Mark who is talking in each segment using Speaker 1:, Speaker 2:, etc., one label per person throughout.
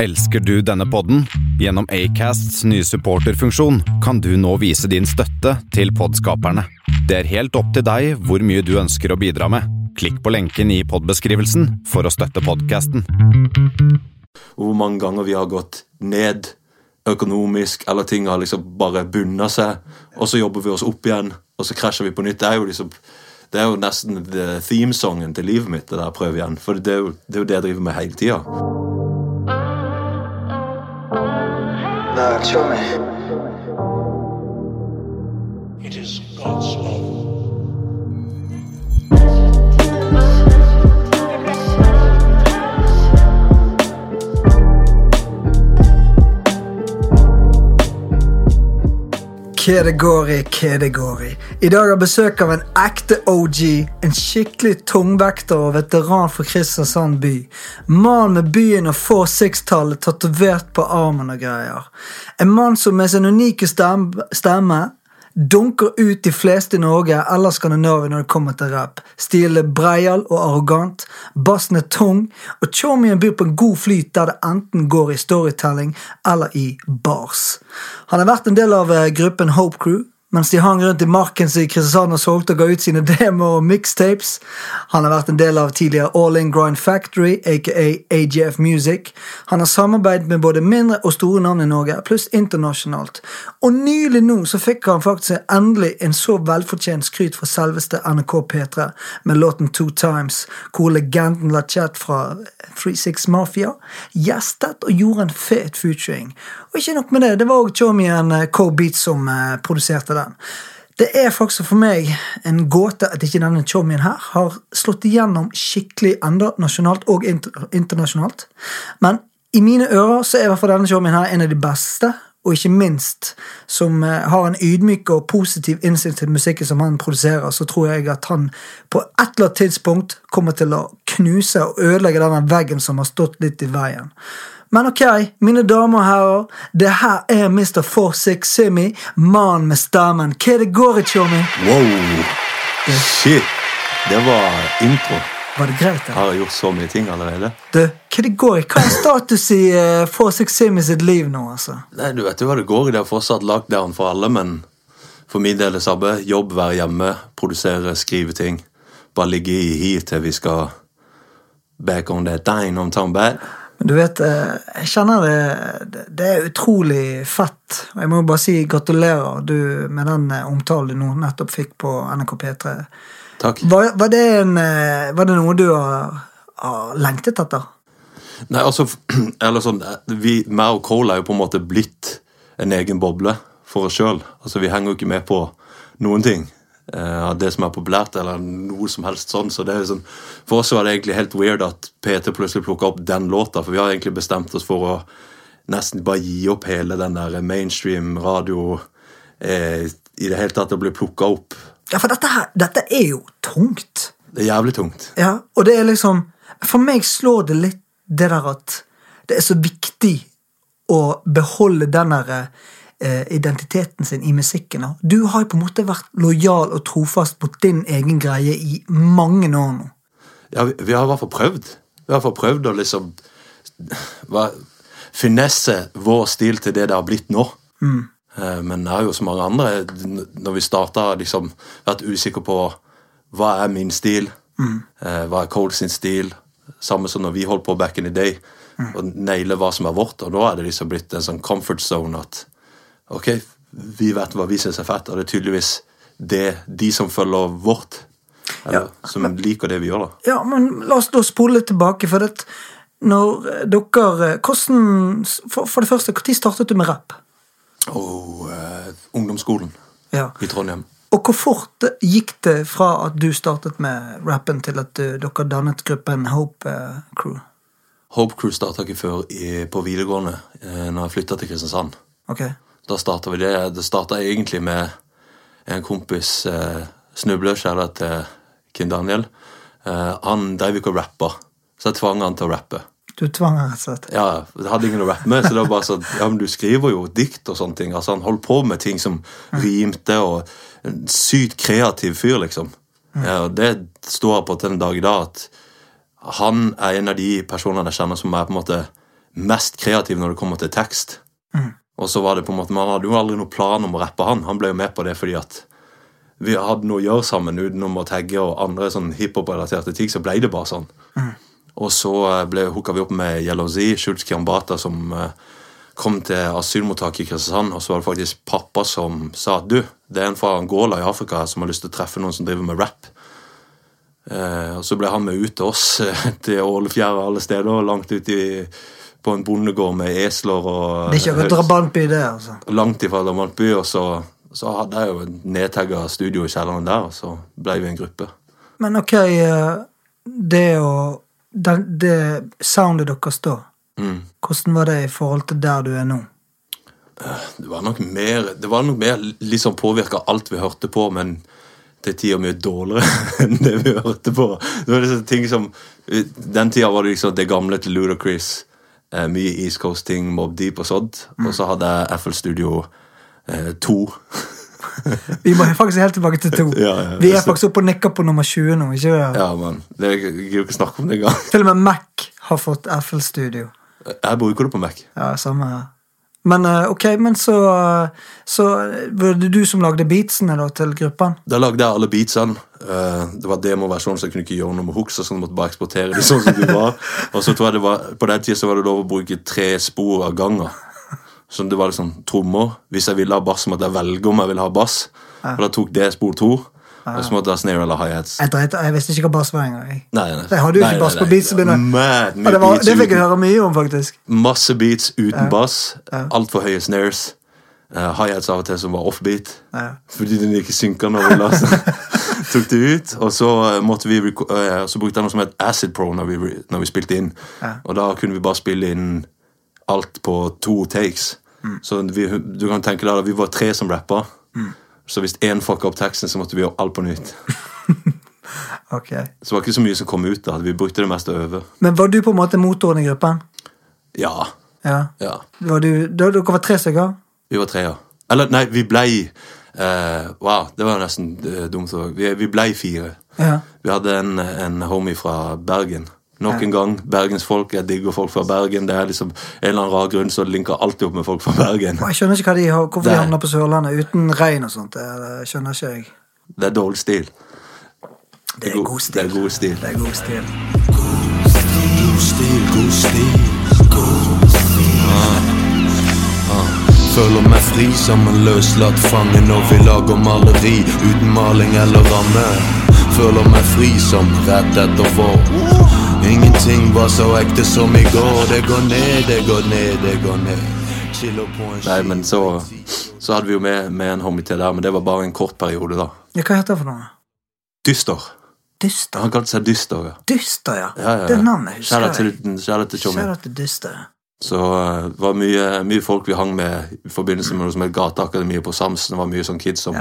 Speaker 1: Elsker du denne podden? Gjennom Acasts nye supporterfunksjon kan du nå vise din støtte til podskaperne. Det er helt opp til deg hvor mye du ønsker å bidra med. Klikk på lenken i podbeskrivelsen for å støtte podkasten.
Speaker 2: og hvor mange ganger vi har gått ned økonomisk, eller ting har liksom bare bunna seg, og så jobber vi oss opp igjen, og så krasjer vi på nytt. Det er jo liksom det er jo nesten the themesongen til livet mitt, det der prøv igjen. For det er jo det, er jo det jeg driver med hele tida.
Speaker 3: Nah, show me.
Speaker 4: It is God's love.
Speaker 5: Hva det går i, hva det går i. I dag har jeg besøk av en ekte OG, en skikkelig tungvekter og veteran for Kristiansand by. Mann med byen og 46-tallet tatovert på armen og greier. En mann som med sin unike stem- stemme dunker ut de fleste i Norge eller Skandinavia når det kommer til rap. Stilen er breial og arrogant, bassen er tung, og chomien byr på en god flyt der det enten går i storytelling eller i bars. Han har vært en del av eh, gruppen Hope Crew, mens de hang rundt i marken som i Kristiansand og solgte og ga ut sine demoer og mixtapes. Han har vært en del av tidligere All In Grind Factory, aka AGF Music. Han har samarbeidet med både mindre og store navn i Norge, pluss internasjonalt. Og nylig nå så fikk han faktisk endelig en så velfortjent skryt fra selveste NRK P3 med låten Two Times, hvor legenden Lachette fra 36 Mafia gjestet og gjorde en fet featuring. Og ikke nok med det, det var òg Chomien Co-Beat som eh, produserte den. Det er faktisk for meg en gåte at ikke denne Chomien her har slått igjennom skikkelig enda nasjonalt og inter internasjonalt. Men i mine ører så er i hvert fall denne Chomien her en av de beste. Og ikke minst, som eh, har en ydmyk og positiv innsikt til musikken som han produserer, så tror jeg at han på et eller annet tidspunkt kommer til å knuse og ødelegge denne veggen som har stått litt i veien. Men ok, mine damer og herrer, det her er Mr. 46 Simi, mannen med stemmen. Hva det går i, Tjommi?
Speaker 2: Wow! Shit! Det var intro.
Speaker 5: Var det greit,
Speaker 2: Jeg
Speaker 5: da?
Speaker 2: har gjort så mye ting allerede.
Speaker 5: Du, hva det går i? Hva er status i uh, 46 Simi sitt liv nå, altså?
Speaker 2: Nei, du vet jo hva det går i. Det er fortsatt lockdown for alle, men for min del er det samme. Jobb, være hjemme, produsere, skrive ting. Bare ligge i hi til vi skal back on that dine on town bad.
Speaker 5: Men du vet, eh, jeg kjenner det det- Det er utrolig fett. Og jeg må jo bare si gratulerer du med den eh, omtalen du nå nettopp fikk på NRK P3.
Speaker 2: Takk.
Speaker 5: Var, var, det en, eh, var det noe du har, har lengtet etter?
Speaker 2: Nei, altså, eller sånn, vi, meg og Cole er jo på en måte blitt en egen boble for oss sjøl. Altså, vi henger jo ikke med på noen ting eh, av det som er populært, eller noe som helst sånn. Så det er jo sånn, For oss var det egentlig helt weird at PT plutselig plukka opp den låta, for vi har egentlig bestemt oss for å nesten bare gi opp hele den der mainstream radio eh, i det hele tatt å bli plukka opp.
Speaker 5: Ja, for dette her, dette er jo tungt.
Speaker 2: Det er jævlig tungt.
Speaker 5: Ja, og det er liksom For meg slår det litt det der at det er så viktig å beholde den der eh, identiteten sin i musikken. da. Du har jo på en måte vært lojal og trofast mot din egen greie i mange år nå.
Speaker 2: Ja, vi, vi har i hvert fall prøvd. Vi har i hvert fall prøvd å liksom hva, finesse vår stil til det det har blitt nå. Eh, Men jeg er jo som mange andre, n- når vi starta, liksom vært usikker på hva er min stil, eh, hva er Cole sin stil, samme som når vi holdt på back in the day, og naile hva som er vårt. Og da er det liksom blitt en sånn comfort zone at ok, vi vet hva vi syns er fett, og det er tydeligvis det de som følger vårt, eller, som liker det vi gjør, da.
Speaker 5: Ja, men la oss da spole litt tilbake, for at når eh, dere eh, Hvordan For, for det første, når startet du med rapp?
Speaker 2: Og eh, ungdomsskolen
Speaker 5: Ja.
Speaker 2: i Trondheim.
Speaker 5: Og hvor fort gikk det fra at du startet med rappen, til at eh, dere dannet gruppen Hope eh, Crew?
Speaker 2: Hope Crew starta ikke før i, på videregående, eh, når jeg flytta til Kristiansand.
Speaker 5: Ok,
Speaker 2: Da starta vi det. Det starta egentlig med en kompis eh, snubler, kjære til Kim Daniel. Eh, han dreiv ikke og rappa, så jeg tvang han til å rappe.
Speaker 5: Du tvang han rett og slett.
Speaker 2: Ja, jeg hadde ingen å rappe med, så det var bare sånn Ja, men du skriver jo dikt og sånne ting. Altså, han holdt på med ting som rimte, og en sykt kreativ fyr, liksom. Ja, og det står jeg på til den dag i dag, at han er en av de personene jeg kjenner som er på en måte mest kreativ når det kommer til tekst. Og så var det på en måte, Man hadde jo aldri noen plan om å rappe han. Han ble jo med på det fordi at vi hadde noe å gjøre sammen utenom å tagge og andre sånn hiphop-relaterte ting. Så ble det bare sånn.
Speaker 5: Mm.
Speaker 2: Og så eh, ble hooka vi opp med Jalousi, Schultz Kiambata, som eh, kom til asylmottaket i Kristiansand. Og så var det faktisk pappa som sa at du, det er en fra Angola i Afrika som har lyst til å treffe noen som driver med rap. Eh, og så ble han med ut til oss eh, til Ålefjæra og alle steder, langt ut i, på en bondegård med esler og
Speaker 5: Det er ikke akkurat drabantby, det, altså.
Speaker 2: langt ifra Lamont by, og så, så hadde jeg jo et nedtagga studio i kjelleren der, og så ble vi en gruppe.
Speaker 5: Men ok, eh, det å den, Det soundet deres da,
Speaker 2: Mm.
Speaker 5: hvordan var det i forhold til der du er nå?
Speaker 2: Det var nok mer, det var nok mer liksom påvirka alt vi hørte på, men til tider mye dårligere enn det vi hørte på. Det var liksom ting som, Den tida var det liksom det gamle til Ludacris, eh, mye East Coast-ting, Mob Deep og sånt. Og så hadde jeg FL Studio eh, 2.
Speaker 5: Vi må faktisk helt tilbake til to.
Speaker 2: Ja, ja,
Speaker 5: Vi er
Speaker 2: så-
Speaker 5: faktisk oppe og nikker på nummer 20 nå. ikke det?
Speaker 2: Ja, men det jeg gidder jo ikke snakke om det engang.
Speaker 5: Til og med Mac har fått FL Studio.
Speaker 2: Jeg bruker det på Mac.
Speaker 5: Ja, samme her. Men eh, ok, men så, eh, så var det du som lagde beatsene da til gruppen?
Speaker 2: Da lagde jeg alle beatsene. Eh, Det var demoversjonen, så jeg kunne ikke gjøre noe med hooks. Så jeg måtte bare eksportere det sånn som de var. Og så tror jeg det var, På den tida var det lov å bruke tre spor av gangen. Så det var liksom trommer. Hvis jeg ville ha bass, så måtte jeg velge om jeg ville ha bass. Og da tok det spor to. Og så måtte jeg ha snare eller hi-hats.
Speaker 5: Jeg, dreit, jeg visste ikke hva bass var engang. jeg.
Speaker 2: Nei, nei.
Speaker 5: Jeg hadde jo
Speaker 2: Nei, nei,
Speaker 5: ikke bass på
Speaker 2: nei.
Speaker 5: beatsen min.
Speaker 2: Mad
Speaker 5: Ja,
Speaker 2: mye
Speaker 5: det, var-
Speaker 2: beats
Speaker 5: det fikk jeg
Speaker 2: uten-
Speaker 5: høre mye om, faktisk.
Speaker 2: Masse beats uten bass. Altfor høye snares. Uh, High-hats av og til som var offbeat. Fordi den ikke synka når vi la tok det ut. Og så, eh, måtte vi, reko- eh, så brukte jeg noe som het Acid Pro når vi, re- når vi spilte inn. Og da kunne vi bare spille inn alt på to takes. Så vi, du kan tenke deg at vi var tre som rappa. Så hvis én fucka opp teksten, så måtte vi gjøre alt på nytt.
Speaker 5: Ok.
Speaker 2: Så det var ikke så mye som kom ut. da Vi brukte det meste over.
Speaker 5: Men var du på en måte motoren i gruppen?
Speaker 2: Ja.
Speaker 5: Ja.
Speaker 2: ja.
Speaker 5: Var du, da, dere var tre stykker?
Speaker 2: Vi var tre, ja. Eller, nei, vi blei eh, Wow, det var nesten eh, dumt. å- Vi, vi blei fire.
Speaker 5: Ja.
Speaker 2: Vi hadde en, en homie fra Bergen. Nok en gang, bergensfolk. Jeg digger folk fra Bergen. Det er liksom En eller annen rar grunn så linker jeg alltid opp med folk fra Bergen.
Speaker 5: Og Jeg skjønner ikke hva de har, hvorfor de
Speaker 2: Nei.
Speaker 5: havner på Sørlandet uten regn og sånt. Det skjønner ikke jeg.
Speaker 2: Det er dårlig stil.
Speaker 5: Det er god
Speaker 2: Det
Speaker 5: stil.
Speaker 2: er god stil.
Speaker 5: Det er god stil.
Speaker 6: Føler meg fri som en løslatt fange når vi lager maleri uten maling eller ramme. Føler meg fri som rett etter vår. Ingenting var så ekte som i går. Det går ned, det går ned, det går ned. Chiller på en
Speaker 2: Nei, men så, så hadde vi jo med, med en homie til der, men det var bare en kort periode, da.
Speaker 5: Ja, hva heter det for noe?
Speaker 2: Dyster.
Speaker 5: Dyster?
Speaker 2: Han kalte seg Dyster, ja.
Speaker 5: Dyster, ja.
Speaker 2: ja, ja.
Speaker 5: Det navnet husker
Speaker 2: Kjære til,
Speaker 5: jeg.
Speaker 2: kjære til Tjommi.
Speaker 5: Kjære til Dyster. ja.
Speaker 2: Så eh, det var mye, mye folk vi hang med i forbindelse med noe som het Gateakademiet på Samsen. Det var mye sånn kids som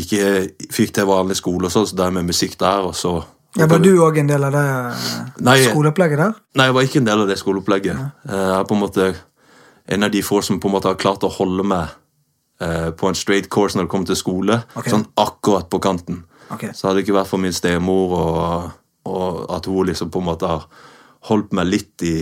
Speaker 2: ikke eh, fikk til vanlig skole og sånn, så drev med musikk der, og så
Speaker 5: Ja, Var du òg en del av det eh,
Speaker 2: Nei.
Speaker 5: skoleopplegget der?
Speaker 2: Nei, jeg var ikke en del av det skoleopplegget. Eh, Jeg er på en måte en av de få som på en måte har klart å holde meg eh, på en straight course når det kommer til skole.
Speaker 5: Ok.
Speaker 2: Sånn akkurat på kanten.
Speaker 5: Ok.
Speaker 2: Så hadde det ikke vært for min stemor, og, og at hun liksom på en måte har holdt meg litt i,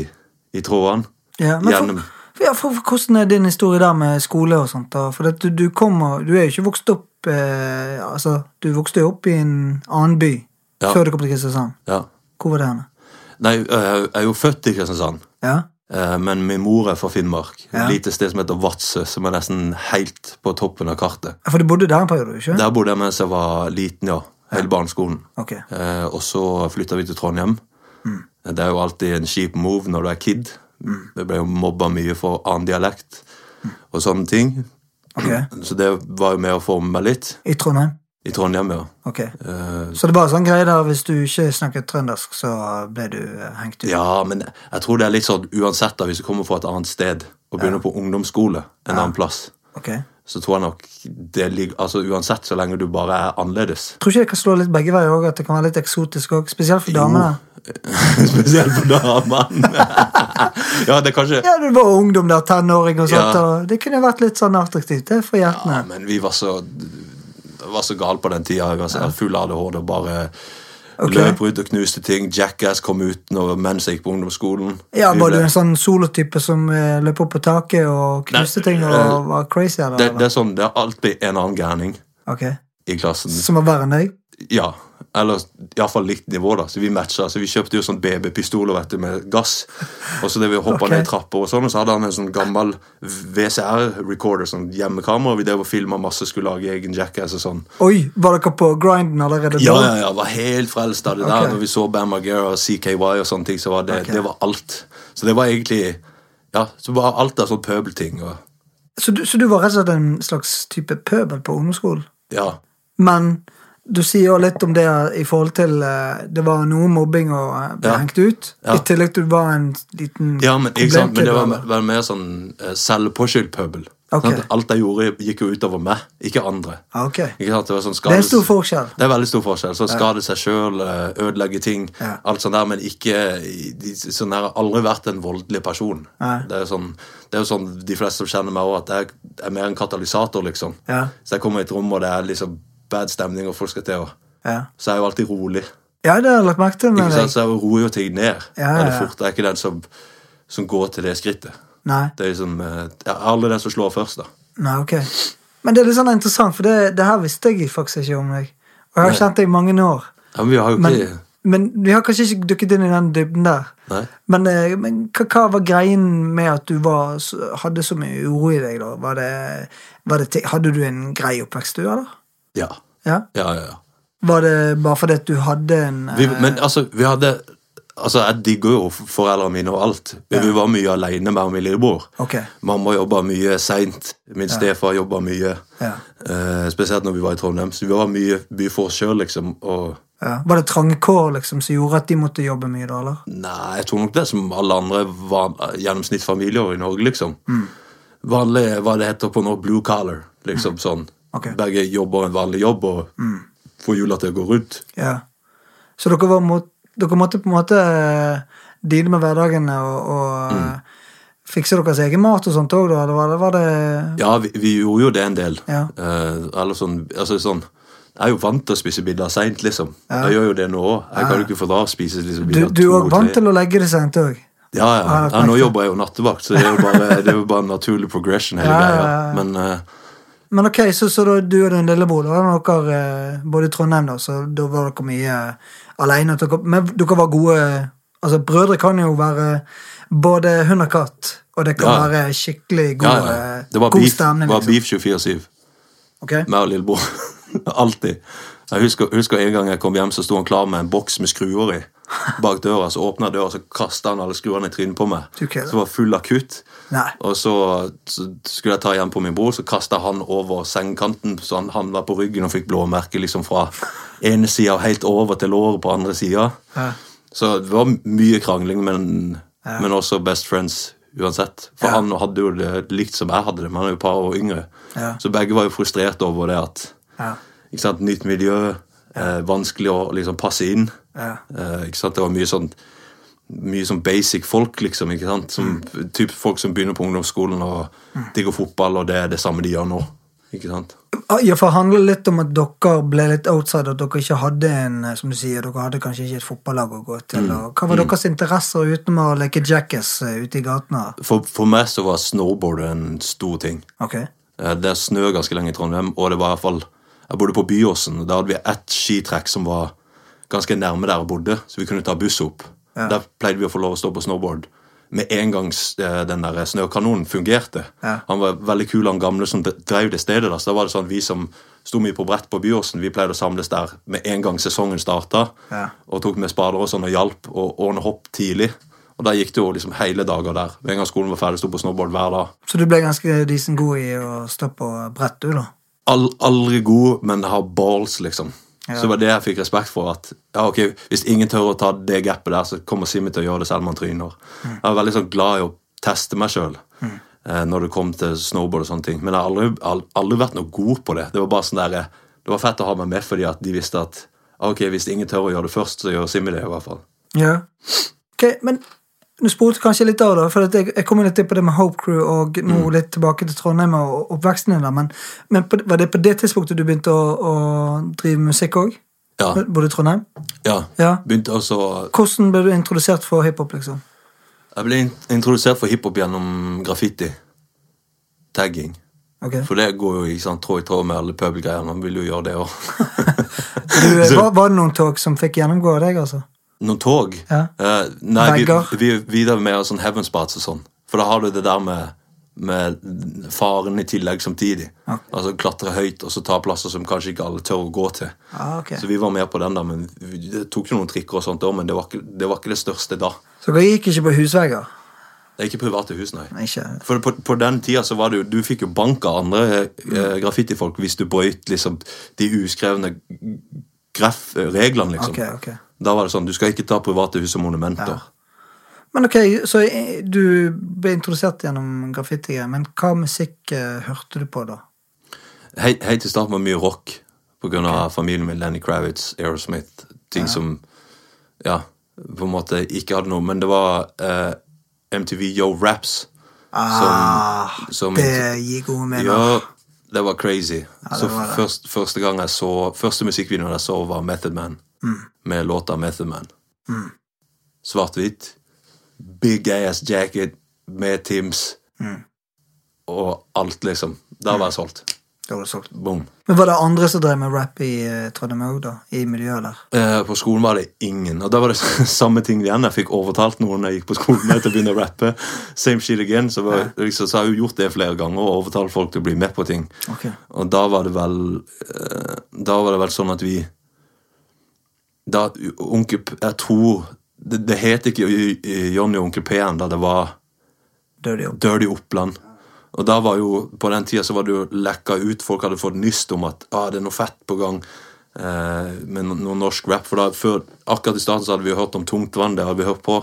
Speaker 2: i trådene.
Speaker 5: Ja, men for,
Speaker 2: Gjennom-
Speaker 5: for, ja, for, for Hvordan er din historie der med skole og sånt? da? For at du, du kommer Du er jo ikke vokst opp eh, Altså, du vokste jo opp i en annen by
Speaker 2: Ja.
Speaker 5: før du kom til Kristiansand.
Speaker 2: Ja.
Speaker 5: Hvor var det henne?
Speaker 2: Nei, eh, jeg er jo født i Kristiansand.
Speaker 5: Ja?
Speaker 2: Eh, Men min mor er fra Finnmark.
Speaker 5: Ja.
Speaker 2: Et lite sted som heter Vadsø, som er nesten helt på toppen av kartet.
Speaker 5: For du bodde der en periode, ikke?
Speaker 2: Der bodde jeg mens jeg var liten, ja. Hele barneskolen.
Speaker 5: Ok.
Speaker 2: Eh, Og så flytta vi til Trondheim. Det er jo alltid en kjip move når du er kid. Jeg ble jo mobba mye for annen dialekt og sånne ting.
Speaker 5: Ok.
Speaker 2: Så det var jo med å forme meg litt.
Speaker 5: I Trondheim?
Speaker 2: I Trondheim, ja.
Speaker 5: Ok.
Speaker 2: Eh,
Speaker 5: Så det var en sånn greie der hvis du ikke snakket trøndersk, så ble du eh, hengt ut?
Speaker 2: Ja, men jeg tror det er litt sånn uansett da, hvis du kommer fra et annet sted og begynner på ungdomsskole en annen plass,
Speaker 5: Ok.
Speaker 2: så tror jeg nok det ligger Altså uansett, så lenge du bare er annerledes.
Speaker 5: Tror ikke det kan slå litt begge veier òg, at det kan være litt eksotisk òg? Spesielt for damene.
Speaker 2: Spesielt for damene. ja, det er kanskje
Speaker 5: Ja, du var ungdom der, tenåring og sånt,
Speaker 2: Ja.
Speaker 5: og det kunne vært litt sånn attraktivt, det, for hjertene.
Speaker 2: Ja, altså, men vi var så, var så gale på den tida. Vi var så full av ADHD og bare
Speaker 5: Ok.
Speaker 2: Løp ut og knuste ting. Jackass kom ut når, mens jeg gikk på ungdomsskolen.
Speaker 5: Ja,
Speaker 2: Vi
Speaker 5: Var du
Speaker 2: ble-
Speaker 5: en sånn solotype som eh, løp opp på taket og knuste ting og var crazy? Eller?
Speaker 2: eh, det, det er sånn, det er alltid en annen gærning
Speaker 5: Ok,
Speaker 2: i klassen.
Speaker 5: Som var verre enn deg?
Speaker 2: Ja, eller iallfall likt nivå, da. Så vi matcha. Så vi kjøpte jo sånn BB-pistoler vet du, med gass. Og så det vi hoppa
Speaker 5: Ok.
Speaker 2: ned trapper og sånn, og så hadde han en sånn gammel VCR-recorder, sånn hjemmekamera, og vi drev og filma masse, skulle lage egen Jackass og sånn.
Speaker 5: Oi, var dere på grinden allerede
Speaker 2: Ja,
Speaker 5: da?
Speaker 2: ja, ja, var helt frelst av det
Speaker 5: Ok.
Speaker 2: der. Når vi så Bam Margera og CKY og sånne ting, så var det,
Speaker 5: Ok.
Speaker 2: det var alt. Så det var egentlig Ja, så var alt av sånn pøbelting og
Speaker 5: Så, du, så du var rett og slett en slags type pøbel på ungdomsskolen?
Speaker 2: Ja.
Speaker 5: Men du sier jo litt om det i forhold til eh, Det var noe mobbing og eh, ble
Speaker 2: Ja.
Speaker 5: hengt ut.
Speaker 2: Ja.
Speaker 5: I tillegg til du var en liten
Speaker 2: Ja, men, ikke sant? men det var,
Speaker 5: problemkid, eller?
Speaker 2: var mer sånn eh, selvpåskyldt pøbel.
Speaker 5: Ok.
Speaker 2: Sant? Alt jeg gjorde, gikk jo utover meg, ikke andre.
Speaker 5: Ah, ok.
Speaker 2: Ikke sant? Det, var sånn
Speaker 5: Det er
Speaker 2: skade-
Speaker 5: en stor forskjell.
Speaker 2: Det er veldig stor forskjell. Så skade seg sjøl, ødelegge ting,
Speaker 5: Ja.
Speaker 2: alt sånt der, men ikke i- de- sånn der, Jeg har aldri vært en voldelig person.
Speaker 5: Nei.
Speaker 2: Det er jo sånn, det er jo sånn de fleste som kjenner meg òg, at jeg er mer en katalysator, liksom.
Speaker 5: Ja.
Speaker 2: Så jeg kommer i et rom, og det er liksom bad stemning, og folk skal til å
Speaker 5: Ja.
Speaker 2: Så jeg er jo alltid rolig.
Speaker 5: ja, det har jeg lagt merke til
Speaker 2: Ikke
Speaker 5: med
Speaker 2: sant?
Speaker 5: deg.
Speaker 2: Så jeg roer jo ting ned
Speaker 5: Ja, ja,
Speaker 2: veldig
Speaker 5: ja.
Speaker 2: fort. Jeg er ikke den som, som går til det skrittet.
Speaker 5: Nei.
Speaker 2: Det er liksom, eh, Jeg er aldri den som slår først, da.
Speaker 5: Nei, ok. Men det er litt sånn interessant, for det, det her visste jeg faktisk ikke om deg. Og jeg har kjent deg i mange år.
Speaker 2: Ja, men vi har jo
Speaker 5: Men,
Speaker 2: ikke
Speaker 5: men vi har kanskje ikke dukket inn i den dybden der.
Speaker 2: Nei.
Speaker 5: Men, eh, men hva, hva var greien med at du var, så- hadde så mye uro i deg, da? Var det, var det, ting- hadde du en grei oppvekst, du, eller?
Speaker 2: Ja.
Speaker 5: Ja.
Speaker 2: Ja, ja, ja.
Speaker 5: Var det bare fordi at du hadde en eh,
Speaker 2: Vi, men altså, vi hadde Altså, Jeg digger jo foreldrene mine og alt. Men Vi var mye alene med min lillebror.
Speaker 5: Ok.
Speaker 2: Mamma jobba mye seint. Min stefar jobba mye.
Speaker 5: Ja.
Speaker 2: Eh, spesielt når vi var i Trondheim. Så vi var mye, mye for oss sjøl, liksom. Og
Speaker 5: ja. Var det trange kår liksom, som gjorde at de måtte jobbe mye, da, eller?
Speaker 2: Nei, jeg tror nok det er som alle andre van, gjennomsnittsfamilier i Norge, liksom.
Speaker 5: Mm.
Speaker 2: Vanlig hva det heter på nå, blue collar, liksom sånn.
Speaker 5: Mm. Ok. Mm.
Speaker 2: Begge jobber en vanlig jobb og får jula til å gå rundt.
Speaker 5: Ja. Så dere, var mot, dere måtte på en måte eh, deale med hverdagene og,
Speaker 2: Mm.
Speaker 5: og eh, fikse deres egen mat og sånt òg, da? Eller var det, var det
Speaker 2: Ja, vi, vi gjorde jo det en del.
Speaker 5: Ja.
Speaker 2: Eh, eller sånn, altså sånn Jeg er jo vant til å spise middag seint, liksom. Jeg gjør jo det nå òg. Jeg kan jo ikke fordra å spise liksom,
Speaker 5: Du,
Speaker 2: middag
Speaker 5: du er òg vant til
Speaker 2: å
Speaker 5: å legge det sent òg?
Speaker 2: ja, ja.
Speaker 5: Ja,
Speaker 2: ja, nå
Speaker 5: perfekt.
Speaker 2: jobber jeg jo nattevakt, så det er jo bare, det er jo bare en naturlig progression, hele
Speaker 5: Ja, ja,
Speaker 2: greia.
Speaker 5: ja.
Speaker 2: Men eh,
Speaker 5: Men ok, så, så da, du og din lillebror, da var dere eh, både i Trondheim, da, så da var dere mye eh, alene. Dere, men dere var gode Altså, brødre kan jo være både hund og katt, og det kan
Speaker 2: Ja.
Speaker 5: være skikkelig god,
Speaker 2: ja, ja.
Speaker 5: eh,
Speaker 2: Det var
Speaker 5: god
Speaker 2: beef,
Speaker 5: stemning.
Speaker 2: var
Speaker 5: Liksom.
Speaker 2: beef 24-7.
Speaker 5: Ok?
Speaker 2: Meg og lillebror. Alltid. Jeg husker, husker en gang jeg kom hjem, så sto han klar med en boks med skruer i. Bak døra, så åpna døra, så kasta han alle skruene i trynet på meg.
Speaker 5: Du kødder.
Speaker 2: Som var full av kutt.
Speaker 5: Nei.
Speaker 2: Og så, så skulle jeg ta igjen på min bror, så kasta han over sengekanten, så han, han var på ryggen og fikk blåmerke liksom fra ene sida og helt over til låret på andre sida.
Speaker 5: Ja.
Speaker 2: Så det var mye krangling, men, men også best friends uansett. For
Speaker 5: Ja.
Speaker 2: han hadde jo det likt som jeg hadde det, men han er jo et par år yngre.
Speaker 5: Ja.
Speaker 2: Så begge var jo frustrert over det at
Speaker 5: Ja.
Speaker 2: ikke sant, Nytt miljø, eh, vanskelig å liksom passe inn.
Speaker 5: Ja.
Speaker 2: Eh, ikke sant, Det var mye sånn mye sånn basic folk, liksom. ikke sant, som,
Speaker 5: Mm.
Speaker 2: typ Folk som begynner på ungdomsskolen og digger fotball, og det er det samme de gjør nå. ikke sant?
Speaker 5: Ah, Ja, for det handler litt om at dere ble litt outside, at dere ikke hadde en, eh, som du sier, dere hadde kanskje ikke et fotballag å gå til. Og hva var deres interesser utenom å leke jackass eh, ute i gatene?
Speaker 2: For, for meg så var snowboard en stor ting.
Speaker 5: Ok,
Speaker 2: Eh, Det snø ganske lenge i Trondheim, og det var i hvert fall Jeg bodde på Byåsen, og da hadde vi ett skitrekk som var ganske nærme der jeg bodde, så vi kunne ta buss opp. Der pleide vi å få lov å stå på snowboard. Med en gang s- eh, den der snøkanonen fungerte.
Speaker 5: Ja.
Speaker 2: Han var veldig kul, han gamle som d- drev det stedet. Da. Så da var det sånn at vi som sto mye på brett på Byåsen, vi pleide å samles der med en gang sesongen starta.
Speaker 5: Ja.
Speaker 2: Og tok med spader og sånn og hjalp og ordne hopp tidlig. Og da gikk det jo liksom hele dager der. Med en gang skolen var ferdig, sto på snowboard hver dag.
Speaker 5: Så du ble ganske decent god i å stå på brett, du, da?
Speaker 2: all, aldri god, men har balls, liksom.
Speaker 5: Ja.
Speaker 2: Så det var det jeg fikk respekt for. at ja, ok, Hvis ingen tør å ta det gapet der, så kommer Simi til å gjøre det selv om han tryner.
Speaker 5: Mm.
Speaker 2: Jeg var veldig sånn glad i å teste meg sjøl når det kom til snowboard og sånne ting. Men jeg har aldri, al- aldri vært noe god på det. Det var bare sånn der, eh, det var fett å ha meg med fordi at de visste at ah, ok, hvis ingen tør å gjøre det først, så gjør Simi det. i hvert fall.
Speaker 5: Ja. Ok, men du spurte kanskje litt av det, for at jeg, jeg kom jo litt inn på det med Hope Crew og nå litt tilbake til Trondheim og oppveksten din der, men, men på, var det på det tidspunktet du begynte å, å drive musikk òg?
Speaker 2: Ja.
Speaker 5: Bodde i Trondheim?
Speaker 2: ja.
Speaker 5: Ja.
Speaker 2: Begynte altså
Speaker 5: Hvordan ble du introdusert for hiphop, liksom?
Speaker 2: Jeg ble in introdusert for hiphop gjennom graffiti. Tagging.
Speaker 5: Ok.
Speaker 2: For det går jo i sånn tråd i tråd med alle pøbelgreiene. Man vil jo gjøre det
Speaker 5: Du, eh,
Speaker 2: òg.
Speaker 5: var, var det noen tog som fikk gjennomgå deg, altså?
Speaker 2: Noen tog?
Speaker 5: Ja.
Speaker 2: Eh, nei, vi,
Speaker 5: Vegger.
Speaker 2: vi er videre med sånn heavensbats og sånn. For da har du det der med, med faren i tillegg samtidig.
Speaker 5: Ja.
Speaker 2: Altså klatre høyt og så ta plasser som kanskje ikke alle tør å gå til.
Speaker 5: Ah, ok.
Speaker 2: Så vi var med på den der, men vi, det tok jo noen trikker og sånt òg, men det var, ikke, det var ikke det største da.
Speaker 5: Så dere gikk ikke på husvegger?
Speaker 2: Det er ikke private hus, nei.
Speaker 5: Nei, Ikke.
Speaker 2: For på, på den tida så var det jo Du fikk jo bank av andre eh, graffitifolk hvis du brøyt liksom de uskrevne graf, reglene, liksom.
Speaker 5: Ok, ok.
Speaker 2: Da var det sånn Du skal ikke ta private hus og monumenter.
Speaker 5: Men ok, så eh, du ble introdusert gjennom graffiti, men hva musikk eh, hørte du på da?
Speaker 2: Hei, hei til starten var mye rock på grunn av familien min, Lenny Kravitz, Aerosmith. Ting som ja, på en måte ikke hadde noe Men det var eh, MTV Yo Raps
Speaker 5: Ah,
Speaker 2: som
Speaker 5: det gir gode meninger.
Speaker 2: Ja, det var crazy. så
Speaker 5: var det.
Speaker 2: først, første gang jeg så Første musikkvideoen jeg så, var Method Man.
Speaker 5: Mm.
Speaker 2: Med låta Method Man. Svart-hvitt. Big ass jacket med Tims.
Speaker 5: Mm.
Speaker 2: Og alt, liksom. Da var jeg solgt.
Speaker 5: Da var det solgt.
Speaker 2: Boom.
Speaker 5: Men var det andre som drev med rap i eh, Trondheim òg, da? I miljøet der?
Speaker 2: Eh, På skolen var det ingen. Og da var det samme ting igjen. Jeg fikk overtalt noen jeg gikk på skolen med til å begynne å rappe. Same shit again. Så, var, liksom, så har jeg jo gjort det flere ganger og overtalt folk til å bli med på ting.
Speaker 5: Ok.
Speaker 2: Og da var det vel eh, Da var det vel sånn at vi Da Onkel P- Jeg tror Det, det het ikke Y- Y- Johnny og Onkel P ennå. Det var
Speaker 5: Døde jo.
Speaker 2: Dirty Oppland. Og da var jo, På den tida så var det jo lekka ut. Folk hadde fått nyst om at ah, det er noe fett på gang eh, med no- noe norsk rap. For da, før, Akkurat i starten så hadde vi jo hørt om Tungt vann. Det hadde vi hørt på.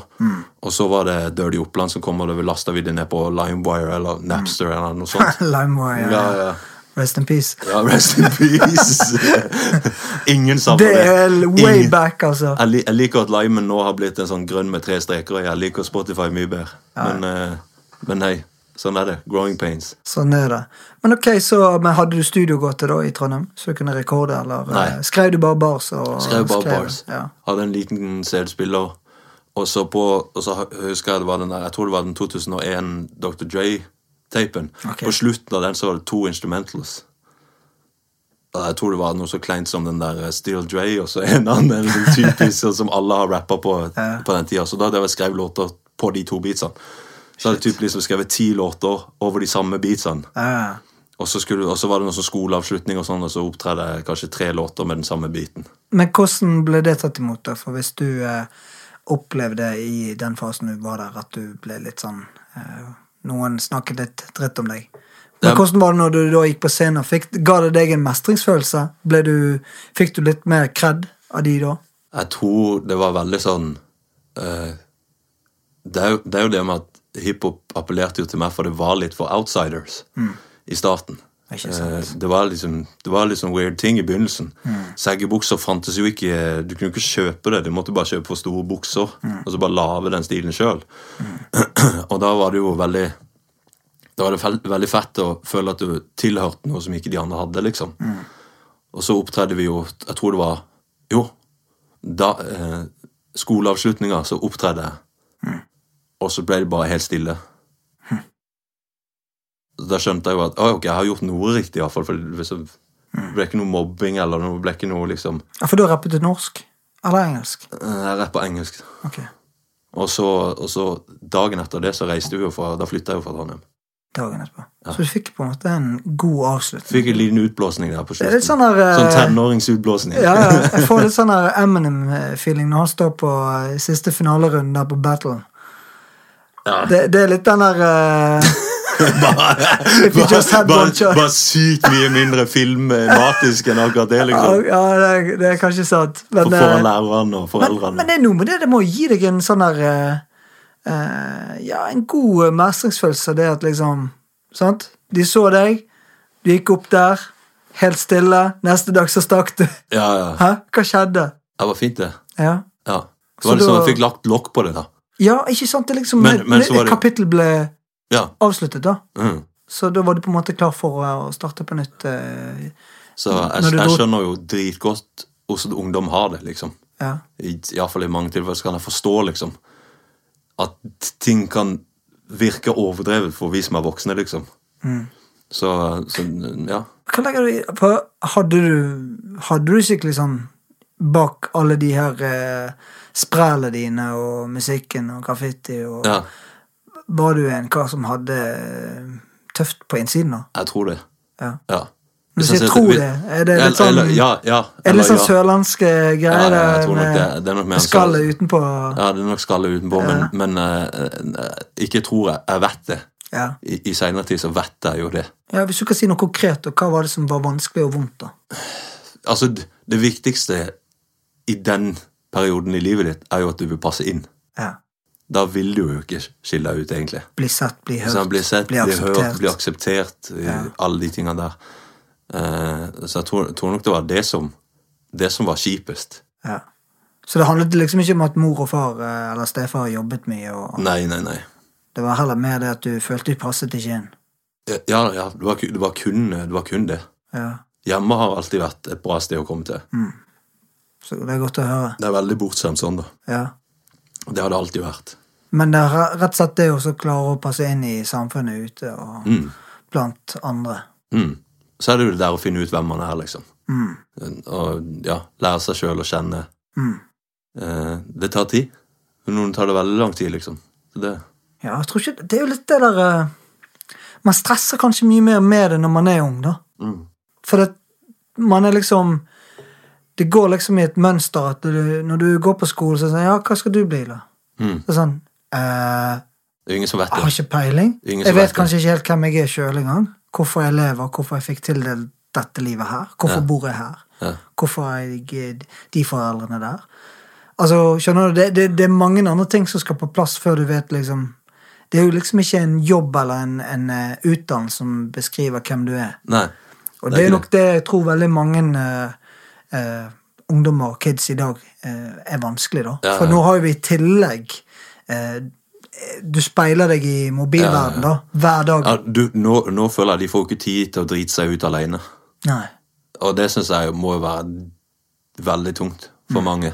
Speaker 2: Og så var det Dirty Oppland som kom, og det lasta vi det ned på Limewire eller Napster eller noe sånt.
Speaker 5: Limewire.
Speaker 2: ja, ja.
Speaker 5: Rest in peace.
Speaker 2: Ja, rest in peace. Ingen savner
Speaker 5: Det
Speaker 2: det.
Speaker 5: er way
Speaker 2: Ingen.
Speaker 5: back, altså.
Speaker 2: Jeg, li jeg liker at limen nå har blitt en sånn grønn med tre streker, og jeg liker Spotify mye bedre. Men, eh, men hei, sånn er det. Growing pains.
Speaker 5: Sånn er det. Men ok, så men hadde du studiogåte da i Trondheim? Så du kunne rekorde, eller eh,
Speaker 2: Nei.
Speaker 5: skrev du bare bars? Og,
Speaker 2: Skrev bare bars.
Speaker 5: Ja.
Speaker 2: Hadde en liten CD-spiller. Og så på, og så husker jeg det var den der, jeg tror det var den 2001 Dr. Dre-tapen.
Speaker 5: Ok.
Speaker 2: På slutten av den så var det to instrumentals. Og Jeg tror det var noe så kleint som den der eh, Still Dre, og så en annen en typisk sånn som alle har rappa på på den tida. Så da hadde jeg skrevet låter på de to beatsene. Så hadde jeg typ liksom skrevet ti låter over de samme beatsene.
Speaker 5: Ja.
Speaker 2: Og så, skulle, og så var det noe sånn skoleavslutning, og sånn, og så opptredde jeg kanskje tre låter med den samme beaten.
Speaker 5: Men hvordan ble det tatt imot, da? For hvis du eh, opplevde i den fasen du var der, at du ble litt sånn eh, Noen snakket litt dritt om deg.
Speaker 2: Ja.
Speaker 5: Men hvordan var det når du da gikk på scenen? Fikk, ga det deg en mestringsfølelse? Ble du, fikk du litt mer kred av de da?
Speaker 2: Jeg tror det var veldig sånn eh, det, er jo, det er jo det med at hiphop appellerte jo til meg, for det var litt for outsiders i starten.
Speaker 5: Mm. Ikke sant. Mm.
Speaker 2: Eh, det, var liksom, det var liksom weird ting i begynnelsen. Seggebukser fantes jo ikke Du kunne ikke kjøpe det, du måtte bare kjøpe for store bukser.
Speaker 5: Mm.
Speaker 2: Og så bare lage den stilen sjøl. og da var det jo veldig Da var det fel- veldig fett å føle at du tilhørte noe som ikke de andre hadde, liksom.
Speaker 5: Mm.
Speaker 2: Og så opptredde vi jo Jeg tror det var Jo, da eh, skoleavslutninga, så opptredde jeg.
Speaker 5: Mm.
Speaker 2: Og så ble det bare helt stille. Så Da skjønte jeg jo at «Å, ok, jeg har gjort noe riktig, iallfall. For det liksom-
Speaker 5: Mm.
Speaker 2: det ble ikke noe mobbing eller noe. det ble ikke noe liksom
Speaker 5: Ja, For da rappet du norsk? Eller engelsk?
Speaker 2: eh, Jeg rapper engelsk.
Speaker 5: Ok.
Speaker 2: Og så, og så dagen etter det så reiste vi jo fra Da flytta jeg jo fra Trondheim.
Speaker 5: Dagen etterpå. Så du fikk på en måte en god avslutning.
Speaker 2: Fikk en liten utblåsning der på
Speaker 5: Det
Speaker 2: slutten.
Speaker 5: er litt sånn der eh,
Speaker 2: Sånn tenåringsutblåsning.
Speaker 5: Ja, ja, jeg får litt sånn der Eminem-feeling når han står på eh, siste finalerunden der på Battle. Det, det er litt den der eh, If you just
Speaker 2: bare,
Speaker 5: had
Speaker 2: bare,
Speaker 5: one choice.
Speaker 2: bare sykt mye mindre filmatisk enn akkurat det, liksom.
Speaker 5: Ja, det er, det er kanskje sant. Men,
Speaker 2: For
Speaker 5: eh,
Speaker 2: foran lærerne og
Speaker 5: men,
Speaker 2: foreldrene.
Speaker 5: men det er noe med det. Det må gi deg en sånn der eh, eh, Ja, en god eh, mestringsfølelse. Det at liksom Sant? De så deg, du gikk opp der, helt stille. Neste dag så stakk du.
Speaker 2: Ja, ja.
Speaker 5: Hæ? Hva skjedde?
Speaker 2: Det var fint, det.
Speaker 5: Ja.
Speaker 2: Ja. Det
Speaker 5: Så
Speaker 2: var liksom,
Speaker 5: da-
Speaker 2: Jeg fikk lagt lokk på det, da.
Speaker 5: ja, ikke sant? Det er liksom
Speaker 2: Men- men
Speaker 5: det-
Speaker 2: så var
Speaker 5: Et
Speaker 2: det-
Speaker 5: kapittel ble
Speaker 2: Ja.
Speaker 5: avsluttet, da.
Speaker 2: Mm.
Speaker 5: Så da var du på en måte klar for å starte på nytt. eh,
Speaker 2: Så jeg,
Speaker 5: Når du
Speaker 2: jeg
Speaker 5: dro-
Speaker 2: skjønner jo dritgodt Oslo Ungdom har det, liksom.
Speaker 5: Ja.
Speaker 2: Iallfall i mange tilfeller så kan jeg forstå, liksom. At ting kan virke overdrevet for vi som er voksne, liksom.
Speaker 5: Mm.
Speaker 2: Så, så ja.
Speaker 5: Hva legger du i på, hadde, du, hadde du skikkelig sånn bak alle de her eh, sprellene dine og musikken og graffiti og
Speaker 2: ja.
Speaker 5: Var du en kar som hadde eh, tøft på innsiden da?
Speaker 2: Jeg tror det.
Speaker 5: Ja.
Speaker 2: Ja.
Speaker 5: Hvis
Speaker 2: Hvis
Speaker 5: jeg
Speaker 2: ser-
Speaker 5: tror
Speaker 2: vi-
Speaker 5: det, er det litt
Speaker 2: Eller-
Speaker 5: sånn
Speaker 2: eller- Ja, ja.
Speaker 5: Er det litt
Speaker 2: eller
Speaker 5: sånn
Speaker 2: ja.
Speaker 5: sørlandske
Speaker 2: Ja,
Speaker 5: greier
Speaker 2: ja, jeg tror nok
Speaker 5: med,
Speaker 2: det- det er nok mer
Speaker 5: med skallet utenpå? Ja.
Speaker 2: Ja, det er nok skallet utenpå, men, men eh, eh, ikke tror jeg. Jeg vet det.
Speaker 5: Ja.
Speaker 2: I, i seinere tid så vet jeg jo det.
Speaker 5: Hvis du kan si noe konkret, og hva var det som var vanskelig og vondt, da?
Speaker 2: Altså, d- det viktigste i den perioden i livet ditt er jo at du vil passe inn.
Speaker 5: Ja.
Speaker 2: Da vil du jo ikke skille deg ut, egentlig.
Speaker 5: Bli sett, bli hørt,
Speaker 2: Så han blir sett, blir hørt, blir akseptert, i alle de tingene der. Eh, så jeg tror, tror nok det var det som, det som var kjipest.
Speaker 5: Ja. Så det handlet liksom ikke om at mor og far eh, eller stefar jobbet mye, og
Speaker 2: Nei, nei, nei.
Speaker 5: det var heller mer det at du følte du passet ikke inn.
Speaker 2: Ja, ja, det var, ku- det var, kun, det var kun det.
Speaker 5: Ja.
Speaker 2: Hjemme har alltid vært et bra sted å komme til.
Speaker 5: Så det er godt å høre.
Speaker 2: Det er veldig bortskjemt sånn, da.
Speaker 5: Ja.
Speaker 2: Det har det alltid vært.
Speaker 5: Men det er re- rett og slett det å så klare å passe inn i samfunnet ute og blant andre.
Speaker 2: Mm. Så er det jo det der å finne ut hvem man er, liksom. Og ja, lære seg sjøl å kjenne.
Speaker 5: Mm.
Speaker 2: Eh, det tar tid. Noen tar det veldig lang tid, liksom. Så det,
Speaker 5: Ja, jeg tror ikke Det er jo litt det der eh, Man stresser kanskje mye mer med det når man er ung, da.
Speaker 2: Mm.
Speaker 5: For det, man er liksom Det går liksom i et mønster at du, når du går på skolen, så er det sånn Ja, hva skal du bli, da?
Speaker 2: Mm.
Speaker 5: Det er sånn eh,
Speaker 2: det er jo ingen som vet
Speaker 5: Jeg har
Speaker 2: det.
Speaker 5: ikke peiling.
Speaker 2: Ingen
Speaker 5: jeg
Speaker 2: som
Speaker 5: vet
Speaker 2: vet det.
Speaker 5: kanskje ikke helt hvem jeg er sjøl engang. Hvorfor jeg lever, hvorfor jeg fikk tildelt dette livet her. Hvorfor bor jeg her?
Speaker 2: Ja.
Speaker 5: Hvorfor er jeg eh, de foreldrene der? Altså, skjønner du, det, det, det er mange andre ting som skal på plass før du vet liksom Det er jo liksom ikke en jobb eller en, en eh, utdannelse som beskriver hvem du er.
Speaker 2: Nei. Det
Speaker 5: Og
Speaker 2: er
Speaker 5: det er
Speaker 2: ikke
Speaker 5: nok det jeg tror veldig mange eh, eh, ungdommer og kids i dag eh, er vanskelig, da.
Speaker 2: Ja, ja.
Speaker 5: For nå har jo vi i tillegg eh, Du speiler deg i mobilverden, da. Hver dag.
Speaker 2: Ja, du, nå, nå føler jeg de får jo ikke tid til å drite seg ut aleine.
Speaker 5: Nei.
Speaker 2: Og det syns jeg jo må jo være veldig tungt for mange.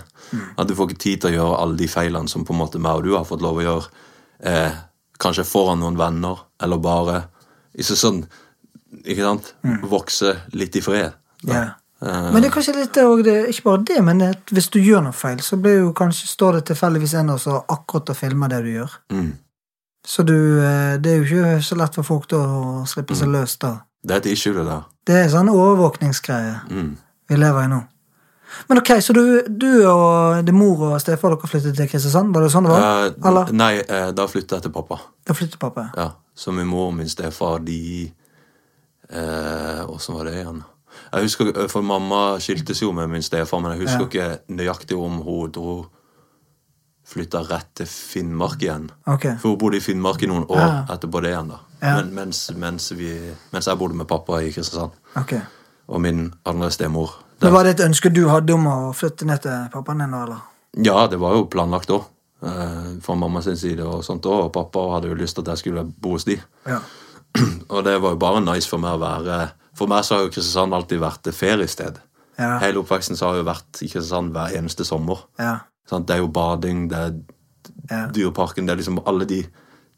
Speaker 2: At du får ikke tid til å gjøre alle de feilene som på en måte meg og du har fått lov å gjøre. Eh, kanskje foran noen venner, eller bare ikke sånn, ikke sant? Vokse litt i fred. da.
Speaker 5: Ja.
Speaker 2: Eh,
Speaker 5: Men det er kanskje litt det òg, ikke bare det, men at hvis du gjør noe feil, så blir jo kanskje, står det tilfeldigvis en av oss som akkurat har filma det du gjør.
Speaker 2: mm.
Speaker 5: Så du, eh, det er jo ikke så lett for folk da å slippe
Speaker 2: Mm.
Speaker 5: seg løs da.
Speaker 2: Det er et issue, det der.
Speaker 5: Det er sånn overvåkningsgreie.
Speaker 2: Mm.
Speaker 5: vi lever i nå. Men ok, så du, du og det mor og stefar dere flyttet til Kristiansand? Var det sånn det var?
Speaker 2: Eh,
Speaker 5: Eller?
Speaker 2: nei, eh, da flytta jeg til pappa.
Speaker 5: Da flyttet pappa.
Speaker 2: Ja, Så min mor og min stefar, de eh, Åssen var det igjen? Jeg husker, ikke- For mamma skiltes jo med min stefar, men jeg husker ikke nøyaktig om hun dro flytta rett til Finnmark igjen.
Speaker 5: Ok.
Speaker 2: For hun bodde i Finnmark i noen år
Speaker 5: Ja.
Speaker 2: etterpå det igjen. da.
Speaker 5: Ja.
Speaker 2: Men, mens, mens, vi, mens jeg bodde med pappa i Kristiansand.
Speaker 5: ok.
Speaker 2: Og min andre stemor.
Speaker 5: Men Var det et ønske du hadde om å flytte ned til pappaen din, da, eller?
Speaker 2: Ja, det var jo planlagt òg. eh, Fra mamma sin side og sånt òg. Og pappa hadde jo lyst til at jeg skulle bo hos de.
Speaker 5: Ja.
Speaker 2: Og det var jo bare nice for meg å være For meg så har jo Kristiansand alltid vært et feriested.
Speaker 5: Ja.
Speaker 2: Hele oppveksten så har jeg jo vært i Kristiansand hver eneste sommer.
Speaker 5: Ja.
Speaker 2: Sant? Det er jo bading, det er
Speaker 5: Ja.
Speaker 2: Dyreparken, det er liksom alle de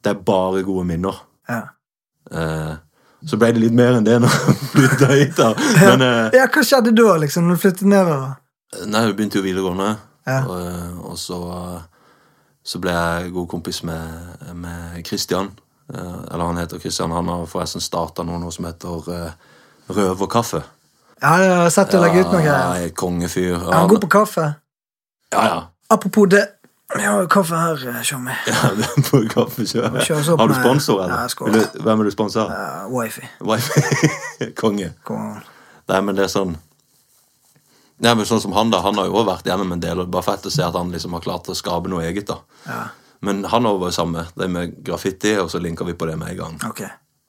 Speaker 2: Det er bare gode minner.
Speaker 5: Ja.
Speaker 2: Eh, så ble det litt mer enn det når jeg flytta hit, da. Men eh,
Speaker 5: ja, hva skjedde da, liksom, når du flyttet ned der, da?
Speaker 2: Nei, hun begynte jo videregående,
Speaker 5: Ja.
Speaker 2: og, eh, og så, så ble jeg god kompis med, med Christian. Eh, Eller han heter Christian. Han har forresten starta noe, noe som heter eh, Røverkaffe.
Speaker 5: Ja, jeg har sett du legge ut noe greier.
Speaker 2: nei, kongefyr.
Speaker 5: Er han god på kaffe?
Speaker 2: Ja, ja.
Speaker 5: Apropos det, vi har jo kaffe her, eh, sjå meg.
Speaker 2: Ja, det er på kaffe selv.
Speaker 5: Kjør oss opp
Speaker 2: Har du
Speaker 5: med-
Speaker 2: sponsor,
Speaker 5: Ja,
Speaker 2: eller?
Speaker 5: skål.
Speaker 2: Vil du, hvem vil du sponse?
Speaker 5: Ja, wifi.
Speaker 2: Wifi. Konge.
Speaker 5: Kom an.
Speaker 2: Nei, men det er sånn Nei, men sånn som Han da, han har jo også vært gjennom en del, og det er bare fett å se at han liksom har klart å skape noe eget. da.
Speaker 5: Ja,
Speaker 2: Men han også var jo samme, det med graffiti, og så linka vi på det med en gang.
Speaker 5: ok.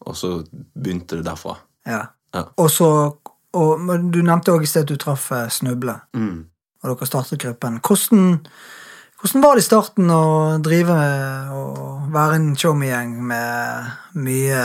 Speaker 2: Og så begynte det derfra.
Speaker 5: Ja.
Speaker 2: Ja.
Speaker 5: Og så og, men Du nevnte òg i sted at du traff eh, Snuble,
Speaker 2: Mm.
Speaker 5: og dere startet gruppen. Hvordan, hvordan var det i starten å drive med å være en showme-gjeng med mye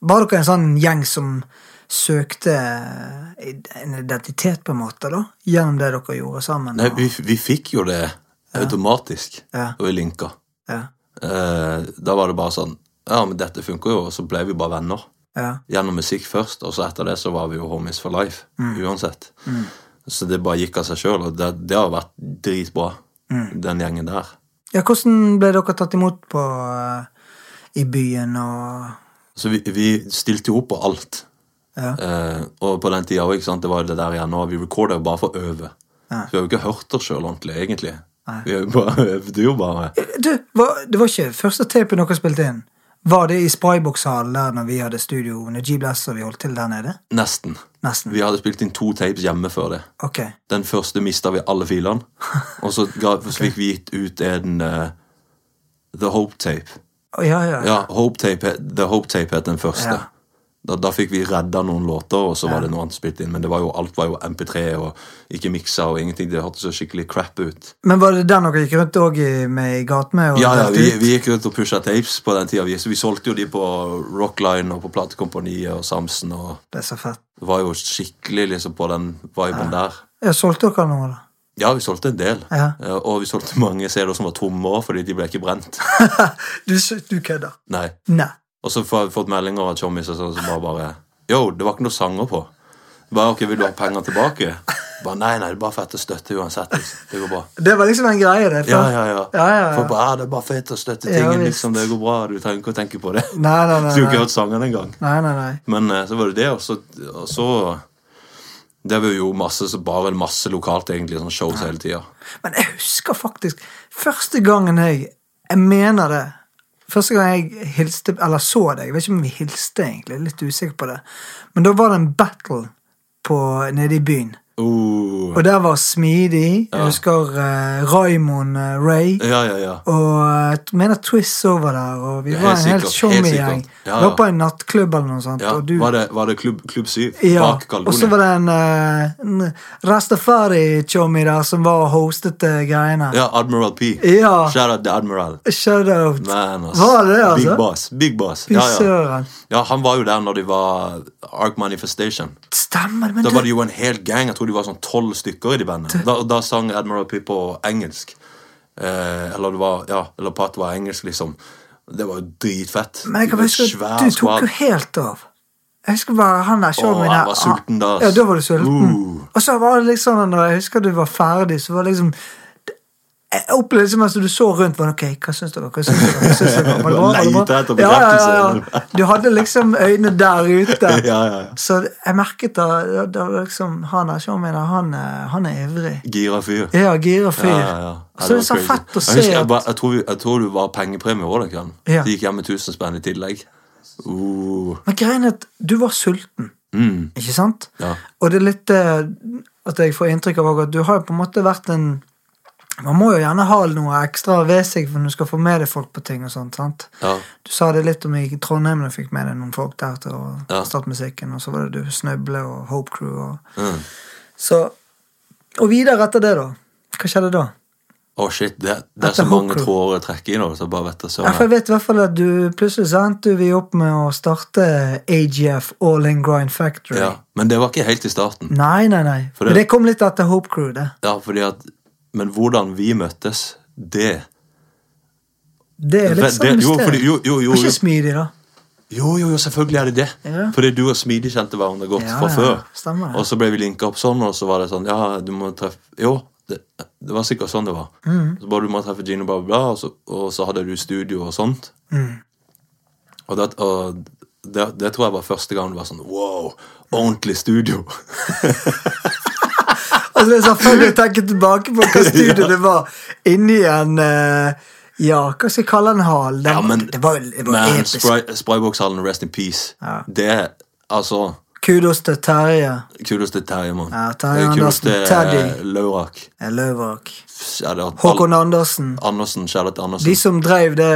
Speaker 5: Var dere en sånn gjeng som søkte eh, en identitet, på en måte, da, gjennom det dere gjorde sammen.
Speaker 2: Nei, vi, vi fikk jo det automatisk
Speaker 5: Ja.
Speaker 2: og vi linka.
Speaker 5: Ja,
Speaker 2: Eh, da var det bare sånn Ja, men dette funker jo, og så ble vi bare venner.
Speaker 5: ja,
Speaker 2: Gjennom musikk først, og så etter det så var vi jo homies for life.
Speaker 5: Mm.
Speaker 2: Uansett. Så det bare gikk av seg sjøl, og det, det har vært dritbra,
Speaker 5: Mm.
Speaker 2: den gjengen der.
Speaker 5: ja. Hvordan ble dere tatt imot på eh, i byen og
Speaker 2: Så vi, vi stilte jo opp på alt.
Speaker 5: Ja.
Speaker 2: Eh, og på den tida òg, ikke sant. Det var jo det der igjen nå. Vi recorda jo bare for å øve.
Speaker 5: Ja.
Speaker 2: Så vi har jo ikke hørt oss sjøl ordentlig, egentlig. Vi har jo bare øvde jo bare.
Speaker 5: Du, hva- det var ikke første tapen dere spilte inn? Var det i Spraybox-hallen der når vi hadde studio under G-Bless og vi holdt til der nede?
Speaker 2: Nesten.
Speaker 5: Nesten.
Speaker 2: Vi hadde spilt inn to tapes hjemme før det.
Speaker 5: Ok.
Speaker 2: Den første mista vi alle filene. Og så, ga, så fikk vi gitt ut en eh, The Hope Tape.
Speaker 5: Å, Ja, ja.
Speaker 2: Ja, Hope Tape, het- The Hope Tape het den første.
Speaker 5: Ja.
Speaker 2: Da, da fikk vi redda noen låter, og så var det noe annet spilt inn. Men det var jo, alt var jo MP3 og ikke miksa og ingenting. Det hørtes så skikkelig crap ut.
Speaker 5: Men var det den dere gikk rundt òg med i gatene? og
Speaker 2: Ja, ja,
Speaker 5: delte
Speaker 2: vi,
Speaker 5: ut?
Speaker 2: vi gikk rundt og pusha tapes på den tida. Vi, så vi solgte jo de på Rockline og på Platekompaniet og Samson. og
Speaker 5: Det er så fett.
Speaker 2: det var jo skikkelig liksom på den viben der.
Speaker 5: Ja, solgte dere noe, da?
Speaker 2: Ja, vi solgte en del.
Speaker 5: Ja.
Speaker 2: Eh, Og vi solgte mange CD-er som var tomme òg, fordi de ble ikke brent.
Speaker 5: Du, s- du kødder.
Speaker 2: Nei.
Speaker 5: Nei.
Speaker 2: Og så har vi fått meldinger av chommiser som som bare bare Yo, det var ikke noe sanger på. Bare, ok, Vil du ha penger tilbake? Bare, Nei, nei, det er bare fett å støtte uansett. liksom. Det går bra.
Speaker 5: Det var liksom en greie, det. for-
Speaker 2: Ja, ja, ja.
Speaker 5: ja, ja, ja.
Speaker 2: For bare, ja, det er bare fett å støtte
Speaker 5: Ja,
Speaker 2: tingen,
Speaker 5: visst.
Speaker 2: liksom. Det går bra. Du trenger ikke å tenke på det.
Speaker 5: Nei, nei, nei.
Speaker 2: Så du har ikke
Speaker 5: nei.
Speaker 2: hørt sangene engang.
Speaker 5: nei, nei, nei.
Speaker 2: Men eh, så var det det, og så, og så Det var jo masse, så bare masse lokalt, egentlig. Sånn shows hele tida.
Speaker 5: Men jeg husker faktisk første gangen jeg Jeg mener det. Første gang jeg hilste, eller så deg, jeg vet ikke om vi hilste egentlig, jeg er litt usikker på det. Men da var det en battle på, nede i byen.
Speaker 2: Uh.
Speaker 5: Og der var Smidig, jeg husker eh, Raymond eh, Ray.
Speaker 2: Ja, ja, ja.
Speaker 5: Og eh, jeg mener Twist over der, og vi
Speaker 2: Ja,
Speaker 5: var
Speaker 2: helt
Speaker 5: en helt
Speaker 2: sikkert, helt
Speaker 5: tjommigjeng.
Speaker 2: sikkert. Ja,
Speaker 5: Var
Speaker 2: ja.
Speaker 5: på en nattklubb eller noe sånt.
Speaker 2: ja.
Speaker 5: og du,
Speaker 2: Var, det, var det Klubb, klubb 7
Speaker 5: ja,
Speaker 2: bak
Speaker 5: og så var
Speaker 2: Galdonia?
Speaker 5: det en, eh, en Rastafari-tjommi der som var og hostet eh, greiene.
Speaker 2: Ja, Admiral P.
Speaker 5: Ja.
Speaker 2: Shout out til Admiral.
Speaker 5: Shout out.
Speaker 2: Man, ass.
Speaker 5: Var det, altså?
Speaker 2: Big boss. Big boss.
Speaker 5: Fy
Speaker 2: Ja, ja.
Speaker 5: søren.
Speaker 2: ja, han var jo der når de var Ark Manifestation.
Speaker 5: Stemmer det, men
Speaker 2: Da
Speaker 5: du,
Speaker 2: var det jo en hel gang. Jeg tror de var sånn tolv stykker i de bandene. Da, da sang Admiral P på engelsk. Eh, eller det var Ja, eller Pat var engelsk, liksom. Det var jo dritfett.
Speaker 5: men jeg
Speaker 2: Det
Speaker 5: kan
Speaker 2: var
Speaker 5: huske
Speaker 2: en svær
Speaker 5: at du tok
Speaker 2: squad.
Speaker 5: jo helt av. Jeg husker bare han der showmien
Speaker 2: jeg
Speaker 5: der,
Speaker 2: var
Speaker 5: ah,
Speaker 2: sulten da, ass.
Speaker 5: Ja, da var du sulten.
Speaker 2: Uh.
Speaker 5: Og så var det liksom, når jeg husker du var ferdig, så var det liksom jeg opplevde liksom at du så rundt var det, ok, hva syns dere? Hva syns dere? Hva syns dere? Var det bra? Var det bra?
Speaker 2: Leite etter
Speaker 5: Ja, ja, ja, ja.
Speaker 2: bekreftelse.
Speaker 5: Du hadde liksom øynene der ute.
Speaker 2: Ja, ja, ja.
Speaker 5: Så jeg merket da, da, da var liksom, han der showmien der, han, eh, han er ivrig.
Speaker 2: Gira fyr.
Speaker 5: Ja, gira fyr.
Speaker 2: Ja, ja, ja. Ja,
Speaker 5: Så det
Speaker 2: var
Speaker 5: er så
Speaker 2: crazy.
Speaker 5: fett å
Speaker 2: Jeg
Speaker 5: se
Speaker 2: husker Jeg,
Speaker 5: at
Speaker 2: bare, jeg, tror, vi- jeg tror det var pengepremie òg den kvelden.
Speaker 5: Ja.
Speaker 2: Det gikk hjem med 1000 spenn i tillegg. Uh,
Speaker 5: Men greien er at du var sulten,
Speaker 2: mm,
Speaker 5: ikke sant?
Speaker 2: ja.
Speaker 5: Og det er litt eh, at jeg får inntrykk av også at du har jo på en måte vært en Man må jo gjerne ha noe ekstra ved seg for når du skal få med deg folk på ting og sånt. sant?
Speaker 2: Ja.
Speaker 5: Du sa det litt om i Trondheim da du fikk med deg noen folk der til å
Speaker 2: Ja.
Speaker 5: starte musikken, og så var det du Snøble og Hope Crew og
Speaker 2: Mm.
Speaker 5: Så Og videre etter det, da. Hva skjedde da?
Speaker 2: Å, shit, det, det er
Speaker 5: Dette
Speaker 2: så mange
Speaker 5: hooker.
Speaker 2: tråder å trekke i nå. Så jeg bare vet det,
Speaker 5: Ja, for
Speaker 2: søren.
Speaker 5: jeg vet i hvert fall at du plutselig så endte vi opp med å starte AGF, All In Grind Factory.
Speaker 2: Ja. Men det var ikke helt i starten.
Speaker 5: Nei, nei, nei.
Speaker 2: For
Speaker 5: Men
Speaker 2: det-
Speaker 5: det kom litt etter Hope Crew, det.
Speaker 2: Ja, fordi at, men hvordan vi møttes, det
Speaker 5: Det er litt
Speaker 2: Det-
Speaker 5: sånn
Speaker 2: det- jo, fordi- jo, jo, jo,
Speaker 5: Det er
Speaker 2: jo.
Speaker 5: Ikke smidig, da.
Speaker 2: Jo, jo, jo, selvfølgelig er det det.
Speaker 5: Ja.
Speaker 2: Fordi du og Smidig kjente hverandre godt
Speaker 5: Ja,
Speaker 2: fra
Speaker 5: ja,
Speaker 2: før.
Speaker 5: stemmer det.
Speaker 2: Og så ble vi linka opp sånn, og så var det sånn Ja, du må treffe Jo, det, det var sikkert sånn det var.
Speaker 5: Mm.
Speaker 2: Så bare du må treffe Gino, bla, bla, bla, og så, og så hadde du studio og sånt.
Speaker 5: Mm.
Speaker 2: Og, det, og det, det tror jeg var første gang det var sånn Wow, ordentlig studio.
Speaker 5: Altså, det er så funny å tenke tilbake på hva studio det var inni en eh, Ja, hva skal jeg kalle en hal? Den,
Speaker 2: Ja, men-
Speaker 5: det var, det var
Speaker 2: Men
Speaker 5: episk.
Speaker 2: Spry- Sprybox-hallen, rest in peace,
Speaker 5: Ja.
Speaker 2: det Altså
Speaker 5: Kudos til Terje
Speaker 2: Kudos til Terje, mann.
Speaker 5: Ja, Terje
Speaker 2: Eh, kudos
Speaker 5: Andersen,
Speaker 2: til
Speaker 5: Teddy.
Speaker 2: eh, Laurak.
Speaker 5: Løvåk.
Speaker 2: Shout-out til
Speaker 5: Håkon
Speaker 2: alle-
Speaker 5: Andersen.
Speaker 2: Andersen. Charlotte Andersen.
Speaker 5: De som drev det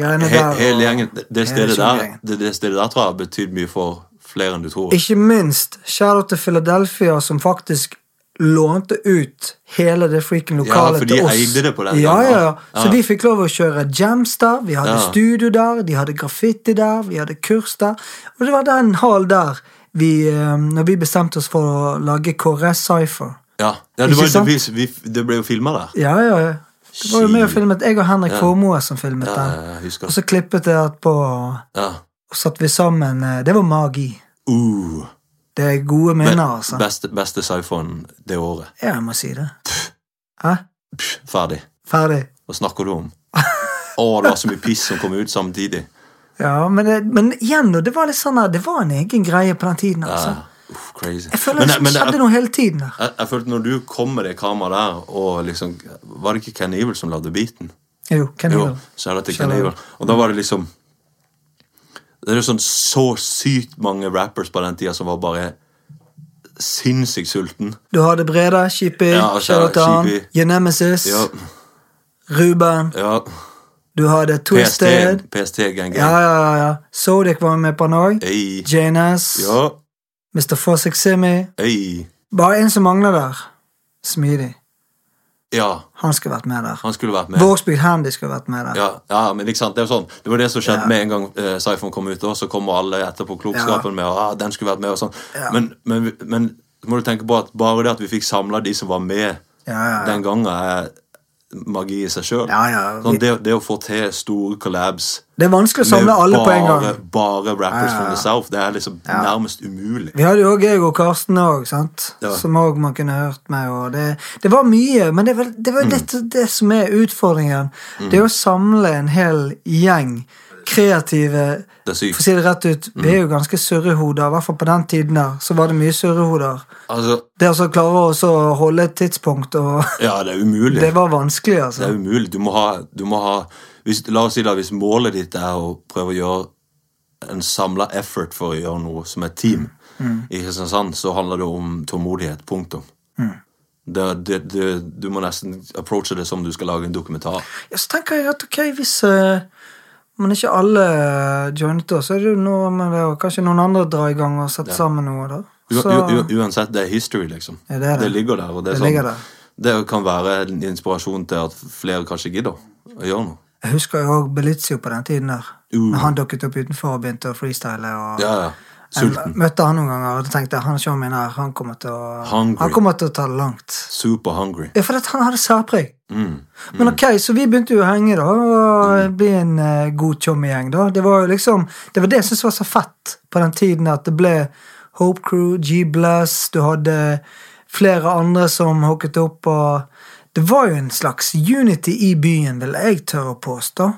Speaker 5: greiene
Speaker 2: He,
Speaker 5: der. og-
Speaker 2: hele gjengen. Det, det,
Speaker 5: Hele
Speaker 2: stedet der,
Speaker 5: tjomgjengen.
Speaker 2: det, det stedet der tror jeg har betydd mye for flere enn du tror.
Speaker 5: Ikke minst shout-out til Philadelphia, som faktisk lånte ut hele det freaking lokalet
Speaker 2: for de
Speaker 5: til oss.
Speaker 2: eide det på den
Speaker 5: ja,
Speaker 2: gangen,
Speaker 5: ja, ja.
Speaker 2: ja.
Speaker 5: Så
Speaker 2: Ja.
Speaker 5: vi fikk lov å kjøre jams der, vi hadde
Speaker 2: Ja.
Speaker 5: studio der, de hadde graffiti der, vi hadde kurs der. Og det var den hall der vi, eh, når vi bestemte oss for å lage KRS Cypher.
Speaker 2: Ja, ja det,
Speaker 5: Ikke
Speaker 2: var, jo-
Speaker 5: sant?
Speaker 2: vi, vi, det ble jo filma der.
Speaker 5: Ja, ja, ja. Det var jo med og filmet. Jeg og Henrik Formoe som filmet
Speaker 2: Ja,
Speaker 5: den.
Speaker 2: jeg
Speaker 5: Og
Speaker 2: husker.
Speaker 5: så klippet jeg etterpå, og
Speaker 2: Ja.
Speaker 5: satt vi sammen. eh, Det var magi.
Speaker 2: Uh,
Speaker 5: Det er gode
Speaker 2: be,
Speaker 5: minner, altså.
Speaker 2: beste beste sci-fi-en det året.
Speaker 5: Ja, jeg må si det. Hæ?
Speaker 2: Ferdig.
Speaker 5: Ferdig?
Speaker 2: Hva snakker du om? Å, det var så mye piss som kom ut samtidig.
Speaker 5: Ja, men, det, men igjen, og det var litt sånn her, det var en egen greie på den tiden, altså.
Speaker 2: Ja, Ah, uff, crazy.
Speaker 5: Jeg føler det skjedde noe hele tiden der.
Speaker 2: jeg, jeg følte når du kom med det kameraet der, og liksom Var det ikke Ken Evil som lagde beaten?
Speaker 5: Jo, Ken
Speaker 2: Jo,
Speaker 5: Evil.
Speaker 2: så er det til
Speaker 5: Shout
Speaker 2: Ken
Speaker 5: out.
Speaker 2: Evil. Og da var det liksom Det er jo sånn så sykt mange rappers på den tida som var bare sinnssykt sulten.
Speaker 5: Du hadde Breda, Shippy,
Speaker 2: Ja, og så-
Speaker 5: Charlatan,
Speaker 2: Shippy.
Speaker 5: Genemesis,
Speaker 2: Ja,
Speaker 5: Ruben,
Speaker 2: ja.
Speaker 5: du hadde
Speaker 2: PST,
Speaker 5: Twisted,
Speaker 2: PST-gang.
Speaker 5: ja, ja, ja, ja. Sodic var med på han òg,
Speaker 2: Ei.
Speaker 5: Janes,
Speaker 2: Ja,
Speaker 5: Mr. Fossick Simi.
Speaker 2: ei.
Speaker 5: Bare en som mangler der. Smidig.
Speaker 2: Ja,
Speaker 5: Han skulle vært med der.
Speaker 2: han skulle vært med.
Speaker 5: Vågsbygd Handy skulle vært med der.
Speaker 2: Ja, ja, men ikke sant, det er jo sånn Det var det som skjedde med en gang uh, Syphon kom ut, og så kommer alle etterpå klokskapen med og, ah, den skulle vært med og sånn.
Speaker 5: Ja.
Speaker 2: Men, men, men må du tenke på at bare det at vi fikk samla de som var med
Speaker 5: Ja, ja, ja.
Speaker 2: den gangen, er magi i seg sjøl.
Speaker 5: Ja, ja, vi-
Speaker 2: sånn, det, det å få til store collabs
Speaker 5: Det er vanskelig å samle alle
Speaker 2: bare,
Speaker 5: på en gang.
Speaker 2: bare rappers from the south, det er liksom nærmest umulig.
Speaker 5: Vi hadde jo òg jeg og Karsten òg, sant?
Speaker 2: Ja.
Speaker 5: Som òg man kunne hørt med. Og det, det var mye, men det var, det
Speaker 2: Mm.
Speaker 5: var litt det som er utfordringen. Det er å samle en hel gjeng kreative
Speaker 2: Det er sykt. Mm.
Speaker 5: For å si det rett ut, vi er jo ganske surrehoder. I hvert fall på den tiden der, så var det mye surrehoder.
Speaker 2: Altså,
Speaker 5: Det å så klare å så holde et tidspunkt og
Speaker 2: ja, det er umulig.
Speaker 5: Det var vanskelig, altså.
Speaker 2: Det er umulig. Du må ha, du må ha hvis, La oss si da, hvis målet ditt er å prøve å gjøre en samla effort for å gjøre noe som et team
Speaker 5: Mm.
Speaker 2: i Kristiansand, så handler det om tålmodighet. Punktum.
Speaker 5: Mm.
Speaker 2: Det, det, det, du må nesten approache det som du skal lage en dokumentar.
Speaker 5: Ja, så tenker jeg at ok, hvis eh, men ikke alle eh, joinet oss, så er det jo noe med det, og kanskje noen andre drar i gang og setter sammen noe, da.
Speaker 2: U,
Speaker 5: Så,
Speaker 2: u, u, uansett, det er history, liksom.
Speaker 5: Ja, det er det.
Speaker 2: ligger der. Og det,
Speaker 5: Det
Speaker 2: er
Speaker 5: ligger
Speaker 2: sånn,
Speaker 5: der.
Speaker 2: det kan være en inspirasjon til at flere kanskje gidder å gjøre noe.
Speaker 5: jeg husker jo òg Belizio på den tiden der.
Speaker 2: Uh.
Speaker 5: Når han dukket opp utenfor og begynte å freestyle. og...
Speaker 2: Ja, ja.
Speaker 5: Jeg
Speaker 2: Sulten.
Speaker 5: møtte han noen ganger og tenkte han showmien her, han kommer til å
Speaker 2: Hungry.
Speaker 5: Han kommer til å ta det langt.
Speaker 2: Super hungry.
Speaker 5: Ja, for at han hadde særpreg.
Speaker 2: Mm.
Speaker 5: Men ok, så vi begynte jo å henge, da, og bli en eh, god tjommegjeng, da. Det var jo liksom Det var det jeg syntes var så fett på den tiden, at det ble Hope Crew, G-Bless, du hadde flere andre som hooket opp, og det var jo en slags unity i byen, vil jeg tørre å påstå.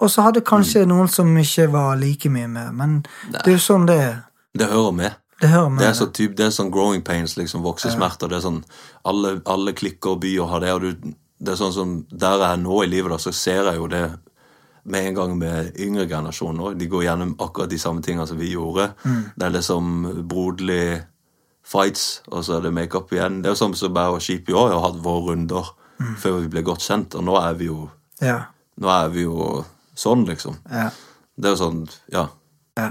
Speaker 5: Og så hadde kanskje
Speaker 2: Mm.
Speaker 5: noen som ikke var like mye med, men det er jo sånn det er.
Speaker 2: Det hører med.
Speaker 5: Det hører med.
Speaker 2: Det er, så typ, det er sånn growing pains, liksom, voksesmerter. Det er sånn, alle, alle klikker og byer har det. og du, det er sånn som Der jeg er nå i livet, da, så ser jeg jo det med en gang med yngre generasjoner òg. De går gjennom akkurat de samme tingene som vi gjorde. Det er liksom broderlig fights, og så er det makeup igjen. Det er jo sånn som bare og Skip i år har hatt våre runder før vi ble godt kjent, og nå er vi jo,
Speaker 5: Ja.
Speaker 2: nå er vi jo sånn, liksom.
Speaker 5: ja.
Speaker 2: Det er jo sånn Ja.
Speaker 5: Ja.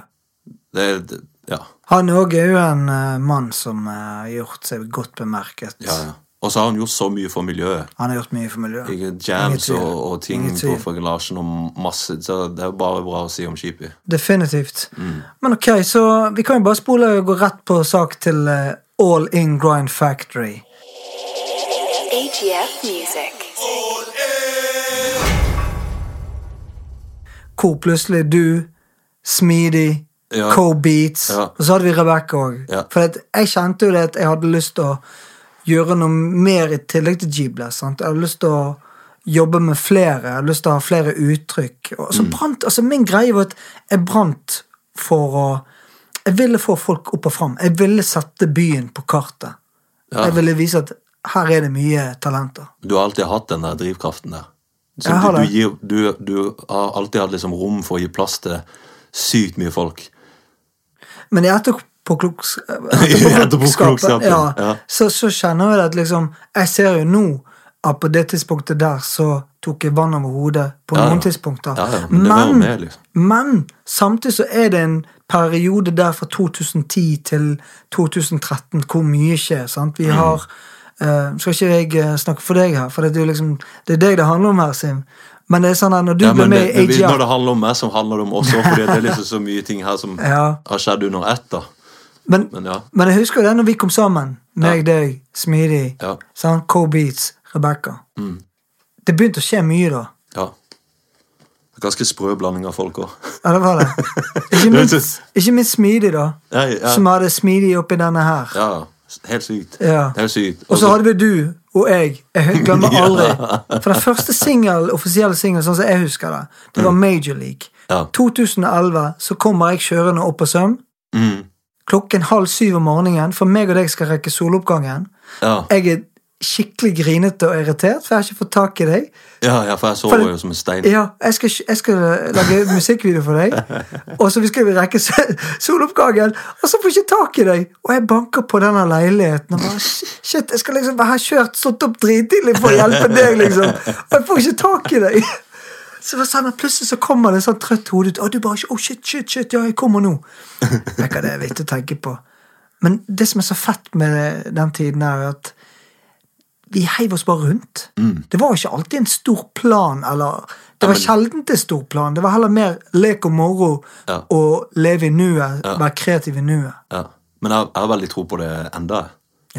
Speaker 2: Det er det- Ja.
Speaker 5: Han òg er jo en eh, mann som eh, har gjort seg godt bemerket.
Speaker 2: ja, ja. Og så har han gjort så mye for miljøet.
Speaker 5: Han har gjort mye for miljøet.
Speaker 2: Ikke
Speaker 5: Ingen
Speaker 2: jams
Speaker 5: tvil.
Speaker 2: og, og ting
Speaker 5: Ingen tvil.
Speaker 2: på Frøken Larsen og masse så Det er jo bare bra å si om Sheepy.
Speaker 5: Definitivt.
Speaker 2: Mm.
Speaker 5: Men ok, så vi kan jo bare spole og gå rett på sak til eh, All In Grind Factory.
Speaker 7: AGF Music.
Speaker 5: Hvor plutselig du, Smeedy,
Speaker 2: Ja.
Speaker 5: Co-Beats,
Speaker 2: Ja.
Speaker 5: og så hadde vi Rebekka òg.
Speaker 2: Ja.
Speaker 5: For at jeg kjente jo det at jeg hadde lyst til å gjøre noe mer i tillegg til G-Bless. sant? Jeg hadde lyst til å jobbe med flere, jeg hadde lyst til å ha flere uttrykk. Og
Speaker 2: Mm.
Speaker 5: så brant, altså Min greie var at jeg brant for å Jeg ville få folk opp og fram. Jeg ville sette byen på kartet. Jeg ville vise at her er det mye talenter.
Speaker 2: Du har alltid hatt den der drivkraften der. Så
Speaker 5: Jeg har
Speaker 2: du,
Speaker 5: det.
Speaker 2: du, gir, du, du har alltid hatt liksom rom for å gi plass til sykt mye folk.
Speaker 5: Men i etterpåkloks- etterpåklokskapen
Speaker 2: Etterpåklokskapen,
Speaker 5: ja,
Speaker 2: ja.
Speaker 5: så, så kjenner jeg det at liksom Jeg ser jo nå at på det tidspunktet der så tok jeg vann over hodet på
Speaker 2: Ja, ja.
Speaker 5: noen tidspunkter.
Speaker 2: Ja, ja, men det hører med, liksom.
Speaker 5: men samtidig så er det en periode der fra 2010 til 2013 hvor mye skjer. sant?
Speaker 2: Mm.
Speaker 5: Vi har eh, Skal ikke jeg eh, snakke for deg her, for det er jo liksom, det er deg det handler om her, Sim. Men det er sånn at når du
Speaker 2: Ja,
Speaker 5: ble
Speaker 2: men
Speaker 5: med
Speaker 2: det, det,
Speaker 5: i AGR
Speaker 2: når det handler om meg, så handler det om oss òg, for det er liksom så mye ting her som
Speaker 5: Ja.
Speaker 2: har skjedd under ett. da
Speaker 5: Men,
Speaker 2: Men ja.
Speaker 5: men jeg husker jo den når vi kom sammen. Meg, deg, Smidig,
Speaker 2: Ja. Mm.
Speaker 5: sånn, Co-Beats, Rebekka. Det begynte å skje mye da.
Speaker 2: ja. Ganske sprø blanding av folk òg.
Speaker 5: Ja, det var det. Ikke
Speaker 2: Det er
Speaker 5: minst, ikke minst Smidig, da.
Speaker 2: Ja, ja.
Speaker 5: Som hadde Smidig oppi denne her.
Speaker 2: Ja, helt sykt.
Speaker 5: Ja.
Speaker 2: Helt sykt.
Speaker 5: Og så hadde vi du og jeg. Jeg hø- glemmer
Speaker 2: Ja.
Speaker 5: aldri. For den første singel, offisielle singelen, sånn som jeg husker det, det var Major League.
Speaker 2: Mm. Ja.
Speaker 5: 2011 så kommer jeg kjørende opp på Søm.
Speaker 2: mm,
Speaker 5: Klokken halv syv om morgenen, for meg og deg skal rekke soloppgangen.
Speaker 2: ja.
Speaker 5: Jeg er skikkelig grinete og irritert, for jeg har ikke fått tak i deg.
Speaker 2: ja, ja, for jeg
Speaker 5: For-
Speaker 2: sover jo som en stein.
Speaker 5: Ja, jeg skal, jeg skal lage musikkvideo for deg, og så vi skal rekke sol- soloppgangen, og så får jeg ikke tak i deg. Og jeg banker på denne leiligheten og bare Shit, jeg skal liksom være kjørt, stått opp drittidlig for å hjelpe deg, liksom. Og jeg får ikke tak i deg. Så det var sånn at Plutselig så kommer det en sånn trøtt hode ut. Og du bare ikke, oh shit, shit, shit, ja, jeg kommer nå. Vet du hva, Det er viktig å tenke på. Men det som er så fett med den tiden, er jo at vi heiv oss bare rundt.
Speaker 2: Mm.
Speaker 5: Det var ikke alltid en stor plan, eller Det var sjelden en stor plan. Det var heller mer lek og moro
Speaker 2: Ja.
Speaker 5: og leve i nuet, være kreativ i nuet.
Speaker 2: Ja. Men jeg, jeg har veldig tro på det enda.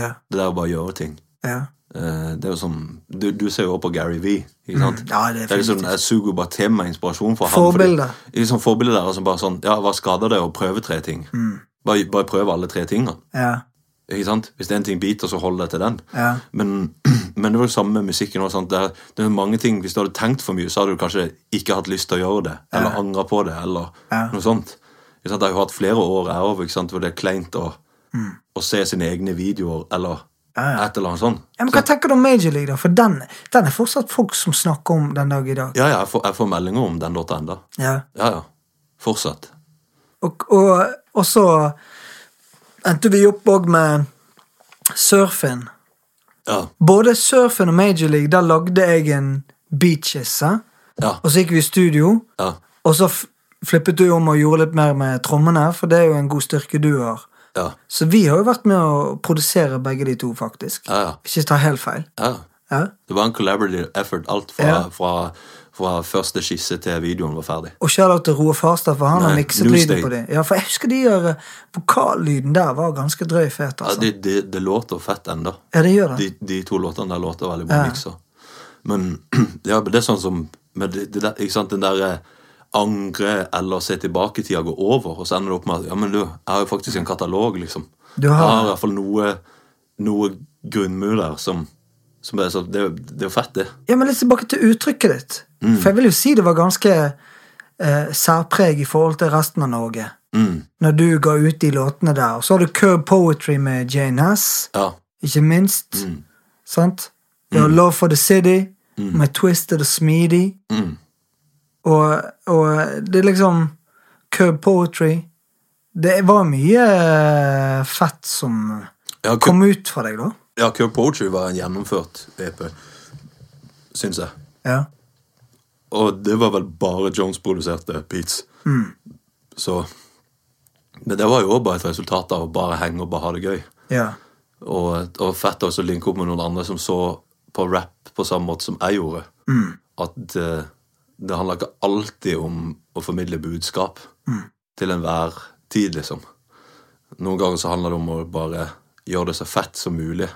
Speaker 5: Ja.
Speaker 2: Det der å bare gjøre ting.
Speaker 5: Ja.
Speaker 2: Eh, Det er jo som, du, du ser jo også på Gary V. Ikke sant?
Speaker 5: Mm. Ja, det er
Speaker 2: liksom,
Speaker 5: definitivt.
Speaker 2: Jeg suger jo bare til meg inspirasjon fra
Speaker 5: Forbilde.
Speaker 2: han. Fordi, liksom forbilde der, altså bare sånn, ja, Hva skader det å prøve tre ting?
Speaker 5: Mm.
Speaker 2: Bare, bare prøve alle tre tingene.
Speaker 5: ja.
Speaker 2: Ikke sant? Hvis det er en ting biter, så hold deg til den.
Speaker 5: Ja.
Speaker 2: Men, men det var jo samme med musikken. Også, sant? Det, er, det er mange ting, Hvis du hadde tenkt for mye, så hadde du kanskje ikke hatt lyst til å gjøre det. Eller angret på det, eller
Speaker 5: Ja.
Speaker 2: noe sånt. Ikke sant? Jeg har jo hatt flere år jeg òg, ikke sant, hvor det er kleint å, å se sine egne videoer eller
Speaker 5: Mm. Ja, ja.
Speaker 2: et eller annet sånt.
Speaker 5: Ja, men Hva tenker du om Major League, da? For den, den er fortsatt folk som snakker om den dag i dag.
Speaker 2: Ja, ja, jeg får, jeg får meldinger om den låta enda.
Speaker 5: Ja.
Speaker 2: Ja, ja. Fortsett.
Speaker 5: Og, og, og så endte vi opp òg med surfing.
Speaker 2: Ja.
Speaker 5: Både surfing og Major League, der lagde jeg en beaches. eh?
Speaker 2: Ja.
Speaker 5: Og så gikk vi i studio.
Speaker 2: Ja.
Speaker 5: Og så f- flippet du om og gjorde litt mer med trommene, for det er jo en god styrke du har.
Speaker 2: Ja.
Speaker 5: Så vi har jo vært med å produsere begge de to, faktisk.
Speaker 2: Ja, ja.
Speaker 5: Ikke ta helt feil.
Speaker 2: ja.
Speaker 5: Ja.
Speaker 2: Det var en collaborative effort, alt fra,
Speaker 5: Ja.
Speaker 2: fra, fra første skisse til videoen var ferdig.
Speaker 5: Og shout-out til Roar Farstad, for han har
Speaker 2: Nei,
Speaker 5: mikset
Speaker 2: Loose
Speaker 5: lyden
Speaker 2: Day.
Speaker 5: på det. Ja, for jeg husker de gjør eh, Vokallyden der var ganske drøy fet,
Speaker 2: Ja,
Speaker 5: altså.
Speaker 2: det, det, det låter fett enda.
Speaker 5: Ja, det gjør
Speaker 2: De,
Speaker 5: det.
Speaker 2: de to låtene der låter veldig bra
Speaker 5: Ja.
Speaker 2: mikser. Men ja, men det er sånn som men det, det der, ikke sant, Den der eh, angre eller se tilbake tida går over, og så ender det opp med at ja, men du, jeg har jo faktisk en katalog, liksom.
Speaker 5: Du har
Speaker 2: Jeg har
Speaker 5: det.
Speaker 2: i hvert fall noe, noe grunnmur der som, som er så, det, er jo- det er jo fett, det.
Speaker 5: Ja, men litt tilbake til uttrykket ditt.
Speaker 2: Mm.
Speaker 5: For jeg vil jo si det var ganske eh, særpreg i forhold til resten av Norge.
Speaker 2: Mm,
Speaker 5: Når du ga ut de låtene der. Og så har du Curb Poetry med Jane Hess.
Speaker 2: ja.
Speaker 5: ikke minst.
Speaker 2: Mm.
Speaker 5: Sant? Det var Love for the City med Twisted og Smeedy.
Speaker 2: Mm.
Speaker 5: Og, og det er liksom Curb Poetry. Det var mye eh, fett som
Speaker 2: Ja, Curb-
Speaker 5: kom ut fra deg, da.
Speaker 2: ja Curb Poetry var en gjennomført EP, syns jeg.
Speaker 5: Ja.
Speaker 2: Og det var vel bare Jones produserte beats. Så Men det var jo også bare et resultat av å bare henge og bare ha det gøy.
Speaker 5: ja.
Speaker 2: Og, og fett også å linke opp med noen andre som så på rap på samme måte som jeg gjorde. At eh, det handler ikke alltid om å formidle budskap til enhver tid, liksom. Noen ganger så handler det om å bare gjøre det så fett som mulig.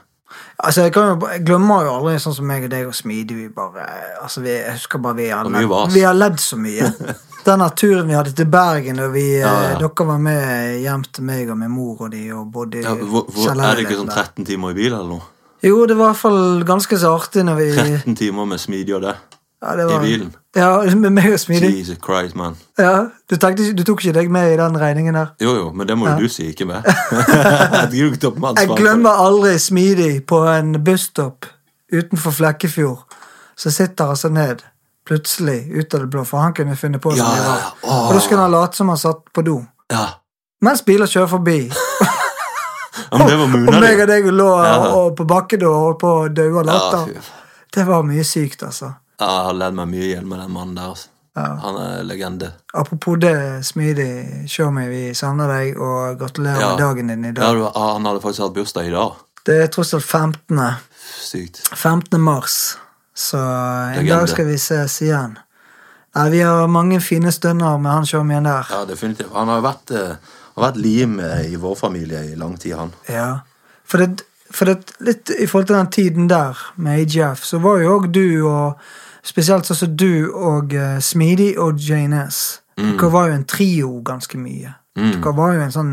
Speaker 5: Altså, jeg, kan jo, jeg glemmer jo aldri sånn som meg og deg og Smidig. Vi bare, altså, vi, jeg husker bare vi har,
Speaker 2: var mye vas.
Speaker 5: ledd, vi har ledd så mye. Den turen vi hadde til Bergen, og vi, eh, dere var med hjem til meg og min mor og de og bodde i
Speaker 2: Ja, hvor, hvor, er det ikke sånn 13 timer i bil eller noe?
Speaker 5: Jo, det var i hvert fall ganske så artig når vi
Speaker 2: 13 timer med smidig og det.
Speaker 5: ja, det var,
Speaker 2: i bilen.
Speaker 5: Ja, med meg og Smidig.
Speaker 2: Jesus Christ, man.
Speaker 5: Ja, du, tenkte, ikke- du tok ikke deg med i den regningen der.
Speaker 2: Jo, jo, men det må jo du si, ikke meg. Jeg gidder ikke ta på meg
Speaker 5: Jeg
Speaker 2: ansvaret for
Speaker 5: glemmer aldri Smidig på en busstopp utenfor Flekkefjord. Så sitter han seg ned, plutselig, ut av det blå, for han kunne finne på det.
Speaker 2: Ja,
Speaker 5: når jeg
Speaker 2: ja,
Speaker 5: var.
Speaker 2: ja. Åh.
Speaker 5: Og da skulle han late som han satt på do.
Speaker 2: det. Ja.
Speaker 5: Mens biler kjører forbi.
Speaker 2: ja, men det var
Speaker 5: Og
Speaker 2: Muna,
Speaker 5: meg
Speaker 2: det.
Speaker 5: og deg lå
Speaker 2: Ja.
Speaker 5: og- og på bakken og holdt på å daue av
Speaker 2: Ja, fy
Speaker 5: latter.
Speaker 2: faen.
Speaker 5: Det var mye sykt, altså.
Speaker 2: Jeg har ledd meg mye i hjel med den mannen der. altså. Han er legende.
Speaker 5: Apropos det, Smidig, show meg, vi savner deg, og gratulerer
Speaker 2: Ja.
Speaker 5: med dagen din i
Speaker 2: Ja,
Speaker 5: dag.
Speaker 2: du, ah, han hadde faktisk hatt bursdag i dag.
Speaker 5: Det er tross alt 15.
Speaker 2: Sykt.
Speaker 5: 15. mars, så en
Speaker 2: Legende.
Speaker 5: dag skal vi ses igjen. Nei, vi har mange fine stunder med han showmien der.
Speaker 2: Ja, definitivt. Han har jo vært, eh, har vært lim eh, i vår familie i lang tid, han.
Speaker 5: Ja. For, det, for det, litt i forhold til den tiden der med AGF, så var jo òg du og Spesielt sånn som du og eh, Smidig og Jane S.
Speaker 2: Mm.
Speaker 5: Dere var jo en trio ganske mye. Dere var jo en sånn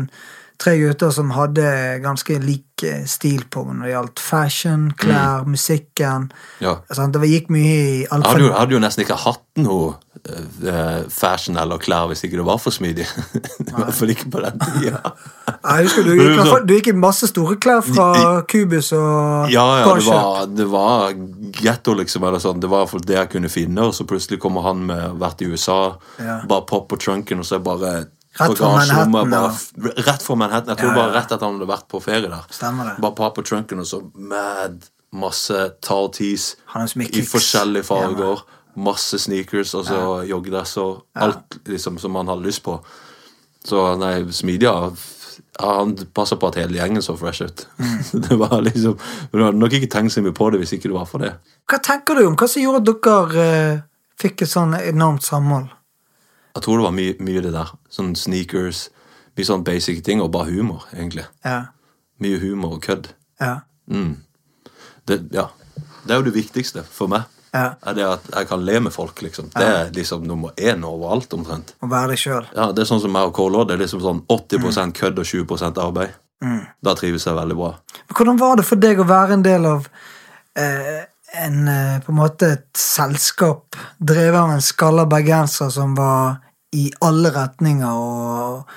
Speaker 5: tre gutter som hadde ganske lik eh, stil på når det gjaldt fashion, klær, musikken.
Speaker 2: Mm. Ja.
Speaker 5: Sant? det gikk mye i alt
Speaker 2: Hadde
Speaker 5: fra-
Speaker 2: jo, hadde jo nesten ikke hatt noe eh, fashion eller klær hvis ikke det var for smidig. I hvert fall ikke på den tida.
Speaker 5: Nei, jeg husker du,
Speaker 2: Men det er
Speaker 5: gikk, i hvert
Speaker 2: sånn-
Speaker 5: fall- du gikk i masse store klær fra Kubus og
Speaker 2: Ja, ja, det
Speaker 5: Porsche.
Speaker 2: var, det var ghetto, liksom. eller sånn. Det var iallfall det jeg kunne finne, og så plutselig kommer han med å ha vært i USA,
Speaker 5: Ja.
Speaker 2: bare pop på trunken, og så er bare
Speaker 5: Rett fra
Speaker 2: bagasjerommet
Speaker 5: Manhattan,
Speaker 2: bare,
Speaker 5: ja.
Speaker 2: f- Rett fra Manhattan. Jeg tror
Speaker 5: Ja, ja.
Speaker 2: bare rett etter han hadde vært på ferie der.
Speaker 5: Stemmer det.
Speaker 2: Bare pop på trunken, og så mad masse tall tees
Speaker 5: Han har så mye
Speaker 2: i
Speaker 5: kicks.
Speaker 2: forskjellige
Speaker 5: Ja,
Speaker 2: farger. Masse sneakers, altså joggedresser. Alt liksom som han hadde lyst på. Så nei, Smidia ja, Han passer på at hele gjengen så fresh ut.
Speaker 5: Mm.
Speaker 2: det var liksom Men du hadde nok ikke tenkt så mye på det hvis ikke det var for det.
Speaker 5: Hva tenker du om hva som gjorde at dere eh, fikk et sånn enormt samhold?
Speaker 2: Jeg tror det var mye, mye det der. Sånn sneakers, mye sånn basic ting, og bare humor, egentlig.
Speaker 5: Ja,
Speaker 2: Mye humor og kødd.
Speaker 5: ja,
Speaker 2: Det, ja. det er jo det viktigste for meg.
Speaker 5: Ja.
Speaker 2: Er det at jeg kan le med folk, liksom. Det er liksom nummer én overalt, omtrent.
Speaker 5: Å være deg sjøl.
Speaker 2: Ja, Det er sånn som meg og Kålå. Det er liksom sånn 80 kødd og 20 arbeid. Da trives jeg veldig bra.
Speaker 5: Hvordan var det for deg å være en del av eh, en, eh, på en måte et selskap drevet av en skalla bergenser som var i alle retninger og,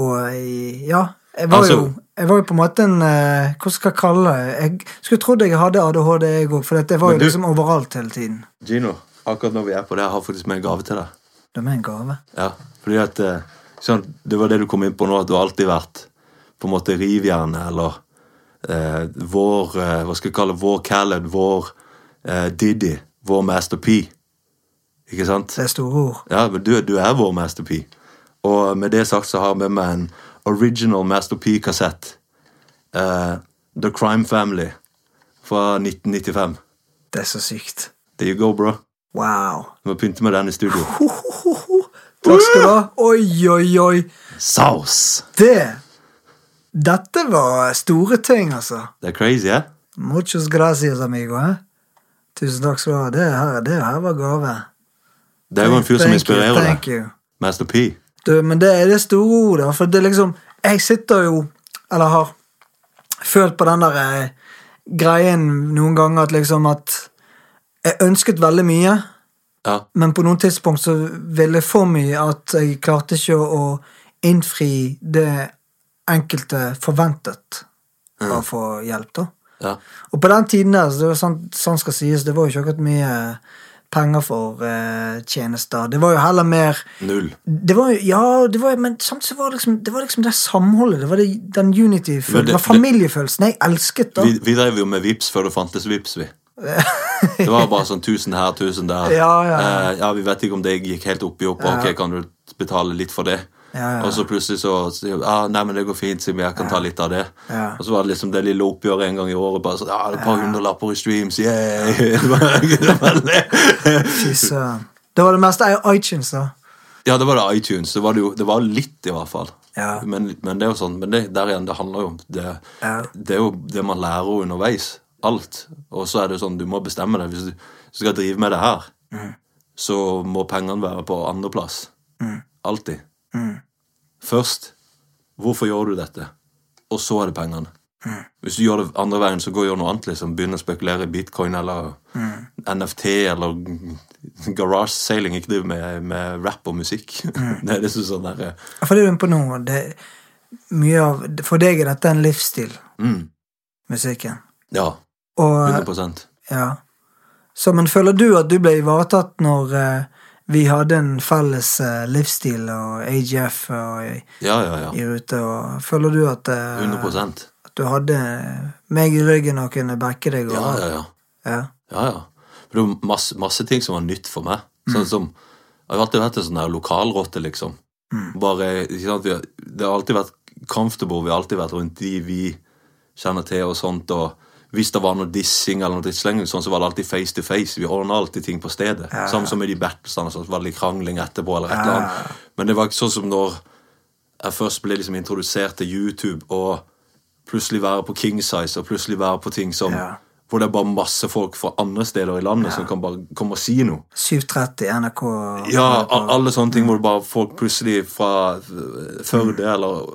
Speaker 5: og i Ja, jeg var,
Speaker 2: Altså-
Speaker 5: jo, jeg var jo på en måte en eh, Hva skal jeg kalle det? Jeg skulle trodd jeg hadde ADHD, jeg òg, for dette var
Speaker 2: Men
Speaker 5: jo
Speaker 2: du-
Speaker 5: liksom overalt hele tiden.
Speaker 2: Gino, akkurat når vi er på det, jeg har faktisk med en gave til deg.
Speaker 5: Det er en gave.
Speaker 2: Ja, fordi at eh, sånn, Det var det du kom inn på nå, at du har alltid vært på en måte rivjernet, eller eh, vår eh, Hva skal jeg kalle det, vår Khaled, vår eh, Diddy, vår Master P. Ikke sant?
Speaker 5: Det er store ord.
Speaker 2: Ja, men du, du er vår Master P. Og med det sagt så har jeg med meg en original Master P-kassett. Eh, The Crime Family fra 1995.
Speaker 5: Det er så sykt.
Speaker 2: There you go, bro.
Speaker 5: Wow.
Speaker 2: Du må pynte med den i studio.
Speaker 5: Ho, ho, ho, ho. Takk skal du ha. Oi, oi, oi.
Speaker 2: Saus!
Speaker 5: Det Dette var store ting, altså.
Speaker 2: Det er crazy, eh?
Speaker 5: Muchos gracias, amigo. Eh? Tusen takk skal du ha. Det her, det her var gave.
Speaker 2: Det er jo en fyr som
Speaker 5: Thank you,
Speaker 2: inspirerer
Speaker 5: thank
Speaker 2: deg.
Speaker 5: you.
Speaker 2: Master P.
Speaker 5: Du, men det er det store ordet. For det er liksom Jeg sitter jo, eller har følt på den der eh, greien noen ganger at liksom at Jeg ønsket veldig mye.
Speaker 2: Ja.
Speaker 5: Men på noen tidspunkt så ville jeg for mye at jeg klarte ikke å å innfri det enkelte forventet av å få hjelp, da.
Speaker 2: ja.
Speaker 5: Og på den tiden der, så det var sånn, sånn skal sies, det var jo ikke akkurat mye eh, penger for eh, tjenester. Det var jo heller mer
Speaker 2: Null.
Speaker 5: det var jo, Ja, det var, men samtidig så var det liksom det, var liksom det samholdet. Det var det, den
Speaker 2: Men
Speaker 5: unity-følelsen.
Speaker 2: det-
Speaker 5: Det var familiefølelsen. Jeg elsket da.
Speaker 2: Vi, vi drev jo med vips før det fantes vips, vi. Det var bare sånn 1000 her, 1000 der.
Speaker 5: Ja, ja, ja.
Speaker 2: Eh, ja, Vi vet ikke om det gikk helt opp i opp. Ok, kan du betale litt for det?
Speaker 5: Ja, ja.
Speaker 2: Og så plutselig så sier vi, ah, Nei, men det går fint, Simi. Jeg kan ta litt av det.
Speaker 5: Ja.
Speaker 2: Og så var det liksom det lille oppgjøret en gang i året. Bare sånn, ja, det er Et par hundrelapper i streams, yeah! Det var- det var det.
Speaker 5: Fy søren. Det var det meste er jo iTunes, da.
Speaker 2: ja, det var det iTunes. Det var, det jo, det var litt, i hvert fall.
Speaker 5: Ja.
Speaker 2: Men, men det er jo sånn, men det, der igjen, det handler jo om det,
Speaker 5: Ja.
Speaker 2: det er jo det man lærer jo underveis. Alt. Og så er det jo sånn, du må bestemme deg. Hvis du hvis du skal drive med det her, så må pengene være på andreplass. Alltid. Først hvorfor gjør du dette? Og så er det pengene. Hvis du gjør det andre veien, så gå og gjør noe annet. liksom. Begynn å spekulere i bitcoin eller NFT eller garage sailing. Ikke driv med, med rap og musikk. det er liksom sånn der,
Speaker 5: Ja, For det du er inne på nå, det, mye av, for deg er dette en livsstil,
Speaker 2: mm,
Speaker 5: musikken.
Speaker 2: Ja.
Speaker 5: Og,
Speaker 2: 100
Speaker 5: ja. Så, men føler du at du ble ivaretatt når eh, vi hadde en felles eh, livsstil og AGF og i,
Speaker 2: Ja, ja, ja.
Speaker 5: i rute? Og føler du at, eh,
Speaker 2: 100
Speaker 5: at du hadde meg i ryggen og kunne backe deg? Og,
Speaker 2: Ja, ja, ja.
Speaker 5: ja.
Speaker 2: Ja, ja. For det var masse, masse ting som var nytt for meg. Sånn som, Jeg har alltid vært en sånn der lokalrotte, liksom.
Speaker 5: Mm.
Speaker 2: Bare, ikke sant, vi har, Det har alltid vært comfortable, vi har alltid vært rundt de vi kjenner til og sånt. og hvis det var noe dissing eller noe drittslenging, sånn, så var det alltid face to face. Vi ordna alltid ting på stedet.
Speaker 5: Ja.
Speaker 2: Samme som med de battlesene, sånn, så var det litt krangling etterpå. eller et
Speaker 5: Ja.
Speaker 2: eller annet. Men det var ikke sånn som når jeg først ble liksom introdusert til YouTube, og plutselig være på King Size, og plutselig være på ting som
Speaker 5: Ja.
Speaker 2: Hvor det er bare masse folk fra andre steder i landet som kan bare komme og si noe.
Speaker 5: 7.30 NRK.
Speaker 2: Ja, a- alle sånne ting hvor det bare folk plutselig fra eh, Førde eller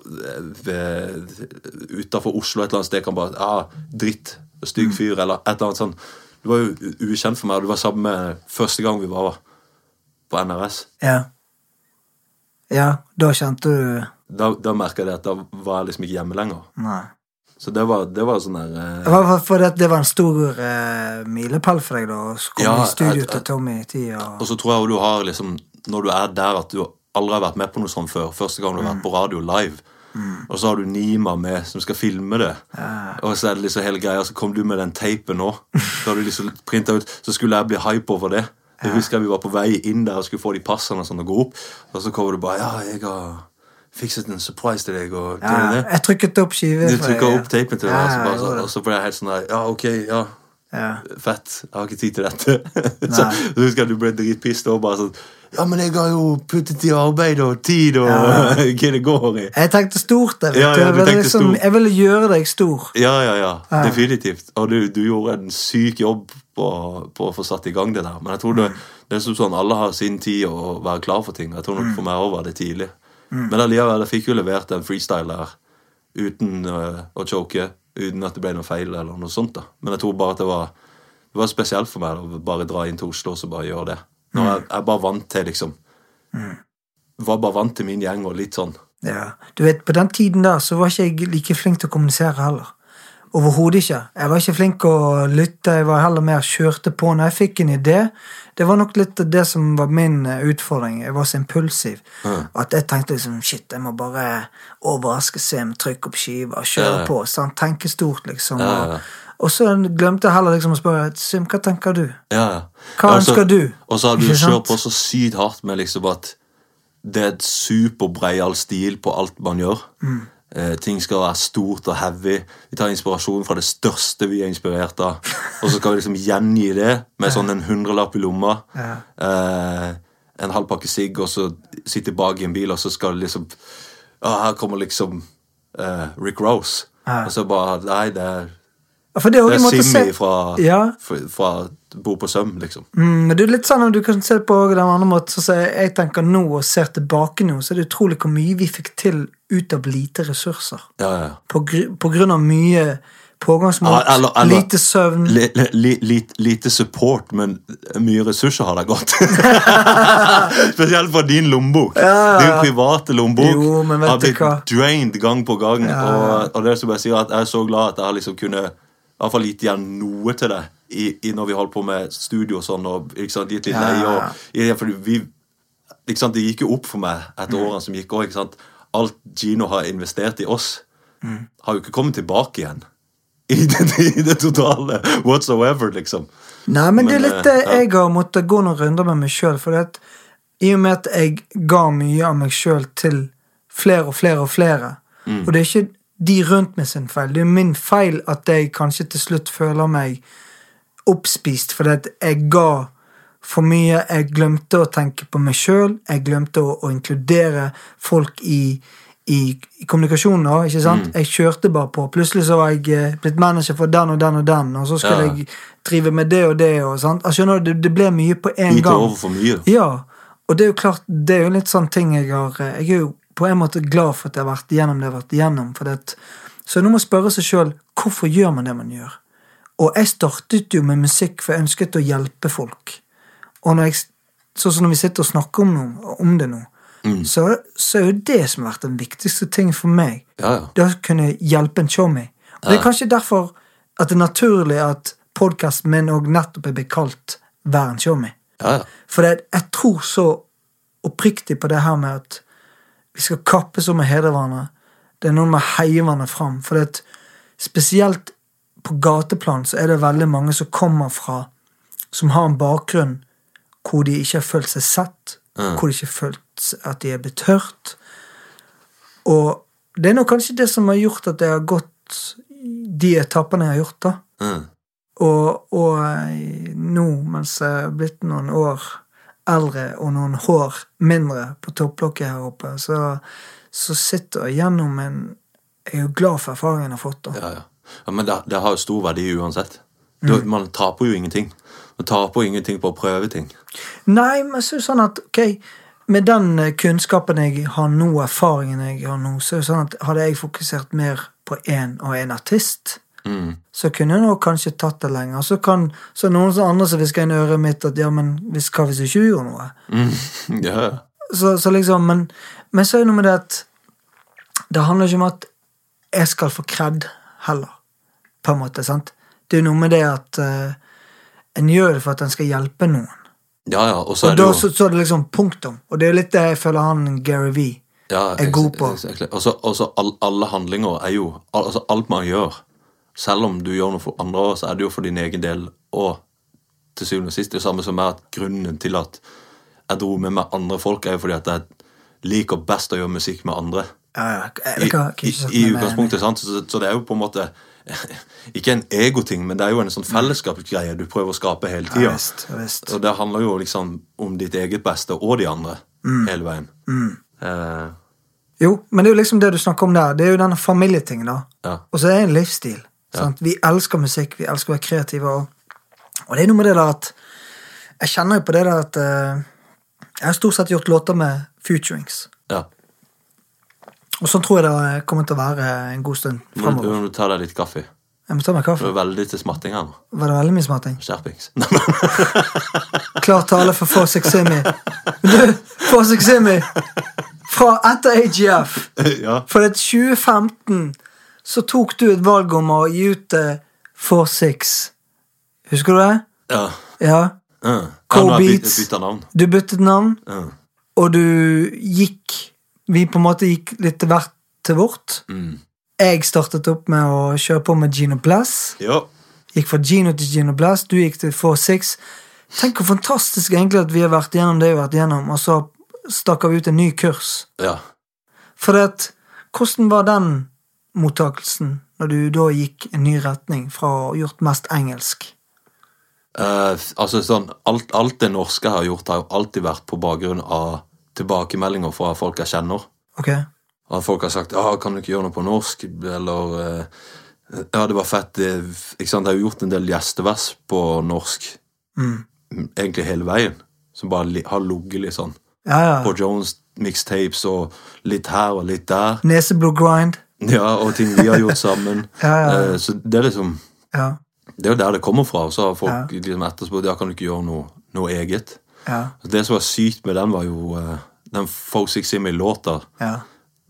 Speaker 2: utafor Oslo et eller annet sted kan bare ah, 'Dritt. Stygg fyr.' Eller et eller annet sånt. Det var jo u- ukjent for meg. og Det var samme første gang vi var på NRS.
Speaker 5: Ja. ja, da kjente du
Speaker 2: Da, da merka jeg det at da var jeg liksom ikke hjemme lenger.
Speaker 5: Nei.
Speaker 2: Så det var, det var sånn der eh,
Speaker 5: Det var for det, det var en stor eh, milepæl for deg, da. Å komme
Speaker 2: Ja,
Speaker 5: i studio
Speaker 2: jeg-
Speaker 5: til Tommy i tid og
Speaker 2: Og så tror jeg også du har liksom Når du er der at du aldri har vært med på noe sånt før Første gang du
Speaker 5: Mm.
Speaker 2: har vært på radio live Og så har du Nima med som skal filme det Og så er det liksom hele greia Så kom du med den teipen nå Så har du liksom printet ut Så skulle jeg bli hype over det Jeg husker vi var på vei inn der Og skulle få de passene og sånn og gå opp Og så kommer du bare Ja, jeg har fikset en surprise til deg Og det
Speaker 5: ja,
Speaker 2: og det
Speaker 5: Jeg trykket opp skive.
Speaker 2: Du
Speaker 5: for deg,
Speaker 2: trykker
Speaker 5: ja.
Speaker 2: opp teipen til deg
Speaker 5: Ja,
Speaker 2: og så bare
Speaker 5: jeg
Speaker 2: sånn-
Speaker 5: gjorde
Speaker 2: Og så ble jeg helt sånn der Ja, ok, ja
Speaker 5: det. ja.
Speaker 2: Fett. Jeg har ikke tid til dette. så,
Speaker 5: Nei.
Speaker 2: så husker jeg du ble dritpissed og bare sånn Ja, men jeg har jo puttet i arbeid og tid og
Speaker 5: Ja.
Speaker 2: hva det går i.
Speaker 5: Jeg tenkte stort. Jeg, vet
Speaker 2: Ja, ja,
Speaker 5: du. jeg,
Speaker 2: du
Speaker 5: ville
Speaker 2: tenkte
Speaker 5: liksom,
Speaker 2: stort.
Speaker 5: jeg ville gjøre deg stor.
Speaker 2: Ja, ja, ja. Definitivt. Og du, du gjorde en syk jobb på, på å få satt i gang det der. Men jeg tror det, det er som sånn alle har sin tid å være klar for ting. Jeg tror nok for meg òg var det tidlig. Men allikevel, jeg fikk jo levert en freestyle der uten øh, å choke. Uten at det ble noe feil eller noe sånt. da. Men jeg tror bare at det var det var spesielt for meg da, å bare dra inn til Oslo og så bare gjøre det. Når jeg, jeg bare vant til liksom Var bare vant til min gjeng og litt sånn.
Speaker 5: Ja. Du vet, På den tiden da, så var ikke jeg like flink til å kommunisere heller. Overhodet ikke. Jeg var ikke flink å lytte, jeg var heller mer kjørte på når jeg fikk en idé. Det var nok litt det som var min eh, utfordring. Jeg var så impulsiv. At jeg tenkte liksom shit, jeg må bare overraske Sim, trykke opp skiva, kjøre
Speaker 2: Ja.
Speaker 5: på. Sant? Tenke stort, liksom.
Speaker 2: Ja, ja.
Speaker 5: Og, og så glemte jeg heller liksom å spørre Sim, hva tenker du?
Speaker 2: Ja, ja.
Speaker 5: Hva
Speaker 2: Ja, og så-
Speaker 5: ønsker du?
Speaker 2: Og så hadde du
Speaker 5: Ikke sant?
Speaker 2: kjørt på så sykt hardt med liksom at det er et superbreial stil på alt man gjør.
Speaker 5: Mm.
Speaker 2: Eh, ting skal være stort og heavy. Vi tar inspirasjon fra det største vi er inspirert av. Og så skal vi liksom gjengi det med sånn en hundrelapp i lomma. Eh, en halv pakke sigg, og så sitte bak i en bil, og så skal det liksom Ja, her kommer liksom eh, Rick Rose. Og så bare Nei, det er
Speaker 5: For det, er også
Speaker 2: det
Speaker 5: en måte
Speaker 2: er
Speaker 5: å se-
Speaker 2: Simmy fra,
Speaker 5: ja.
Speaker 2: fra, fra Bo på Søm, liksom.
Speaker 5: Mm, men det er litt sånn om du kan se det på den andre måten, så sier jeg, jeg tenker nå og ser tilbake nå, så er det utrolig hvor mye vi fikk til ut av lite ressurser.
Speaker 2: Ja, ja.
Speaker 5: På, gr på grunn av mye pågangsmot,
Speaker 2: Ja, eller- eller-
Speaker 5: lite søvn.
Speaker 2: Li, li, li, lit- lite support, men mye ressurser har det gått. Spesielt fra din lommebok. Din private lommebok
Speaker 5: Jo, men vet
Speaker 2: har
Speaker 5: du
Speaker 2: blitt
Speaker 5: hva?
Speaker 2: drained gang på gang. Og, og det som jeg sier at jeg er så glad at jeg har liksom kunne i hvert fall gitt igjen noe til deg i, i når vi holdt på med studio og sånn, og ikke sant, gitt litt
Speaker 5: Ja.
Speaker 2: leie. Og, i, fordi vi, ikke sant, det gikk jo opp for meg
Speaker 5: Mm.
Speaker 2: etter årene som gikk òg. Alt Gino har investert i oss,
Speaker 5: Mm.
Speaker 2: har jo ikke kommet tilbake igjen. I det, i det totale whatsoever, liksom.
Speaker 5: Nei, men, det er
Speaker 2: Men,
Speaker 5: litt
Speaker 2: eh,
Speaker 5: det jeg har måttet gå noen runder med meg sjøl. For at, i og med at jeg ga mye av meg sjøl til flere og flere og flere,
Speaker 2: Mm.
Speaker 5: og det er ikke de rundt meg sin feil, det er min feil at jeg kanskje til slutt føler meg oppspist fordi at jeg ga for mye. Jeg glemte å tenke på meg sjøl. Jeg glemte å, å inkludere folk i, i, i kommunikasjonen. da, ikke sant?
Speaker 2: Mm.
Speaker 5: Jeg kjørte bare på. Plutselig så var jeg eh, blitt manager for den og den og den, og så skulle
Speaker 2: Ja.
Speaker 5: jeg drive med det og det. og sant? Altså, skjønner du, det, det ble mye på én
Speaker 2: Gitt
Speaker 5: gang.
Speaker 2: over for mye.
Speaker 5: Ja, og det er jo klart, det er jo litt sånn ting jeg har Jeg er jo på en måte glad for at jeg har vært igjennom det jeg har vært igjennom. For det at, så nå må man spørre seg sjøl hvorfor gjør man det man gjør. Og jeg startet jo med musikk, for jeg ønsket å hjelpe folk. Og når jeg, sånn som når vi sitter og snakker om, noe, om det nå, så, så er jo det som har vært den viktigste ting for meg.
Speaker 2: Ja, ja.
Speaker 5: Det å kunne hjelpe en showmee. Og det er kanskje derfor at det er naturlig at podkasten min òg nettopp er blitt kalt Vær en showmee.
Speaker 2: Ja, ja.
Speaker 5: For det, jeg tror så oppriktig på det her med at vi skal kappes om å hedre hverandre. Det er noe med å heie hverandre fram. For det, at spesielt på gateplan så er det veldig mange som kommer fra Som har en bakgrunn hvor de ikke har følt seg sett, hvor de ikke har følt at de er blitt hørt. Og det er nå kanskje det som har gjort at jeg har gått de etappene jeg har gjort, da.
Speaker 2: Mm.
Speaker 5: Og, og eh, nå, mens jeg er blitt noen år eldre og noen hår mindre på topplokket her oppe, så, så sitter jeg gjennom en Jeg er jo glad for erfaringen jeg har fått. da.
Speaker 2: Ja, ja. ja Men det, det har jo stor verdi uansett. Du,
Speaker 5: Mm.
Speaker 2: Man taper jo ingenting. Man taper jo ingenting på å prøve ting.
Speaker 5: Nei, men så er det sånn at ok, med den eh, kunnskapen jeg har nå, erfaringen jeg har nå, så er det sånn at hadde jeg fokusert mer på én og én artist, så kunne jeg nå kanskje tatt det lenger. Så kan så er det noen som andre som hvisker inn i øret mitt at ja, men hvis, hva hvis du ikke gjorde noe?
Speaker 2: Ja, ja.
Speaker 5: Så, så liksom, men, men så er det noe med det at det handler ikke om at jeg skal få kred heller, på en måte, sant? Det er noe med det at eh, en gjør det for at en skal hjelpe noen.
Speaker 2: ja, ja. Og så er
Speaker 5: Og
Speaker 2: det jo
Speaker 5: da så, så er det liksom punktum. Og det er jo litt det jeg føler han Gary V
Speaker 2: ja,
Speaker 5: er god på.
Speaker 2: exactly. Og så og så all, alle handlinger er jo al- Altså alt man gjør, selv om du gjør noe for andre òg, så er det jo for din egen del og til syvende og sist det samme som er at grunnen til at jeg dro med meg andre folk, er jo fordi at jeg liker best å gjøre musikk med andre.
Speaker 5: Ja, ja, jeg,
Speaker 2: I,
Speaker 5: jeg kan ikke
Speaker 2: i,
Speaker 5: sette
Speaker 2: i
Speaker 5: meg mer enig.
Speaker 2: utgangspunktet, sant? Så, så det er jo på en måte Ikke en egoting, men det er jo en sånn fellesskapsgreie du prøver å skape hele
Speaker 5: Mm. Ja,
Speaker 2: tida.
Speaker 5: visst, ja, visst.
Speaker 2: og det handler jo liksom om ditt eget beste og de andre
Speaker 5: Mm.
Speaker 2: hele veien. Eh,
Speaker 5: Jo, men det er jo liksom det du snakker om der. Det er jo denne familietingen, da.
Speaker 2: Ja.
Speaker 5: Og så er det en livsstil. Sant? Vi elsker musikk, vi elsker å være kreative. Og, og det er noe med det der at Jeg kjenner jo på det der at eh, Jeg har stort sett gjort låter med futurings.
Speaker 2: ja.
Speaker 5: Og sånn tror jeg det kommer til å være en god stund
Speaker 2: Må du,
Speaker 5: framover.
Speaker 2: må du ta deg litt kaffe.
Speaker 5: Jeg må ta meg
Speaker 2: Du
Speaker 5: kaffe.
Speaker 2: er veldig til smatting her nå.
Speaker 5: Var det veldig mye smatting?
Speaker 2: Skjerpings.
Speaker 5: Klar tale for Fosik Simi. Du, Fosik Simi! Fra etter AGF.
Speaker 2: ja.
Speaker 5: For at 2015 så tok du et valg om å gi ut eh, For Six. Husker du det?
Speaker 2: ja.
Speaker 5: Ja.
Speaker 2: Uh.
Speaker 5: Cold Beats.
Speaker 2: Beats. Bytta navn.
Speaker 5: Du byttet navn,
Speaker 2: Ja.
Speaker 5: og du gikk Vi på en måte gikk litt til hvert til vårt.
Speaker 2: Mm.
Speaker 5: Jeg startet opp med å kjøre på med Gino Blass.
Speaker 2: Ja.
Speaker 5: Gikk fra Gino til Gino Blass, du gikk til 4-6. Tenk hvor fantastisk egentlig at vi har vært gjennom det vi har vært gjennom, og så staker vi ut en ny kurs.
Speaker 2: ja.
Speaker 5: For det at, hvordan var den mottakelsen når du da gikk en ny retning fra å ha gjort mest engelsk?
Speaker 2: Eh, f- altså sånn, alt, alt det norske jeg har gjort, har jo alltid vært på bakgrunn av tilbakemeldinger fra folk jeg kjenner.
Speaker 5: Ok?
Speaker 2: Og folk har sagt ah, 'Kan du ikke gjøre noe på norsk?' eller eh, 'Ja, det var fett'. Det, ikke sant? Jeg har jo gjort en del gjestevers på norsk
Speaker 5: Mm.
Speaker 2: egentlig hele veien. Som bare li, har ligget litt sånn.
Speaker 5: Ja,
Speaker 2: På
Speaker 5: ja.
Speaker 2: Jones mixtapes og litt her og litt der.
Speaker 5: Neseblod grind.
Speaker 2: Ja, Og ting vi har gjort sammen.
Speaker 5: Ja, ja, ja.
Speaker 2: Eh, så det er liksom
Speaker 5: Ja,
Speaker 2: Det er jo der det kommer fra. Og så har folk liksom etterspurt 'Ja, kan du ikke gjøre noe, noe eget?'
Speaker 5: ja,
Speaker 2: Det som var sykt med den, var jo eh, den Fosig Simi-låta
Speaker 5: ja.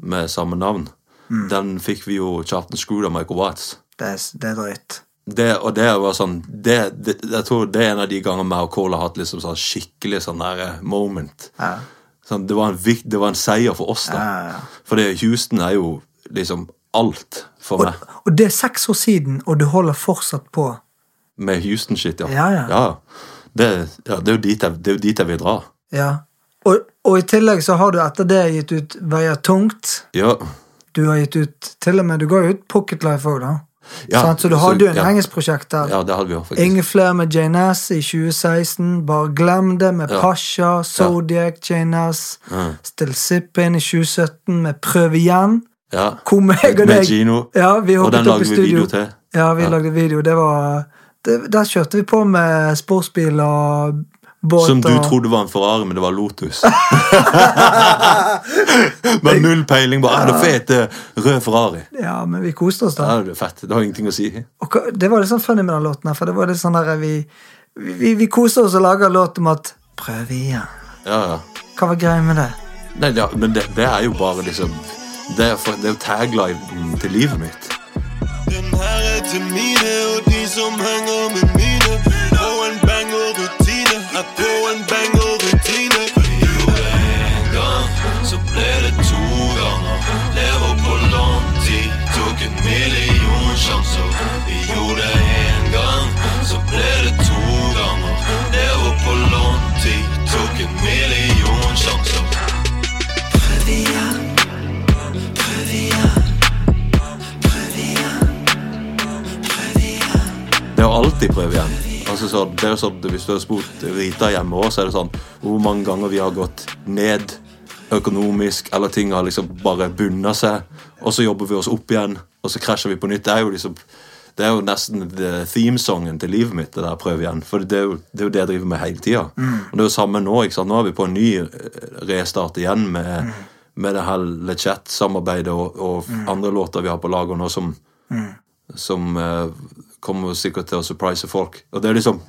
Speaker 2: med samme navn.
Speaker 5: Mm.
Speaker 2: Den fikk vi jo Charlton Screwed av Michael Watts.
Speaker 5: Det er, det er drøyt.
Speaker 2: Det, og det var sånn det, det, Jeg tror det er en av de gangene meg og Cole har hatt liksom sånn skikkelig sånn der eh, moment.
Speaker 5: Ja.
Speaker 2: Sånn, det, var en vik, det var en seier for oss, da.
Speaker 5: Ja, ja, ja.
Speaker 2: For det, Houston er jo liksom alt for meg.
Speaker 5: Og det er seks år siden, og du holder fortsatt på.
Speaker 2: Med Houston-shit, ja.
Speaker 5: Ja, ja.
Speaker 2: Det, ja, det er jo dit jeg, det er jo dit jeg vil dra.
Speaker 5: Ja. Og, og i tillegg så har du etter det gitt ut Veier tungt.
Speaker 2: Ja.
Speaker 5: Du har gitt ut til og med, du ga jo ut Pocket Life òg, da.
Speaker 2: Ja,
Speaker 5: Sant? så du
Speaker 2: så-
Speaker 5: hadde jo en
Speaker 2: ja.
Speaker 5: engelsk prosjekt der.
Speaker 2: ja, det hadde vi jo faktisk.
Speaker 5: Ingen flere med Jane Ass i 2016. Bare glem det med
Speaker 2: Ja.
Speaker 5: Pasha, Zodiac, Jane Ass. Still Sippin i 2017 med Prøv igjen.
Speaker 2: ja.
Speaker 5: Hvor meg
Speaker 2: Med
Speaker 5: og deg
Speaker 2: Gino.
Speaker 5: Ja, vi
Speaker 2: Og
Speaker 5: hoppet
Speaker 2: den
Speaker 5: opp
Speaker 2: lager
Speaker 5: i
Speaker 2: vi
Speaker 5: studio.
Speaker 2: video til.
Speaker 5: Ja, vi lagde video. Det var det, Der kjørte vi på med sportsbil og båt
Speaker 2: Som du
Speaker 5: og
Speaker 2: trodde var en Ferrari, men det var Lotus. Med null peiling. bare, er det fet eh, rød Ferrari?
Speaker 5: Ja, men vi koste oss, da.
Speaker 2: Ja, det er fett. Det har ingenting å si.
Speaker 5: Og hva- det var litt sånn funny med den låten her, for det var litt sånn der vi, vi, vi, vi koste oss og laga låt om at Prøv igjen.
Speaker 2: Ja, ja.
Speaker 5: Hva var greia med det?
Speaker 2: Nei, det, men det, det er jo bare liksom Det er, for, det er jo taglinen til livet mitt.
Speaker 6: Den her er til mine og de som henger med mine. På en bang og rutine, er på en bang og rutine. Vi gjorde en gang, så ble det to ganger. Lever på lang tid, tok en million sjanser. Vi gjorde en gang, så ble det to ganger. Lever på lang tid, tok en million sjanser. Prøv igjen, prøv igjen. Prøv igjen, prøv igjen.
Speaker 2: alltid prøve igjen. Altså så, det er jo sånn, Hvis du har spurt Rita hjemme òg, så er det sånn hvor mange ganger vi har gått ned økonomisk, eller ting har liksom bare bunna seg, og så jobber vi oss opp igjen, og så krasjer vi på nytt. Det er jo liksom det er jo nesten themesongen til livet mitt. det der prøv igjen, For det er jo det, er jo det jeg driver med hele tida. Og det er jo samme nå. ikke sant, Nå er vi på en ny eh, restart igjen med, med det her LeChat-samarbeidet og, og andre låter vi har på lager nå som, som eh, kommer sikkert til å surprise folk. Og det er liksom,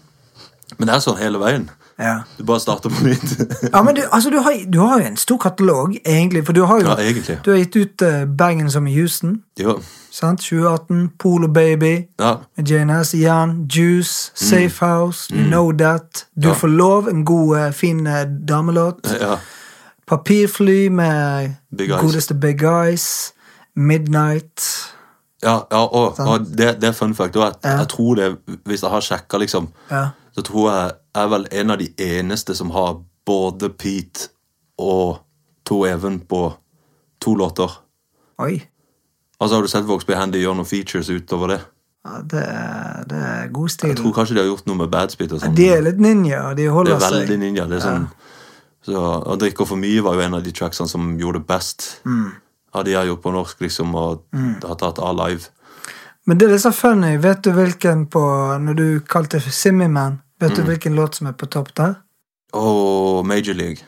Speaker 2: Men det er sånn hele veien.
Speaker 5: Ja.
Speaker 2: Du bare starter på nytt.
Speaker 5: Ja, men du, altså, du, har, du har jo en stor katalog, egentlig. For du har jo
Speaker 2: Ja, egentlig.
Speaker 5: Du har gitt ut eh, Bergen som i Houston.
Speaker 2: jo,
Speaker 5: Sant? 2018, Polo Baby,
Speaker 2: ja,
Speaker 5: med Jane S. Jan, Juice, Safe House, You Know That,
Speaker 2: Mm.
Speaker 5: Du
Speaker 2: Ja.
Speaker 5: får lov, en god, eh, fin eh, damelåt.
Speaker 2: ja.
Speaker 5: Papirfly med
Speaker 2: Big Eyes.
Speaker 5: godeste Big Eyes. Midnight.
Speaker 2: Ja, ja og,
Speaker 5: Sant.
Speaker 2: og det, det er fun fact. Og jeg,
Speaker 5: Ja.
Speaker 2: jeg tror det, hvis jeg har sjekka, liksom,
Speaker 5: Ja.
Speaker 2: så tror jeg jeg er vel en av de eneste som har både Pete og Tor Even på to låter.
Speaker 5: Oi.
Speaker 2: Altså, Har du sett Vågsby Handy gjøre noen features utover det?
Speaker 5: Ja, det, er, det er god stil.
Speaker 2: Jeg tror kanskje de har gjort noe med Badspit og sånn.
Speaker 5: De Mm. er litt ninja, de
Speaker 2: Det
Speaker 5: holder
Speaker 2: er
Speaker 5: seg.
Speaker 2: veldig ninja. Det er sånn, så, og 'Drikker for mye' var jo en av de tracksene som gjorde det best.
Speaker 5: Mm.
Speaker 2: Av de jeg har gjort på norsk, liksom, og har tatt av live.
Speaker 5: Men det er litt så funny. Vet du hvilken på Når du kalte det for Simmy Man, vet du hvilken låt som er på topp der?
Speaker 2: Og Major League.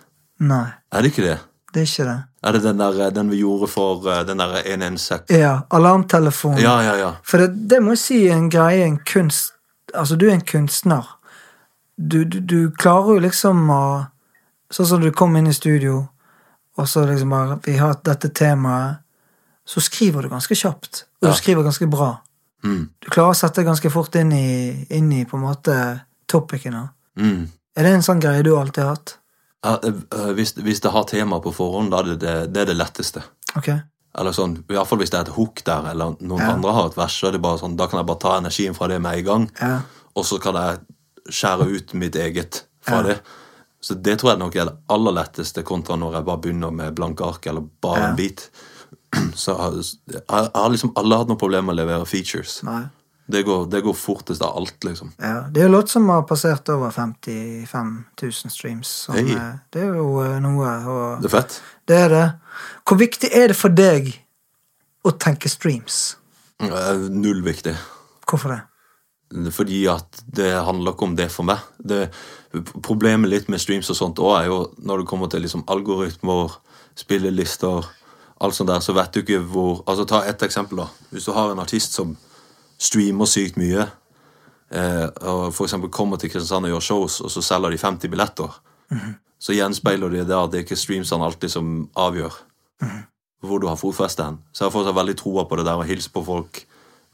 Speaker 5: Nei,
Speaker 2: Er det ikke det?
Speaker 5: det er ikke det.
Speaker 2: Er det den, der, den vi gjorde for eh, den der 116?
Speaker 5: Ja, Alarmtelefon.
Speaker 2: Ja, ja, ja.
Speaker 5: For det, det må jeg si er en greie, en kunst Altså, du er en kunstner. Du, du, du klarer jo liksom å Sånn som du kom inn i studio, og så liksom bare Vi har dette temaet. Så skriver du ganske kjapt. Og
Speaker 2: Ja.
Speaker 5: du skriver ganske bra.
Speaker 2: Mm.
Speaker 5: Du klarer å sette deg ganske fort inn i, inn i på en måte topicene.
Speaker 2: Mm.
Speaker 5: Er det en sånn greie du alltid har hatt?
Speaker 2: Ja, eh, eh, hvis, hvis det har tema på forhånd, da er det det, det, er det letteste.
Speaker 5: Ok.
Speaker 2: Eller sånn, i hvert fall hvis det er et hook der, eller noen
Speaker 5: Ja.
Speaker 2: andre har et vers, så er det bare sånn, da kan jeg bare ta energien fra det med en gang,
Speaker 5: Ja.
Speaker 2: og så kan jeg skjære ut mitt eget fra det. Så det tror jeg nok er det aller letteste kontra når jeg bare begynner med blanke ark, eller bare
Speaker 5: Ja.
Speaker 2: en bit. Så jeg, jeg, jeg har liksom alle hatt noen problemer med å levere features.
Speaker 5: Nei.
Speaker 2: Det går, det går fortest av alt, liksom.
Speaker 5: Ja. Det er jo låt som har passert over 55 000 streams. Som,
Speaker 2: Hei.
Speaker 5: eh, Det er jo eh, noe å
Speaker 2: Det er fett.
Speaker 5: Det er det. Hvor viktig er det for deg å tenke streams?
Speaker 2: Eh, Null viktig.
Speaker 5: Hvorfor det?
Speaker 2: Fordi at det handler ikke om det for meg. Det, problemet litt med streams og sånt også er jo når det kommer til liksom algoritmer, spillelister, alt sånt der, så vet du ikke hvor Altså Ta ett eksempel, da. Hvis du har en artist som streamer sykt mye, eh, og f.eks. kommer til Kristiansand og gjør shows, og så selger de 50 billetter, så gjenspeiler de det at det er ikke streamsene alltid som avgjør hvor du har fotfeste hen. Så jeg har fortsatt veldig troa på det der å hilse på folk,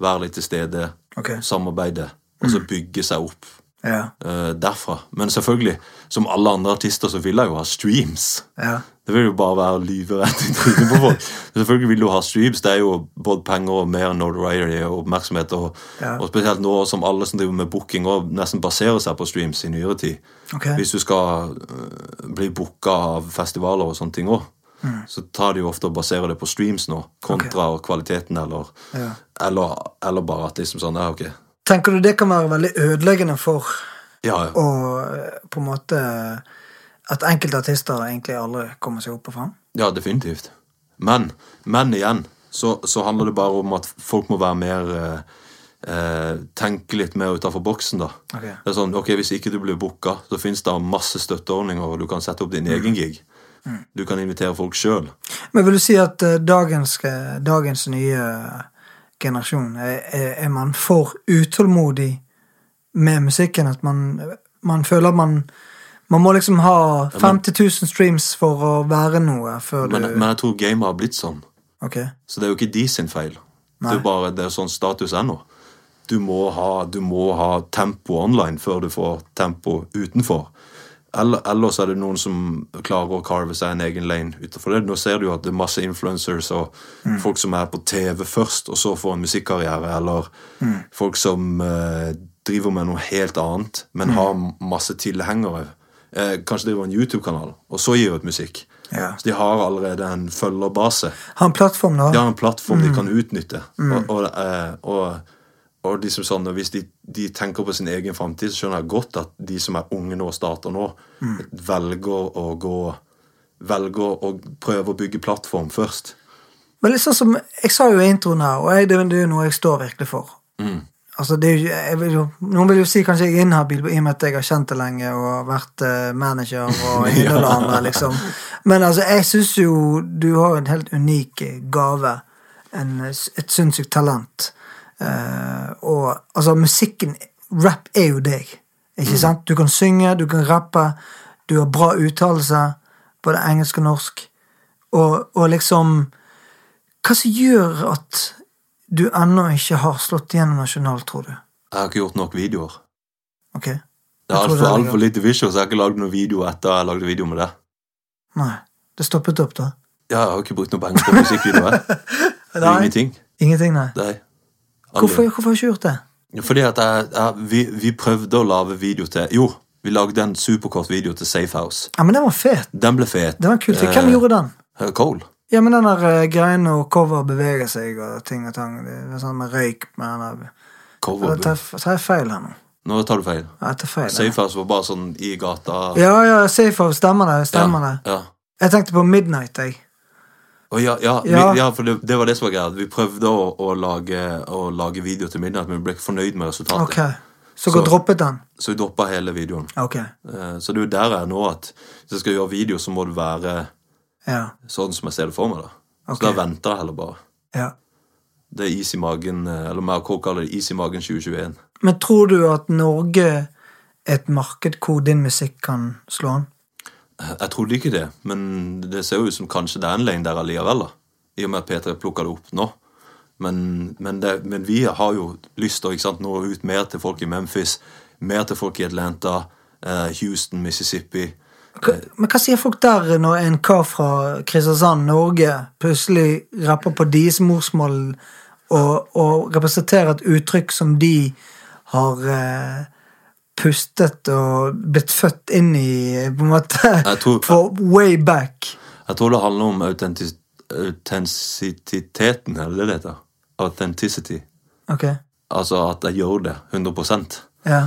Speaker 2: være litt til stede
Speaker 5: Ok.
Speaker 2: samarbeide, og så bygge seg opp
Speaker 5: Ja.
Speaker 2: eh, derfra. Men selvfølgelig, som alle andre artister, så vil jeg jo ha streams.
Speaker 5: ja.
Speaker 2: Det vil jo bare være å lyve rett i trynet på folk. Men selvfølgelig vil du ha streams. Det er jo både penger og mer notoriety og oppmerksomhet. Og,
Speaker 5: Ja.
Speaker 2: og spesielt nå som alle som driver med booking, og nesten baserer seg på streams i nyere tid.
Speaker 5: Ok.
Speaker 2: Hvis du skal øh, bli booka av festivaler og sånne ting òg,
Speaker 5: Mm.
Speaker 2: så tar de jo ofte og baserer det på streams nå, kontra kvaliteten eller,
Speaker 5: Ja.
Speaker 2: eller Eller bare at liksom sånn Ja, ok.
Speaker 5: Tenker du det kan være veldig ødeleggende for
Speaker 2: Ja, ja.
Speaker 5: å eh, på en måte At enkelte artister egentlig aldri kommer seg opp og fram?
Speaker 2: Ja, definitivt. Men, men igjen så, så handler det bare om at folk må være mer eh, eh, Tenke litt mer utafor boksen, da.
Speaker 5: Ok.
Speaker 2: Det er sånn, ok, Hvis ikke du blir booka, så fins det masse støtteordninger, og du kan sette opp
Speaker 5: Mm.
Speaker 2: din egen gig. Du kan invitere folk sjøl.
Speaker 5: Men vil du si at eh, dagens, eh, dagens nye generasjon er, er, er man for utålmodig med musikken? At man, man føler man Man må liksom ha 50 000 streams for å være noe før du
Speaker 2: Men, men jeg tror gamet har blitt sånn.
Speaker 5: Ok.
Speaker 2: Så det er jo ikke de sin feil.
Speaker 5: Nei.
Speaker 2: Det er bare det er sånn status ennå. Du må, ha, du må ha tempo online før du får tempo utenfor. Eller, ellers er det noen som klarer å carve seg en egen lane utenfor det. Nå ser du jo at det er masse influencers og
Speaker 5: Mm.
Speaker 2: folk som er på TV først, og så får en musikkarriere, eller
Speaker 5: Mm.
Speaker 2: folk som eh, driver med noe helt annet,
Speaker 5: Mm.
Speaker 2: men har masse tilhengere. Eh, kanskje driver en YouTube-kanal, og så gir ut musikk.
Speaker 5: Ja.
Speaker 2: Så de har allerede en følgerbase.
Speaker 5: Ha en plattform, da. Mm.
Speaker 2: De har en plattform de kan utnytte. Og, og, eh, og, Og de som sånn, Hvis de, de tenker på sin egen framtid, så skjønner jeg godt at de som er unge nå og starter nå,
Speaker 5: Mm.
Speaker 2: velger å gå Velger å prøve å bygge plattform først.
Speaker 5: Men litt sånn som, Jeg sa jo i introen her, og jeg, det, det er jo noe jeg står virkelig for. Altså, det er jo, jeg vil jo, Noen vil jo si kanskje jeg er inhabil i og med at jeg har kjent det lenge og har vært eh, manager og ene og det andre, liksom. Men altså, jeg syns jo du har en helt unik eh, gave. En, eh, s- et sinnssykt talent. Eh, og altså, musikken Rap er jo deg, ikke sant? Du kan synge, du kan rappe, du har bra uttalelse, både engelsk og norsk, og, og liksom hva som gjør at du ennå ikke har slått igjennom nasjonalt, tror du?
Speaker 2: Jeg har ikke gjort nok videoer.
Speaker 5: Ok?
Speaker 2: Det er
Speaker 5: Jeg tror
Speaker 2: altfor
Speaker 5: det er
Speaker 2: alt for lite visuals. Jeg har ikke lagd noen video etter jeg lagde video med det.
Speaker 5: Nei. Det stoppet opp, da?
Speaker 2: Ja, jeg har jo ikke brukt noe penger på musikkvideoer. jeg. Det er Ingenting.
Speaker 5: Ingenting, nei.
Speaker 2: Nei. Aldri.
Speaker 5: Hvorfor, hvorfor har du ikke gjort det?
Speaker 2: Fordi at jeg, jeg, vi, vi prøvde å lage video til Jo, vi lagde en superkort video til Safe House.
Speaker 5: Ja, men den var fet.
Speaker 2: Den ble fet.
Speaker 5: Det var kult. Hvem gjorde den?
Speaker 2: Eh, Cole.
Speaker 5: Ja, men den der eh, greien å cover beveger seg og ting og tang. Det er sånn med røyk med den der
Speaker 2: Cole
Speaker 5: Eller
Speaker 2: var-
Speaker 5: tar jeg- tar jeg feil her nå?
Speaker 2: Nå tar du feil.
Speaker 5: Ja, Jeg tar feil.
Speaker 2: Safe
Speaker 5: ja.
Speaker 2: House var bare sånn i gata.
Speaker 5: Ja, ja, safe house. Stemmer det. Stemmer det.
Speaker 2: Ja.
Speaker 5: Jeg tenkte på Midnight, jeg.
Speaker 2: Og ja, ja, vi,
Speaker 5: Ja.
Speaker 2: ja for det, det var det som var greia. Vi prøvde å, å, lage, å lage video til midnatt, men vi ble ikke fornøyd med resultatet.
Speaker 5: Ok. Så dere
Speaker 2: Så-
Speaker 5: droppet den?
Speaker 2: Så vi droppa hele videoen.
Speaker 5: Ok.
Speaker 2: Eh, Så det er jo der jeg er nå, at hvis jeg skal gjøre video, så må det være
Speaker 5: Ja.
Speaker 2: sånn som jeg ser det for meg. da.
Speaker 5: Ok.
Speaker 2: Så da venter jeg heller bare.
Speaker 5: ja.
Speaker 2: Det er is i magen, eh, eller mer hva kaller det, is i magen 2021.
Speaker 5: Men tror du at Norge er et marked hvor din musikk kan slå an?
Speaker 2: Jeg trodde ikke det, men det ser jo ut som kanskje det er en lane der allikevel, da. I og med at P3 plukka det opp nå. Men, men, det, men vi har jo lyst til å ikke sant, nå ut mer til folk i Memphis, mer til folk i Atlanta, eh, Houston, Mississippi. Eh.
Speaker 5: Hva- Men hva sier folk der når en kar fra Kristiansand, Norge, plutselig rapper på deres morsmål og, og representerer et uttrykk som de har eh, pustet og blitt født inn i, på en måte,
Speaker 2: Jeg tror-
Speaker 5: for way back?
Speaker 2: Jeg tror det handler om autentis- autentisiteten, eller det det heter. Authenticity.
Speaker 5: Ok,
Speaker 2: Altså at jeg gjør det 100
Speaker 5: ja,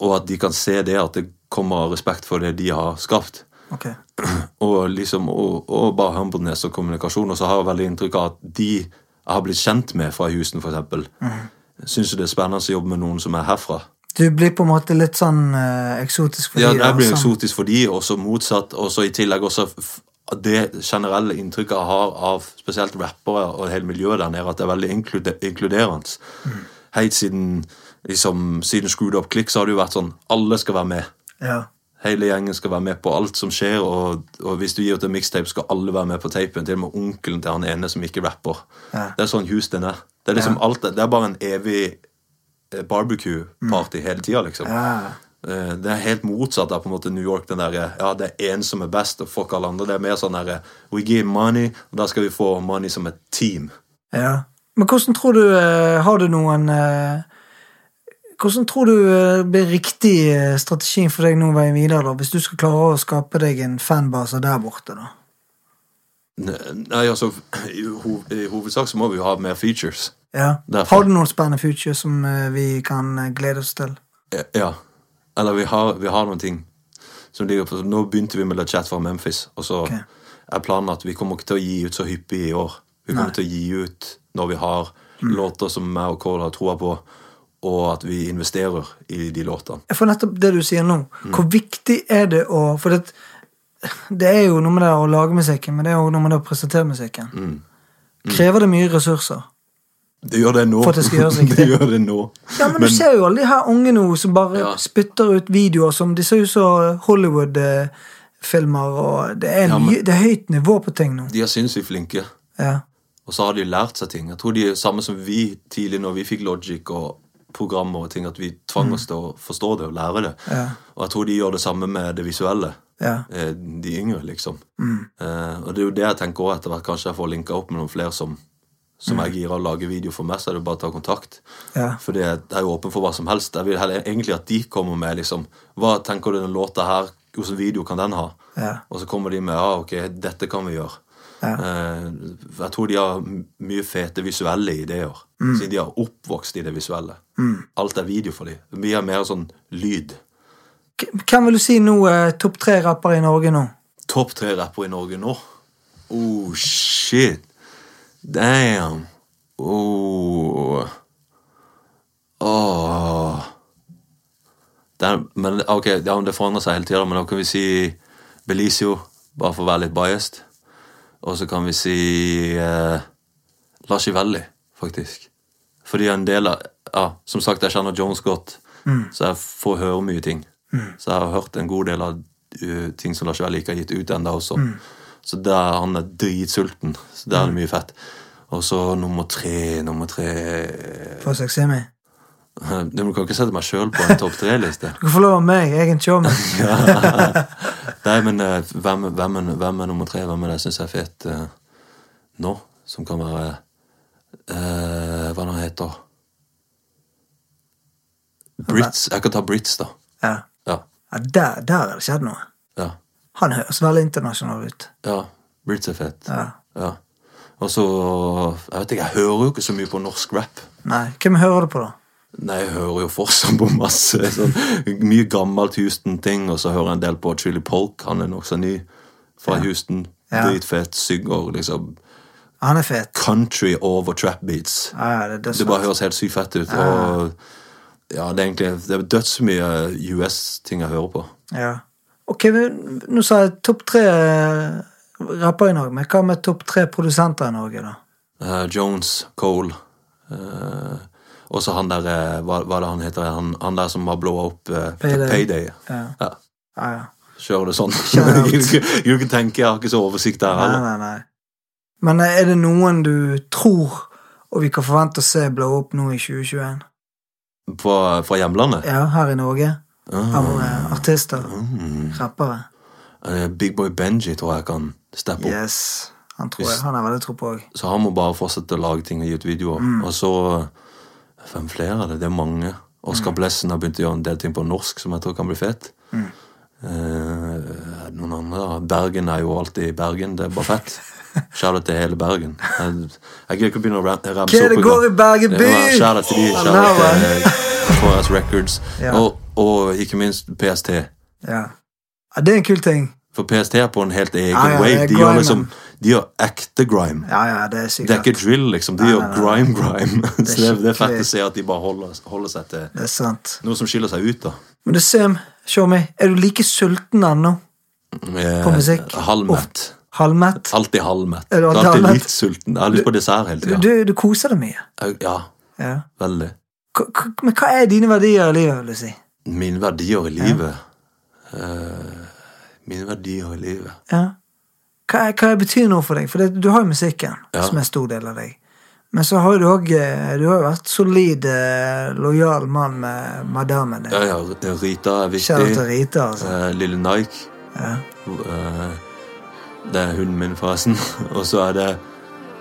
Speaker 2: og at de kan se det, at det kommer respekt for det de har skapt.
Speaker 5: ok.
Speaker 2: og liksom, og, og bare humbleness og kommunikasjon. Og så har jeg veldig inntrykk av at de jeg har blitt kjent med fra Houston, f.eks., mm. syns jo det er spennende å jobbe med noen som er herfra.
Speaker 5: Du blir på en måte litt sånn eh, eksotisk for
Speaker 2: Ja,
Speaker 5: de
Speaker 2: jeg blir
Speaker 5: altså.
Speaker 2: eksotisk for de, og så motsatt. Og så i tillegg også f- det generelle inntrykket jeg har av spesielt rappere og hele miljøet der nede, at det er veldig inklude inkluderende. Helt siden, liksom, siden Screwed Up Click så har det jo vært sånn alle skal være med.
Speaker 5: Ja.
Speaker 2: Hele gjengen skal være med på alt som skjer, og, og hvis du gir ut en mixtape, skal alle være med på tapen. Til og med onkelen til han ene som ikke rapper.
Speaker 5: Ja.
Speaker 2: Det er sånn Houston er. Det er liksom alt, det er bare en evig eh, barbecue-party hele tida, liksom.
Speaker 5: Mm. Ja.
Speaker 2: Eh, Det er helt motsatt av på en måte New York. den der, ja, Det er én som er best, og fuck alle andre. Det er mer sånn der, We give money, og da skal vi få money som et team.
Speaker 5: Ja. Men hvordan tror du eh, Har du noen eh, Hvordan tror du eh, blir riktig eh, strategien for deg nå veien videre, da, hvis du skal klare å skape deg en fanbase der borte, da?
Speaker 2: Nei, altså, I ho- i hovedsak så må vi jo ha mer features.
Speaker 5: Ja.
Speaker 2: Derfor.
Speaker 5: Har du noen spennende future som eh, vi kan eh, glede oss til?
Speaker 2: Eh, Ja. Eller vi har, vi har noen ting som ligger på Nå begynte vi med La Chat fra Memphis, og så
Speaker 5: Ok.
Speaker 2: er planen at vi kommer ikke til å gi ut så hyppig i år. Vi kommer til å gi ut når vi har
Speaker 5: Mm.
Speaker 2: låter som jeg og Cole har troa på, og at vi investerer i de låtene.
Speaker 5: For nettopp det du sier nå, hvor viktig er det å For det, det er jo noe med det å lage musikken, men det er jo noe med det å presentere musikken. Krever det mye ressurser?
Speaker 2: Det gjør det nå.
Speaker 5: For at det skal gjøres riktig.
Speaker 2: Det gjør det nå.
Speaker 5: Ja, men, du ser jo alle de her unge nå som bare
Speaker 2: Ja.
Speaker 5: spytter ut videoer som De ser ut som Hollywood-filmer, og det er,
Speaker 2: Ja, men-
Speaker 5: mye- det er høyt nivå på ting nå.
Speaker 2: De er sinnssykt flinke,
Speaker 5: Ja.
Speaker 2: og så har de lært seg ting. Jeg tror de er samme som vi tidlig når vi fikk Logic og programmer og ting, at vi tvang oss til å forstå det og lære det.
Speaker 5: Mm. Ja.
Speaker 2: Og jeg tror de gjør det samme med det visuelle.
Speaker 5: ja. Mm.
Speaker 2: eh, De yngre, liksom. Eh, og det er jo det jeg tenker også etter hvert. Kanskje jeg får linka opp med noen flere som, som jeg girer og lager video for meg, så er det jo bare å ta kontakt.
Speaker 5: Mm. Ja.
Speaker 2: For det er jeg er jo åpen for hva som helst. Jeg vil heller egentlig at de kommer med liksom Hva tenker du den låta her Hvilken video kan den ha?
Speaker 5: Ja.
Speaker 2: Og så kommer de med ja, ok, ah, dette kan vi gjøre. Eh, jeg tror de har m- mye fete visuelle ideer, siden de har oppvokst i det visuelle. Alt er video for dem. Vi har mer sånn lyd.
Speaker 5: K- Hvem vil du si nå eh, topp tre rappere i Norge nå?
Speaker 2: Topp tre rappere i Norge nå? Oh, shit. Damn. Oh. Åh. Den, men ok, ja, men det forandrer seg hele tida, men da kan vi si Belicio, bare for å være litt biased. Og så kan vi si eh, Lars Ivelli, faktisk. Fordi en del av ja, Som sagt, jeg kjenner Jones godt, så jeg får høre mye ting. Så jeg har hørt en god del av eh, ting som Lars Ivelli ikke har gitt ut ennå også. Så der han er dritsulten. Så der er det mye fett. Og så nummer tre, nummer tre
Speaker 5: Forsøk sånn, Simi.
Speaker 2: Du kan ikke sette meg sjøl på en topp tre-liste.
Speaker 5: Du kan få lov av meg, jeg er en showman.
Speaker 2: Nei, men eh, hvem, hvem, er, hvem er nummer tre? Hvem er det jeg syns er fet eh, nå? Som kan være eh, Hva er det han heter Brits. Jeg kan ta Brits, da.
Speaker 5: Ja.
Speaker 2: Ja.
Speaker 5: Ja, der, der er det skjedd noe.
Speaker 2: Ja.
Speaker 5: Han høres veldig internasjonal ut.
Speaker 2: ja. Brits er fet.
Speaker 5: Ja.
Speaker 2: Ja. Og så Jeg vet ikke, jeg hører jo ikke så mye på norsk rap.
Speaker 5: Nei, hvem hører du på, da?
Speaker 2: Nei, jeg hører jo fortsatt på masse sånn, mye gammelt Houston-ting, og så hører jeg en del på Chili Polk. Han er nokså ny fra Houston.
Speaker 5: Ja.
Speaker 2: Dritfet, synger liksom
Speaker 5: Han er fet.
Speaker 2: country over trap beats.
Speaker 5: Ja, ja, det
Speaker 2: Det bare
Speaker 5: er dødsfett.
Speaker 2: høres helt sykt fett ut. Og ja, det er egentlig det er dødsmye US-ting jeg hører på.
Speaker 5: Ja. Ok, men nå sa jeg topp tre eh, rappere i Norge, men hva med topp tre produsenter i Norge, da?
Speaker 2: Eh, Jones, Cole eh, Og så han der eh, hva, hva er det han heter? Han, han der som har blowa opp eh,
Speaker 5: Payday.
Speaker 2: Payday.
Speaker 5: Ja.
Speaker 2: Ja,
Speaker 5: Ja, ja.
Speaker 2: Kjører det sånn.
Speaker 5: Shout out.
Speaker 2: Jeg kan ikke tenke, jeg har ikke så oversikt der
Speaker 5: Nei,
Speaker 2: heller.
Speaker 5: nei, nei. Men eh, er det noen du tror og vi kan forvente å se blow opp nå i 2021?
Speaker 2: Fra, fra hjemlandet.
Speaker 5: Ja, her i Norge.
Speaker 2: Ah,
Speaker 5: Av eh, artister.
Speaker 2: mm.
Speaker 5: Rappere.
Speaker 2: Eh, Big Boy Benji tror jeg kan steppe opp.
Speaker 5: Yes. Han tror jeg.
Speaker 2: Hvis-
Speaker 5: Han har veldig tro på òg.
Speaker 2: Så han må bare fortsette å lage ting og gi ut videoer.
Speaker 5: Mm.
Speaker 2: Og så eh, Hvem flere er det? Det er mange.
Speaker 5: Mm.
Speaker 2: Oscar Blessen har begynt å gjøre en del ting på norsk som jeg tror kan bli fet. Eh, er det noen andre da? Bergen er jo alltid Bergen. Det er bare fett. Kjærlighet til hele Bergen. Jeg, jeg gidder ikke å begynne å ram- ramse opp.
Speaker 5: Hva det går i
Speaker 2: engang.
Speaker 5: Bergen by?
Speaker 2: Ja, Kjærlighet til de,
Speaker 5: Nei,
Speaker 2: kjærlighet til KS Records.
Speaker 5: Ja.
Speaker 2: Og, og ikke minst PST.
Speaker 5: Ja. ja, det er en kul ting.
Speaker 2: For PST er på en helt egen
Speaker 5: Ja, ja, det er
Speaker 2: wave. De gjør
Speaker 5: grimen.
Speaker 2: liksom, de gjør ekte grime.
Speaker 5: Ja, ja, det er
Speaker 2: Det er
Speaker 5: sikkert.
Speaker 2: ikke drill, liksom. De gjør grime-grime. Så det, det er fett
Speaker 5: skikkelig-
Speaker 2: å se at de bare holder, holder seg til
Speaker 5: Det er sant.
Speaker 2: noe som skiller seg ut, da.
Speaker 5: Men du, Sam, se meg. Er du like sulten ennå?
Speaker 2: Eh,
Speaker 5: På musikk?
Speaker 2: Halvmett.
Speaker 5: Halvmett?
Speaker 2: Alltid halvmett. Jeg
Speaker 5: Er du
Speaker 2: er
Speaker 5: alltid
Speaker 2: alltid
Speaker 5: halvmett?
Speaker 2: litt sulten. Jeg har lyst på dessert hele
Speaker 5: Du,
Speaker 2: tida.
Speaker 5: du, du koser deg mye.
Speaker 2: Ja,
Speaker 5: Ja.
Speaker 2: veldig.
Speaker 5: K k men hva er dine verdier i livet, vil du si?
Speaker 2: Mine verdier i livet Eh, Mine verdier i livet
Speaker 5: Ja. Hva, er- hva betyr noe for deg? For det, du har jo musikken,
Speaker 2: Ja.
Speaker 5: som er en stor del av deg. Men så har du òg Du har jo vært solid, eh, lojal mann med madammen din.
Speaker 2: Ja, ja, Rita er
Speaker 5: Kjære til
Speaker 2: viktig.
Speaker 5: Rita, altså.
Speaker 2: Eh, Lille Nike.
Speaker 5: Ja.
Speaker 2: Eh, Det er hunden min, forresten. Og så er det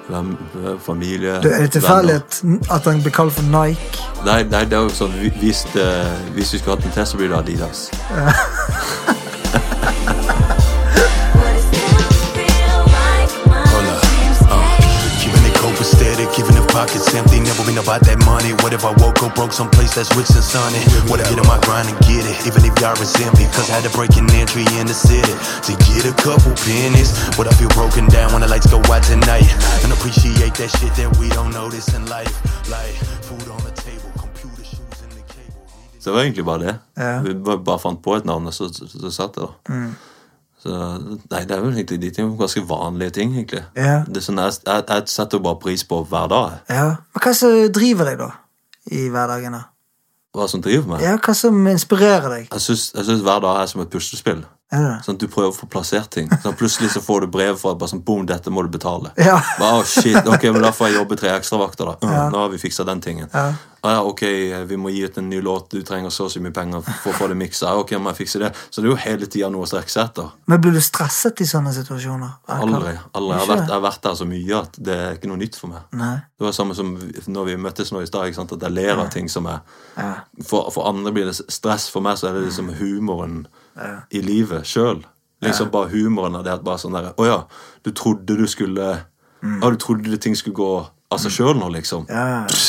Speaker 2: hvem- familie
Speaker 5: Du, er det
Speaker 2: venner.
Speaker 5: tilfeldighet at han blir kalt for Nike?
Speaker 2: Nei, nei, det er jo sånn vi- Hvis, det, hvis vi skulle hatt en test, så blir det Adidas.
Speaker 7: Hold up. Uh,
Speaker 6: Keeping it cold, aesthetic, giving the pockets empty. Never been about that money. What if I woke up broke someplace that's rich and sunny? What I get on my grind and get it, even if y'all resent me. Cause I had to break an entry in the city to get a couple pennies. What I feel broken down when the lights go out tonight. And appreciate that shit that we don't notice in life. Like food on the table, computer shoes in the cable.
Speaker 2: Så det var egentlig bare det.
Speaker 5: Ja.
Speaker 2: Vi bare, bare fant på et navn, og så, så, så satt det, da.
Speaker 5: Mm.
Speaker 2: Så, nei, det er vel egentlig de tingene ganske vanlige ting, egentlig.
Speaker 5: Ja.
Speaker 2: Det er sånn, jeg, jeg, jeg setter jo bare pris på hver dag. jeg.
Speaker 5: Ja. Men hva som driver deg, da? I hverdagen? da?
Speaker 2: Hva som driver meg.
Speaker 5: Ja, Hva som inspirerer deg?
Speaker 2: Jeg syns jeg syns hver dag er som et puslespill.
Speaker 5: Er det det?
Speaker 2: Sånn at Du prøver å få plassert ting. Sånn, plutselig så får du brev fra bare sånn, boom, dette må du betale.
Speaker 5: Ja.
Speaker 2: Bare, «Å, shit, ok, men Da får jeg jobbe tre ekstravakter, da. Mm, Nå har vi fiksa den tingen.
Speaker 5: Ja.
Speaker 2: Ah, ja, ok, vi må gi ut en ny låt, du trenger så og så mye penger for å få det miksa. Ja, ok, må jeg fikse det. Så det er jo hele tida noe å strekke seg etter.
Speaker 5: Men blir du stresset i sånne situasjoner? Er det
Speaker 2: Aldri.
Speaker 5: klart?
Speaker 2: aldri. Jeg, har
Speaker 5: Ikke
Speaker 2: vært,
Speaker 5: det?
Speaker 2: jeg har vært der så mye at det er ikke noe nytt for meg.
Speaker 5: Nei.
Speaker 2: Det var samme som når vi møttes nå i stad, ikke sant, at jeg ler av ting som er
Speaker 5: Ja.
Speaker 2: for, for andre blir det stress, for meg så er det liksom humoren i livet sjøl. Liksom bare humoren av det at bare sånn derre Å ja, du trodde du skulle Ja, du trodde det ting skulle gå av seg sjøl nå, liksom.
Speaker 5: Mm. Ja.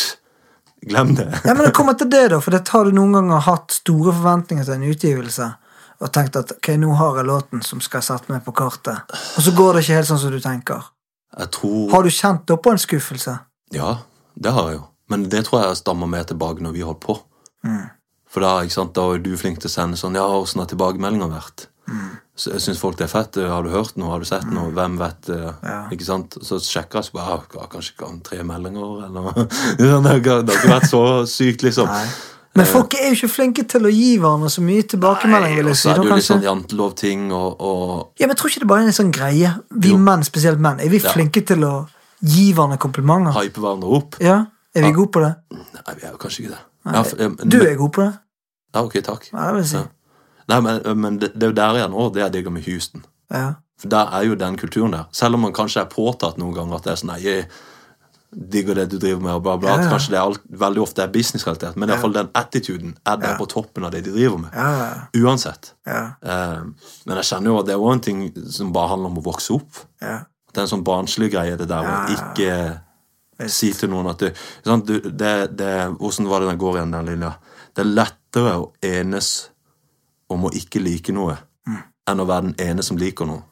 Speaker 2: Glem det.
Speaker 5: Ja, men det kommer til det, da. For det har du noen ganger hatt store forventninger til en utgivelse. Og tenkt at ok, nå har jeg låten som skal sette meg på kartet. Og så går det ikke helt sånn som du tenker.
Speaker 2: Jeg tror
Speaker 5: Har du kjent da på en skuffelse?
Speaker 2: Ja, det har jeg jo. Men det tror jeg stammer mer tilbake når vi holdt på.
Speaker 5: Mm.
Speaker 2: For da, ikke sant, da var jo du flink til å sende sånn Ja, åssen har tilbakemeldinga vært?
Speaker 5: Mm.
Speaker 2: Så jeg Syns folk det er fett? Har du hørt noe? Har du sett noe? Hvem vet? eh, Ikke sant? Så sjekker jeg så bare «Ah, Kanskje ikke om tre meldinger, eller Det har ikke det har ikke vært så sykt, liksom.
Speaker 5: Men folk er jo ikke flinke til å gi hverandre så mye tilbakemelding. vil
Speaker 2: Og
Speaker 5: jeg si.
Speaker 2: så er
Speaker 5: Da
Speaker 2: det jo litt
Speaker 5: kanskje-
Speaker 2: sånn jantelovting og, og
Speaker 5: Ja, men jeg tror ikke det bare er en sånn greie. Vi
Speaker 2: Jo.
Speaker 5: menn, spesielt menn, er vi
Speaker 2: Ja.
Speaker 5: flinke til å gi hverandre komplimenter?
Speaker 2: hype hverandre opp.
Speaker 5: Ja, Er vi gode på det?
Speaker 2: Nei, vi er jo kanskje ikke det. Ja, for- eh,
Speaker 5: Du
Speaker 2: men-
Speaker 5: er god på det.
Speaker 2: Ja, ok, takk.
Speaker 5: Ja, det vil jeg si.
Speaker 2: Ja. Nei, men, men det, det er jo der igjen òg, det jeg digger med Houston.
Speaker 5: Ja.
Speaker 2: For der er jo den kulturen der. Selv om man kanskje er påtatt noen ganger at det er sånn Nei, jeg digger det du driver med, og bla, bla.
Speaker 5: Ja,
Speaker 2: at
Speaker 5: ja.
Speaker 2: Kanskje det er alt, veldig ofte er businessrelatert, men i hvert fall den attituden er der
Speaker 5: Ja.
Speaker 2: på toppen av det de driver med.
Speaker 5: Ja, ja,
Speaker 2: Uansett.
Speaker 5: ja,
Speaker 2: Eh, men jeg kjenner jo at det er òg en ting som bare handler om å vokse opp.
Speaker 5: ja.
Speaker 2: Det er en sånn barnslig greie, det der å ikke si til noen at du, sant, du det, det, Hvordan var det den går igjen, den linja? Det er lettere å enes om å ikke like noe
Speaker 5: Mm.
Speaker 2: enn å være den ene som liker noe.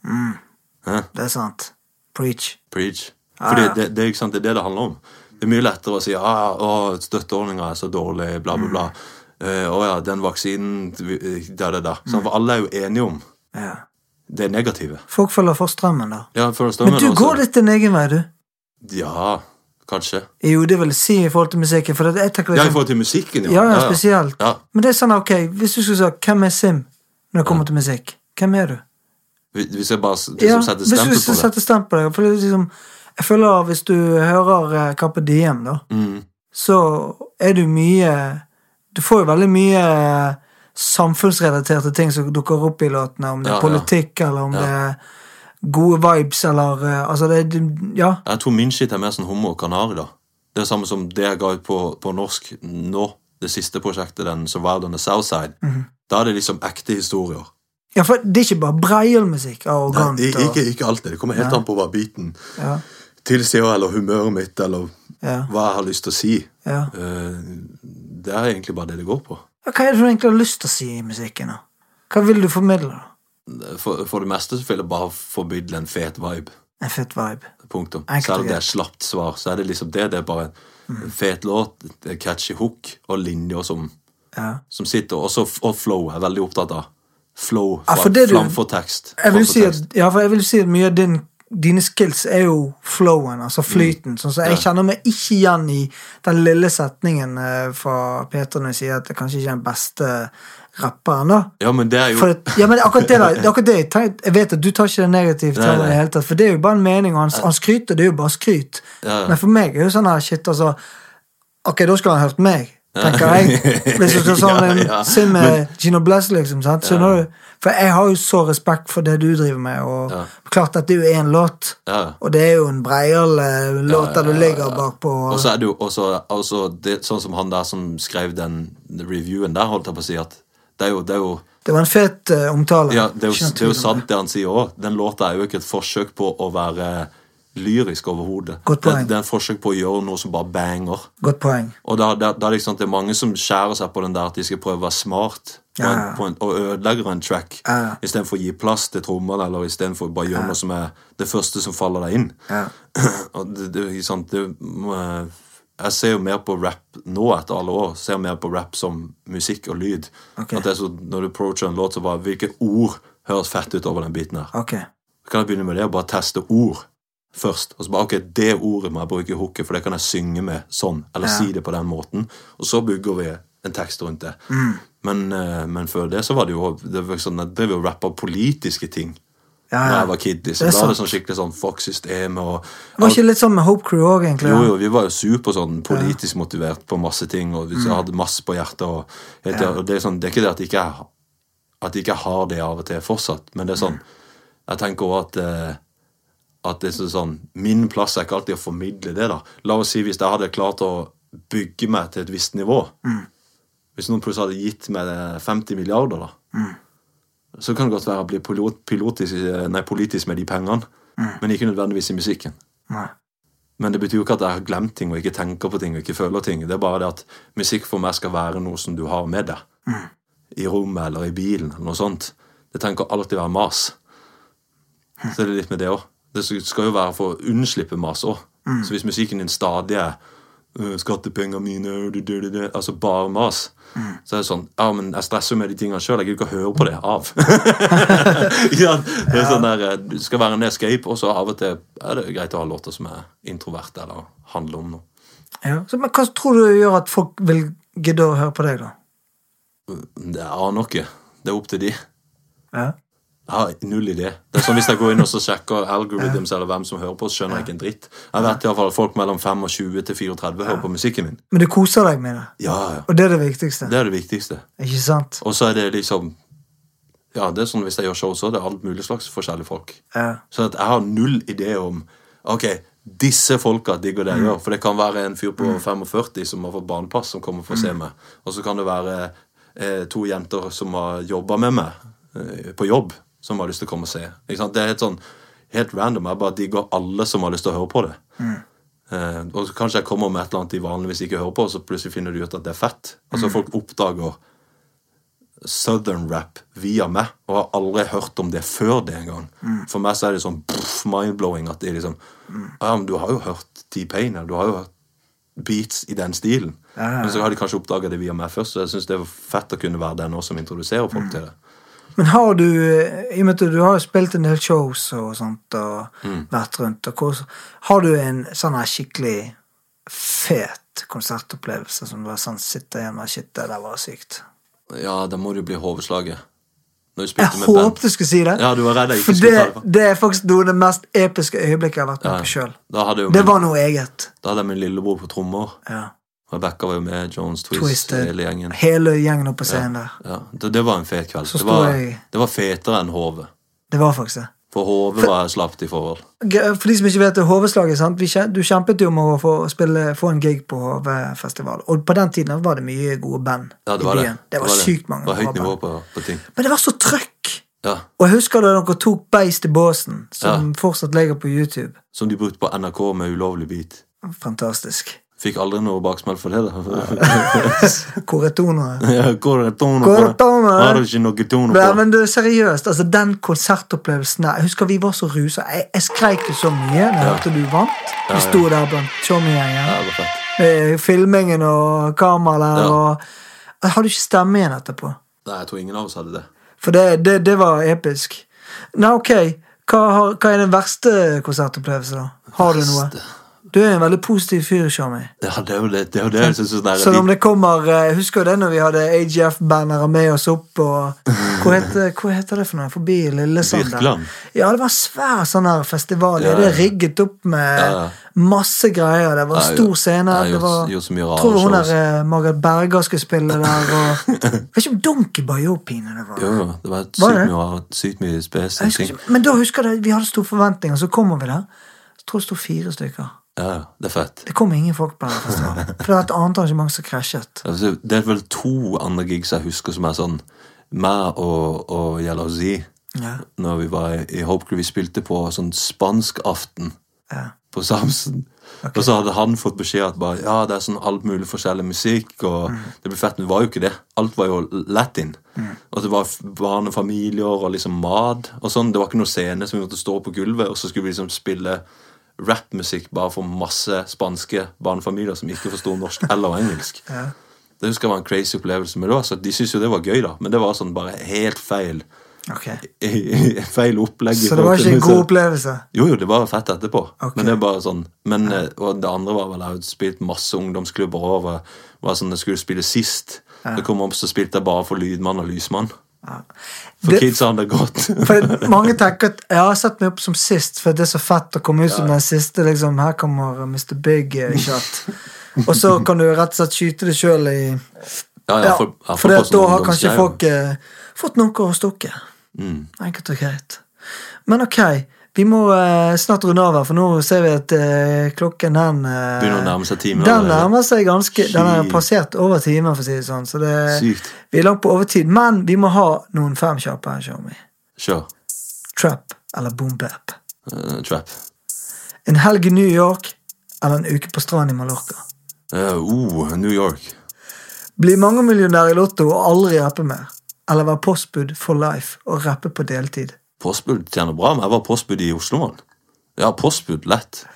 Speaker 5: Det er sant. Preach.
Speaker 2: Preach.
Speaker 5: Ah,
Speaker 2: Fordi det, det, er ikke sant, det er det det handler om. Det er mye lettere å si ah, å, støtteordninga er så dårlig, bla, bla, bla.
Speaker 5: Mm.
Speaker 2: Eh, å ja, den vaksinen vi- Da, da, da. Sånn, for alle er jo enige om
Speaker 5: Ja.
Speaker 2: det negative.
Speaker 5: Folk følger for strømmen, da.
Speaker 2: Ja, for å stemme
Speaker 5: Men du
Speaker 2: nå, så-
Speaker 5: går litt din egen vei, du.
Speaker 2: Ja, kanskje.
Speaker 5: Jo, det vil jeg si i forhold til musikken. For det, jeg tenker
Speaker 2: Ja, i
Speaker 5: liksom,
Speaker 2: forhold til musikken,
Speaker 5: ja, ja, spesielt.
Speaker 2: Ja.
Speaker 5: Men det er sånn, ok, hvis du skulle sagt 'Hvem er Sim?' når det kommer til musikk, hvem er du?
Speaker 2: Hvis hvis jeg bare s-
Speaker 5: Ja,
Speaker 2: liksom setter
Speaker 5: hvis du
Speaker 2: stempel
Speaker 5: skal
Speaker 2: på det.
Speaker 5: sette stempel på det. For det er liksom, jeg føler at hvis du hører eh, Carpe Diem, da,
Speaker 2: Mm.
Speaker 5: så er du mye Du får jo veldig mye eh, samfunnsrelaterte ting som dukker opp i låtene, om det
Speaker 2: Ja,
Speaker 5: er
Speaker 2: ja.
Speaker 5: politikk, eller om det er gode vibes, eller eh, Altså, det er Ja.
Speaker 2: Jeg tror min shit er mer sånn Hummer og Kanari, da. Det er det samme som det jeg ga ut på, på norsk nå, det siste prosjektet, den Survived on the Southside.
Speaker 5: Mhm.
Speaker 2: Da er det liksom ekte historier.
Speaker 5: ja for det er ikke bare breielmusikk. Arrogant.
Speaker 2: Nei,
Speaker 5: og-
Speaker 2: ikke, ikke alltid. Det kommer helt an på hva biten
Speaker 5: Ja.
Speaker 2: tilsier, eller humøret mitt, eller
Speaker 5: Ja.
Speaker 2: hva jeg har lyst til å si.
Speaker 5: Ja.
Speaker 2: Eh, det er egentlig bare det det går på.
Speaker 5: Ja, Hva er det du egentlig har lyst til å si i musikken? da? Hva vil du formidle? da?
Speaker 2: For, for det meste så vil jeg bare formidle en fet vibe.
Speaker 5: En fett vibe.
Speaker 2: Punktum.
Speaker 5: Enkelt og
Speaker 2: Selv om det
Speaker 5: greit.
Speaker 2: er slapt svar, så er det liksom det. Det er bare en
Speaker 5: Mm.
Speaker 2: fet låt, det er catchy hook og linjer som,
Speaker 5: Ja.
Speaker 2: som sitter. Også, f- og flow er jeg veldig opptatt av. Flow
Speaker 5: Ja,
Speaker 2: fra,
Speaker 5: for det du-
Speaker 2: framfor tekst.
Speaker 5: Jeg vil
Speaker 2: framfor
Speaker 5: si
Speaker 2: tekst.
Speaker 5: at, ja, for jeg vil si at mye av din, dine skills er jo flowen,
Speaker 2: Mm.
Speaker 5: altså flyten. Sånn, så jeg kjenner meg ikke igjen i den lille setningen eh, fra Peter når jeg sier at det kanskje ikke er den beste rapperen, da.
Speaker 2: Ja, men det er jo
Speaker 5: For at, ja, men akkurat det, da, det er akkurat det jeg, tenk- jeg vet at du tar ikke det negativt,
Speaker 2: Nei,
Speaker 5: til det
Speaker 2: nei.
Speaker 5: i det hele tatt, for det er jo bare en mening, og han, han skryter, det er jo bare skryt.
Speaker 2: Ja, ja.
Speaker 5: Men for meg er jo sånn her shit, altså Ok, da skulle han hørt meg, tenker jeg. Hvis du skal sånn
Speaker 2: Ja, ja.
Speaker 5: Sim med Gino Bless, liksom. sant? Skjønner du? For jeg har jo så respekt for det du driver med, og
Speaker 2: Ja.
Speaker 5: klart at det er jo én låt,
Speaker 2: ja.
Speaker 5: og det er jo en breial eh, låt der du ligger bakpå.
Speaker 2: Og så er det jo også, også det, sånn som han der som skrev den reviewen der, holdt jeg på å si, at det er jo, det er jo
Speaker 5: Det var en fet eh, omtale.
Speaker 2: Ja, det er jo,
Speaker 5: Ikke noe
Speaker 2: det er jo
Speaker 5: tvil om det.
Speaker 2: sant det han sier òg. Den låta er jo ikke et forsøk på å være lyrisk overhodet.
Speaker 5: Godt
Speaker 2: Det,
Speaker 5: poeng.
Speaker 2: det er en forsøk på å gjøre noe som bare banger.
Speaker 5: Godt poeng.
Speaker 2: Og da, da, da er det ikke sant, det er mange som skjærer seg på den der at de skal prøve å være smart på en,
Speaker 5: Ja.
Speaker 2: på en, og ødelegger en track
Speaker 5: Ja.
Speaker 2: istedenfor å gi plass til trommene, eller istedenfor bare gjøre noe som er det første som faller deg inn.
Speaker 5: Ja.
Speaker 2: Og det, det, er ikke sant, det, må- jeg ser jo mer på rap nå etter alle år ser jeg mer på rap som musikk og lyd.
Speaker 5: Ok.
Speaker 2: At det er så, Når du approacher en låt, så bare Hvilke ord høres fett ut over den biten her?
Speaker 5: Ok.
Speaker 2: Kan jeg begynne med det og bare teste ord først? Og så bare, ok, Det ordet må jeg bruke i hooket, for det kan jeg synge med sånn. Eller si det på den måten. Og så bygger vi en tekst rundt det.
Speaker 5: Mm.
Speaker 2: Men, eh, men før det så var det jo det var sånn, Jeg drev jo og rappa politiske ting
Speaker 5: Ja,
Speaker 2: da
Speaker 5: ja.
Speaker 2: jeg var kid.
Speaker 5: Det er
Speaker 2: Liksom. Da var det
Speaker 5: sant.
Speaker 2: sånn skikkelig sånn fuck systemet og
Speaker 5: Var ikke litt sånn med Hope Crew òg, egentlig?
Speaker 2: jo, jo, vi var jo super sånn politisk motivert på masse ting, og vi hadde masse på hjertet. Og, helt, og det, er sånn, det er ikke det at ikke jeg at ikke jeg har det av og til fortsatt, men det er sånn Jeg tenker òg at eh, at det er så- sånn Min plass er ikke alltid å formidle det, da. La oss si hvis jeg hadde klart å bygge meg til et eh, visst nivå Hvis noen plutselig hadde gitt meg 50 milliarder, da. Så kan det godt være å bli pilot, pilotisk, eh, nei, politisk med de pengene, men ikke nødvendigvis i musikken.
Speaker 5: Nei.
Speaker 2: Men det betyr jo ikke at jeg har glemt ting og ikke tenker på ting og ikke føler ting. Det er bare det at musikk for meg skal være noe som du har med deg. I rommet eller i bilen eller noe sånt. Det trenger ikke alltid være mas. Så det er litt med det òg. Det skal jo være for å unnslippe mas òg. Så hvis musikken din stadig er «Øh, 'Skattepengene mine øh, du, du, du, du», Altså bare mas. Så er det sånn Ja, men jeg stresser jo med de tingene sjøl. Jeg gidder ikke å høre på det av. ja, det er sånn der, eh, du skal være en escape, og så av og til er det greit å ha låter som er introverte eller handler om noe.
Speaker 5: Ja. Så, men hva tror du gjør at folk vil gidde å høre på deg, da?
Speaker 2: Det aner jeg ikke. Det er opp til de.
Speaker 5: Ja.
Speaker 2: Jeg har null idé. Det er sånn Hvis jeg går inn og så sjekker algorithms eller hvem som hører på, så skjønner jeg ikke en dritt. Jeg vet i hvert fall at folk mellom 25 til 34 hører på musikken min.
Speaker 5: Men du koser deg med det,
Speaker 2: Ja, ja.
Speaker 5: og det er det viktigste.
Speaker 2: Det er det viktigste.
Speaker 5: Ikke sant?
Speaker 2: Og så er det liksom Ja, det er sånn hvis jeg gjør show, så er det alt mulig slags forskjellige folk.
Speaker 5: Ja.
Speaker 2: Så at jeg har null idé om Ok, disse folka digger det jeg gjør. For det kan være en fyr på 45 som har fått barnepass, som kommer for å se meg. Og så kan det være eh, to jenter som har jobba med meg eh, på jobb, som har lyst til å komme og se. Ikke sant? Det er helt sånn helt random. Jeg bare digger alle som har lyst til å høre på det. Eh, og så kanskje jeg kommer med et eller annet de vanligvis ikke hører på, og så plutselig finner du ut at det er fett. Altså folk oppdager southern rap via meg, og har aldri hørt om det før det engang.
Speaker 5: Mm.
Speaker 2: For meg så er det sånn pff, mind-blowing at det er liksom Ja, men du har jo hørt T-Pain, eller du har jo hørt beats i den stilen. Men så har de kanskje oppdaga det via meg først, så jeg syns det er fett å kunne være den også som introduserer
Speaker 5: Mm.
Speaker 2: folk til det.
Speaker 5: Men har du eh, I og med at du har jo spilt en del shows og sånt, og
Speaker 2: Mm.
Speaker 5: vært rundt og kos, Har du en sånn her skikkelig fet konsertopplevelse som du bare sånn sitter igjen med Shit, det der var sykt.
Speaker 2: Ja, da må det jo bli hovedslaget. Når du
Speaker 5: Jeg
Speaker 2: spilte med
Speaker 5: håpet
Speaker 2: band.
Speaker 5: du skulle si det.
Speaker 2: Ja, du var redd jeg ikke
Speaker 5: for
Speaker 2: skulle
Speaker 5: det,
Speaker 2: ta det på.
Speaker 5: det er faktisk noe av det mest episke øyeblikket jeg har vært med
Speaker 2: Ja.
Speaker 5: på sjøl.
Speaker 2: Da hadde, jo
Speaker 5: Det
Speaker 2: min,
Speaker 5: var noe eget.
Speaker 2: da hadde jeg min lillebror på trommer.
Speaker 5: Ja.
Speaker 2: Rebekka var jo med, Jones Twist,
Speaker 5: Twisted.
Speaker 2: hele gjengen.
Speaker 5: Hele gjengen oppe på scenen der.
Speaker 2: Ja, det, det var en fet kveld.
Speaker 5: Så
Speaker 2: Det var,
Speaker 5: står jeg-
Speaker 2: det var fetere enn Hovet.
Speaker 5: Det var faktisk det.
Speaker 2: For hodet var jeg slapt i forhold.
Speaker 5: G- For de som ikke vet det, Hoveslaget, sant? Vi kjem- du kjempet jo om å få, spille, få en gig på HV-festival. Og på den tiden var det mye gode band.
Speaker 2: Ja, det
Speaker 5: i
Speaker 2: var det.
Speaker 5: byen. det var sykt mange
Speaker 2: Det var
Speaker 5: bra
Speaker 2: høyt nivå
Speaker 5: band.
Speaker 2: på, på ting.
Speaker 5: Men det var så trøkk!
Speaker 2: Ja,
Speaker 5: Og jeg husker da dere tok Beist i båsen, som fortsatt ligger på YouTube.
Speaker 2: Som de brukte på NRK med ulovlig beat.
Speaker 5: Fantastisk.
Speaker 2: Fikk aldri noe baksmell for det, da.
Speaker 5: Koretoner.
Speaker 2: Ja, Går det toner på
Speaker 5: Går
Speaker 2: det?
Speaker 5: det toner?
Speaker 2: Har du ikke noe toner
Speaker 5: Nei,
Speaker 2: på det?
Speaker 5: men du, seriøst, altså den konsertopplevelsen der Jeg husker vi var så rusa. Jeg, jeg skreik jo så mye da jeg hørte du vant. Vi sto der blant showmegjengen.
Speaker 2: Ja, det var fett.
Speaker 5: med Eh, filmingen og kamera der.
Speaker 2: Ja.
Speaker 5: Og jeg hadde ikke stemme igjen etterpå.
Speaker 2: Nei, jeg tror ingen av oss hadde det.
Speaker 5: For det, det, det var episk. Nei, ok. Hva, har, hva er den verste konsertopplevelsen, da? Har du noe? Du er en veldig positiv fyr, Shami.
Speaker 2: Ja, det er jo det. det, er jo det. Jeg synes det er
Speaker 5: Selv om
Speaker 2: litt-
Speaker 5: det kommer eh, Jeg husker jo det når vi hadde AGF-bannere med oss opp og Hva heter, hva heter det for noe? Forbi Lillesand? der.
Speaker 2: Birkeland.
Speaker 5: Ja, det var en svær sånn her festival.
Speaker 2: Ja, ja.
Speaker 5: Det er rigget opp med
Speaker 2: Ja, ja.
Speaker 5: masse greier. Det var
Speaker 2: Ja,
Speaker 5: stor
Speaker 2: ja.
Speaker 5: scene.
Speaker 2: Ja,
Speaker 5: det
Speaker 2: gjort-
Speaker 5: var,
Speaker 2: gjort så mye rare
Speaker 5: tror hun
Speaker 2: shows.
Speaker 5: der eh, Margaret Berger skulle spille der, og Jeg vet ikke om Donkey Boy og Pine det var.
Speaker 2: Jo, jo. Det var sykt
Speaker 5: Var det?
Speaker 2: mye, rart, sykt mye spes.
Speaker 5: Jeg husker
Speaker 2: ting.
Speaker 5: ikke, men da husker jeg det, vi hadde store forventninger, så kommer vi der. Jeg tror det sto fire stykker.
Speaker 2: Ja, ja. Det er fett.
Speaker 5: Det kom ingen folk på den festivalen. For det var et annet arrangement som krasjet.
Speaker 2: Altså, Det er vel to andre gigs jeg husker som er sånn Meg og, og Jalousi
Speaker 5: Ja.
Speaker 2: Når vi var i- i Hope Crew Vi spilte på sånn spansk aften
Speaker 5: Ja.
Speaker 2: På Samsen Og så hadde han fått beskjed at bare, Ja, det er sånn alt mulig forskjellig musikk Og
Speaker 5: Mm.
Speaker 2: det ble fett, men det var jo ikke det Alt var jo latin Og det var f- barnefamilier og liksom mat Og sånn, det var ikke noe scene som vi måtte stå på gulvet Og så skulle vi liksom spille Rapmusikk bare for masse spanske Barnefamilier som ikke forstod norsk eller engelsk det husker jeg var en crazy opplevelse. Men det var så, De syntes jo det var gøy, da. Men det var sånn bare helt feil
Speaker 5: Ok.
Speaker 2: Feil opplegg. i
Speaker 5: Så det var
Speaker 2: forhold
Speaker 5: ikke
Speaker 2: til
Speaker 5: en god
Speaker 2: musikk.
Speaker 5: opplevelse?
Speaker 2: Jo, jo, det var fett etterpå.
Speaker 5: Ok.
Speaker 2: Men det er bare sånn Men eh, og det andre var vel Jeg hadde spilt masse ungdomsklubber over. Var sånn jeg skulle spille sist. Det kom opp, så spilte jeg bare for lydmann og lysmann. For
Speaker 5: Det-
Speaker 2: kidsa hadde det godt.
Speaker 5: For mange tenker at jeg har sett meg opp som sist, for det er så fett å komme ut som den siste. liksom, Her kommer Mr. Big eh, Shot. Og så kan du rett og slett skyte det sjøl i
Speaker 2: Ja,
Speaker 5: Ja,
Speaker 2: jeg får- jeg får
Speaker 5: For det
Speaker 2: på
Speaker 5: at da
Speaker 2: sånn
Speaker 5: har kanskje
Speaker 2: ungdomsgreier. Mm,
Speaker 5: folk eh, fått noe å stukke. Enkelt og greit. Men ok, Vi må eh, snart runde av her, for nå ser vi at eh, klokken den eh,
Speaker 2: Begynner å nærme seg timen
Speaker 5: Den
Speaker 2: allerede.
Speaker 5: nærmer seg ganske Den er
Speaker 2: Shit.
Speaker 5: passert over timen, for å si det sånn. Så det,
Speaker 2: Sykt.
Speaker 5: vi er langt på overtid. Men vi må ha noen fem kjappe her, Xiaomi.
Speaker 2: Kjør.
Speaker 5: Trap eller boom-bap.
Speaker 2: Eh, trap.
Speaker 5: En helg i New York eller en uke på stranden i Mallorca.
Speaker 2: Eh, oh, New York.
Speaker 5: Bli mangemillionær i Lotto og aldri rappe mer. Eller være postbud for life og rappe på deltid.
Speaker 2: Postbud tjener bra, men jeg var postbud i Oslo, mann. Ja, postbud. Lett.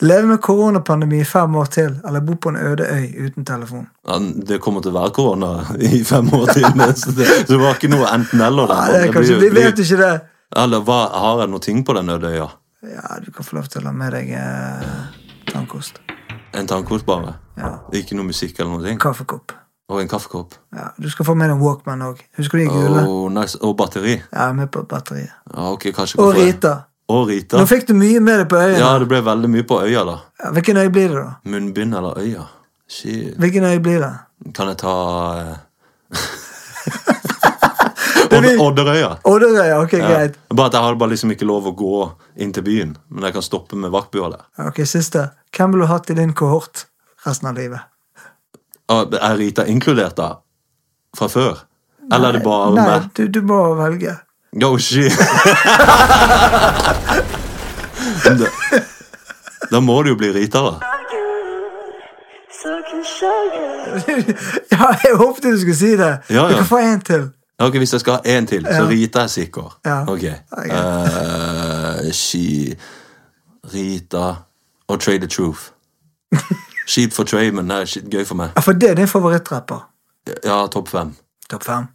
Speaker 5: Leve med koronapandemi i fem år til, eller bo på en øde øy uten telefon.
Speaker 2: Ja, det kommer til å være korona i fem år til. Så det, så det var ikke noe enten-eller.
Speaker 5: Nei, det er kanskje, vi vet ikke det.
Speaker 2: Eller hva, har jeg noe ting på den øde øya?
Speaker 5: Ja, du kan få lov til å ha med deg eh, tannkost.
Speaker 2: En tannkort bare?
Speaker 5: Ja.
Speaker 2: Ikke noe musikk eller noe ting?
Speaker 5: Kaffekopp.
Speaker 2: Og en kaffekopp?
Speaker 5: Ja, du skal få med deg en Walkman òg. Husker du de gule?
Speaker 2: Og, nice. og batteri?
Speaker 5: Ja, med på batteriet.
Speaker 2: Ja, ok, kanskje
Speaker 5: Og
Speaker 2: hvorfor det?
Speaker 5: Rita.
Speaker 2: Og
Speaker 5: Nå
Speaker 2: Rita.
Speaker 5: fikk du mye med deg på
Speaker 2: Ja,
Speaker 5: øyet.
Speaker 2: det ble veldig mye på øya, da.
Speaker 5: Ja, Hvilken øy blir det, da?
Speaker 2: Munnbind eller øya? Shit.
Speaker 5: Hvilken øy blir det?
Speaker 2: Kan jeg ta eh,
Speaker 5: Det vil-
Speaker 2: Odd- Odderøya?
Speaker 5: Odderøya. Ok,
Speaker 2: Ja.
Speaker 5: greit.
Speaker 2: Bare at jeg hadde bare liksom ikke lov å gå inn til byen. Men jeg kan stoppe med vaktbua der.
Speaker 5: Ok, Siste. Hvem ville du hatt i din kohort resten av livet?
Speaker 2: Og Er Rita inkludert, da? Fra før? Eller er det bare
Speaker 5: Nei,
Speaker 2: meg?
Speaker 5: du, du må velge.
Speaker 2: Yo, shit! Men da, da må det jo bli Rita, da.
Speaker 5: ja, jeg håpet du skulle si det.
Speaker 2: Ja,
Speaker 5: Du
Speaker 2: ja.
Speaker 5: kan få en til.
Speaker 2: Ja, Ok, Hvis jeg skal ha én til, så Rita er sikker.
Speaker 5: Ja.
Speaker 2: Ok.
Speaker 5: Ok.
Speaker 2: Eh, she Rita og Trade the Truth. Kjipt for Trade, men det er shit gøy for meg.
Speaker 5: Ja, For det er din favorittrapper.
Speaker 2: Ja, topp fem.
Speaker 5: Topp fem.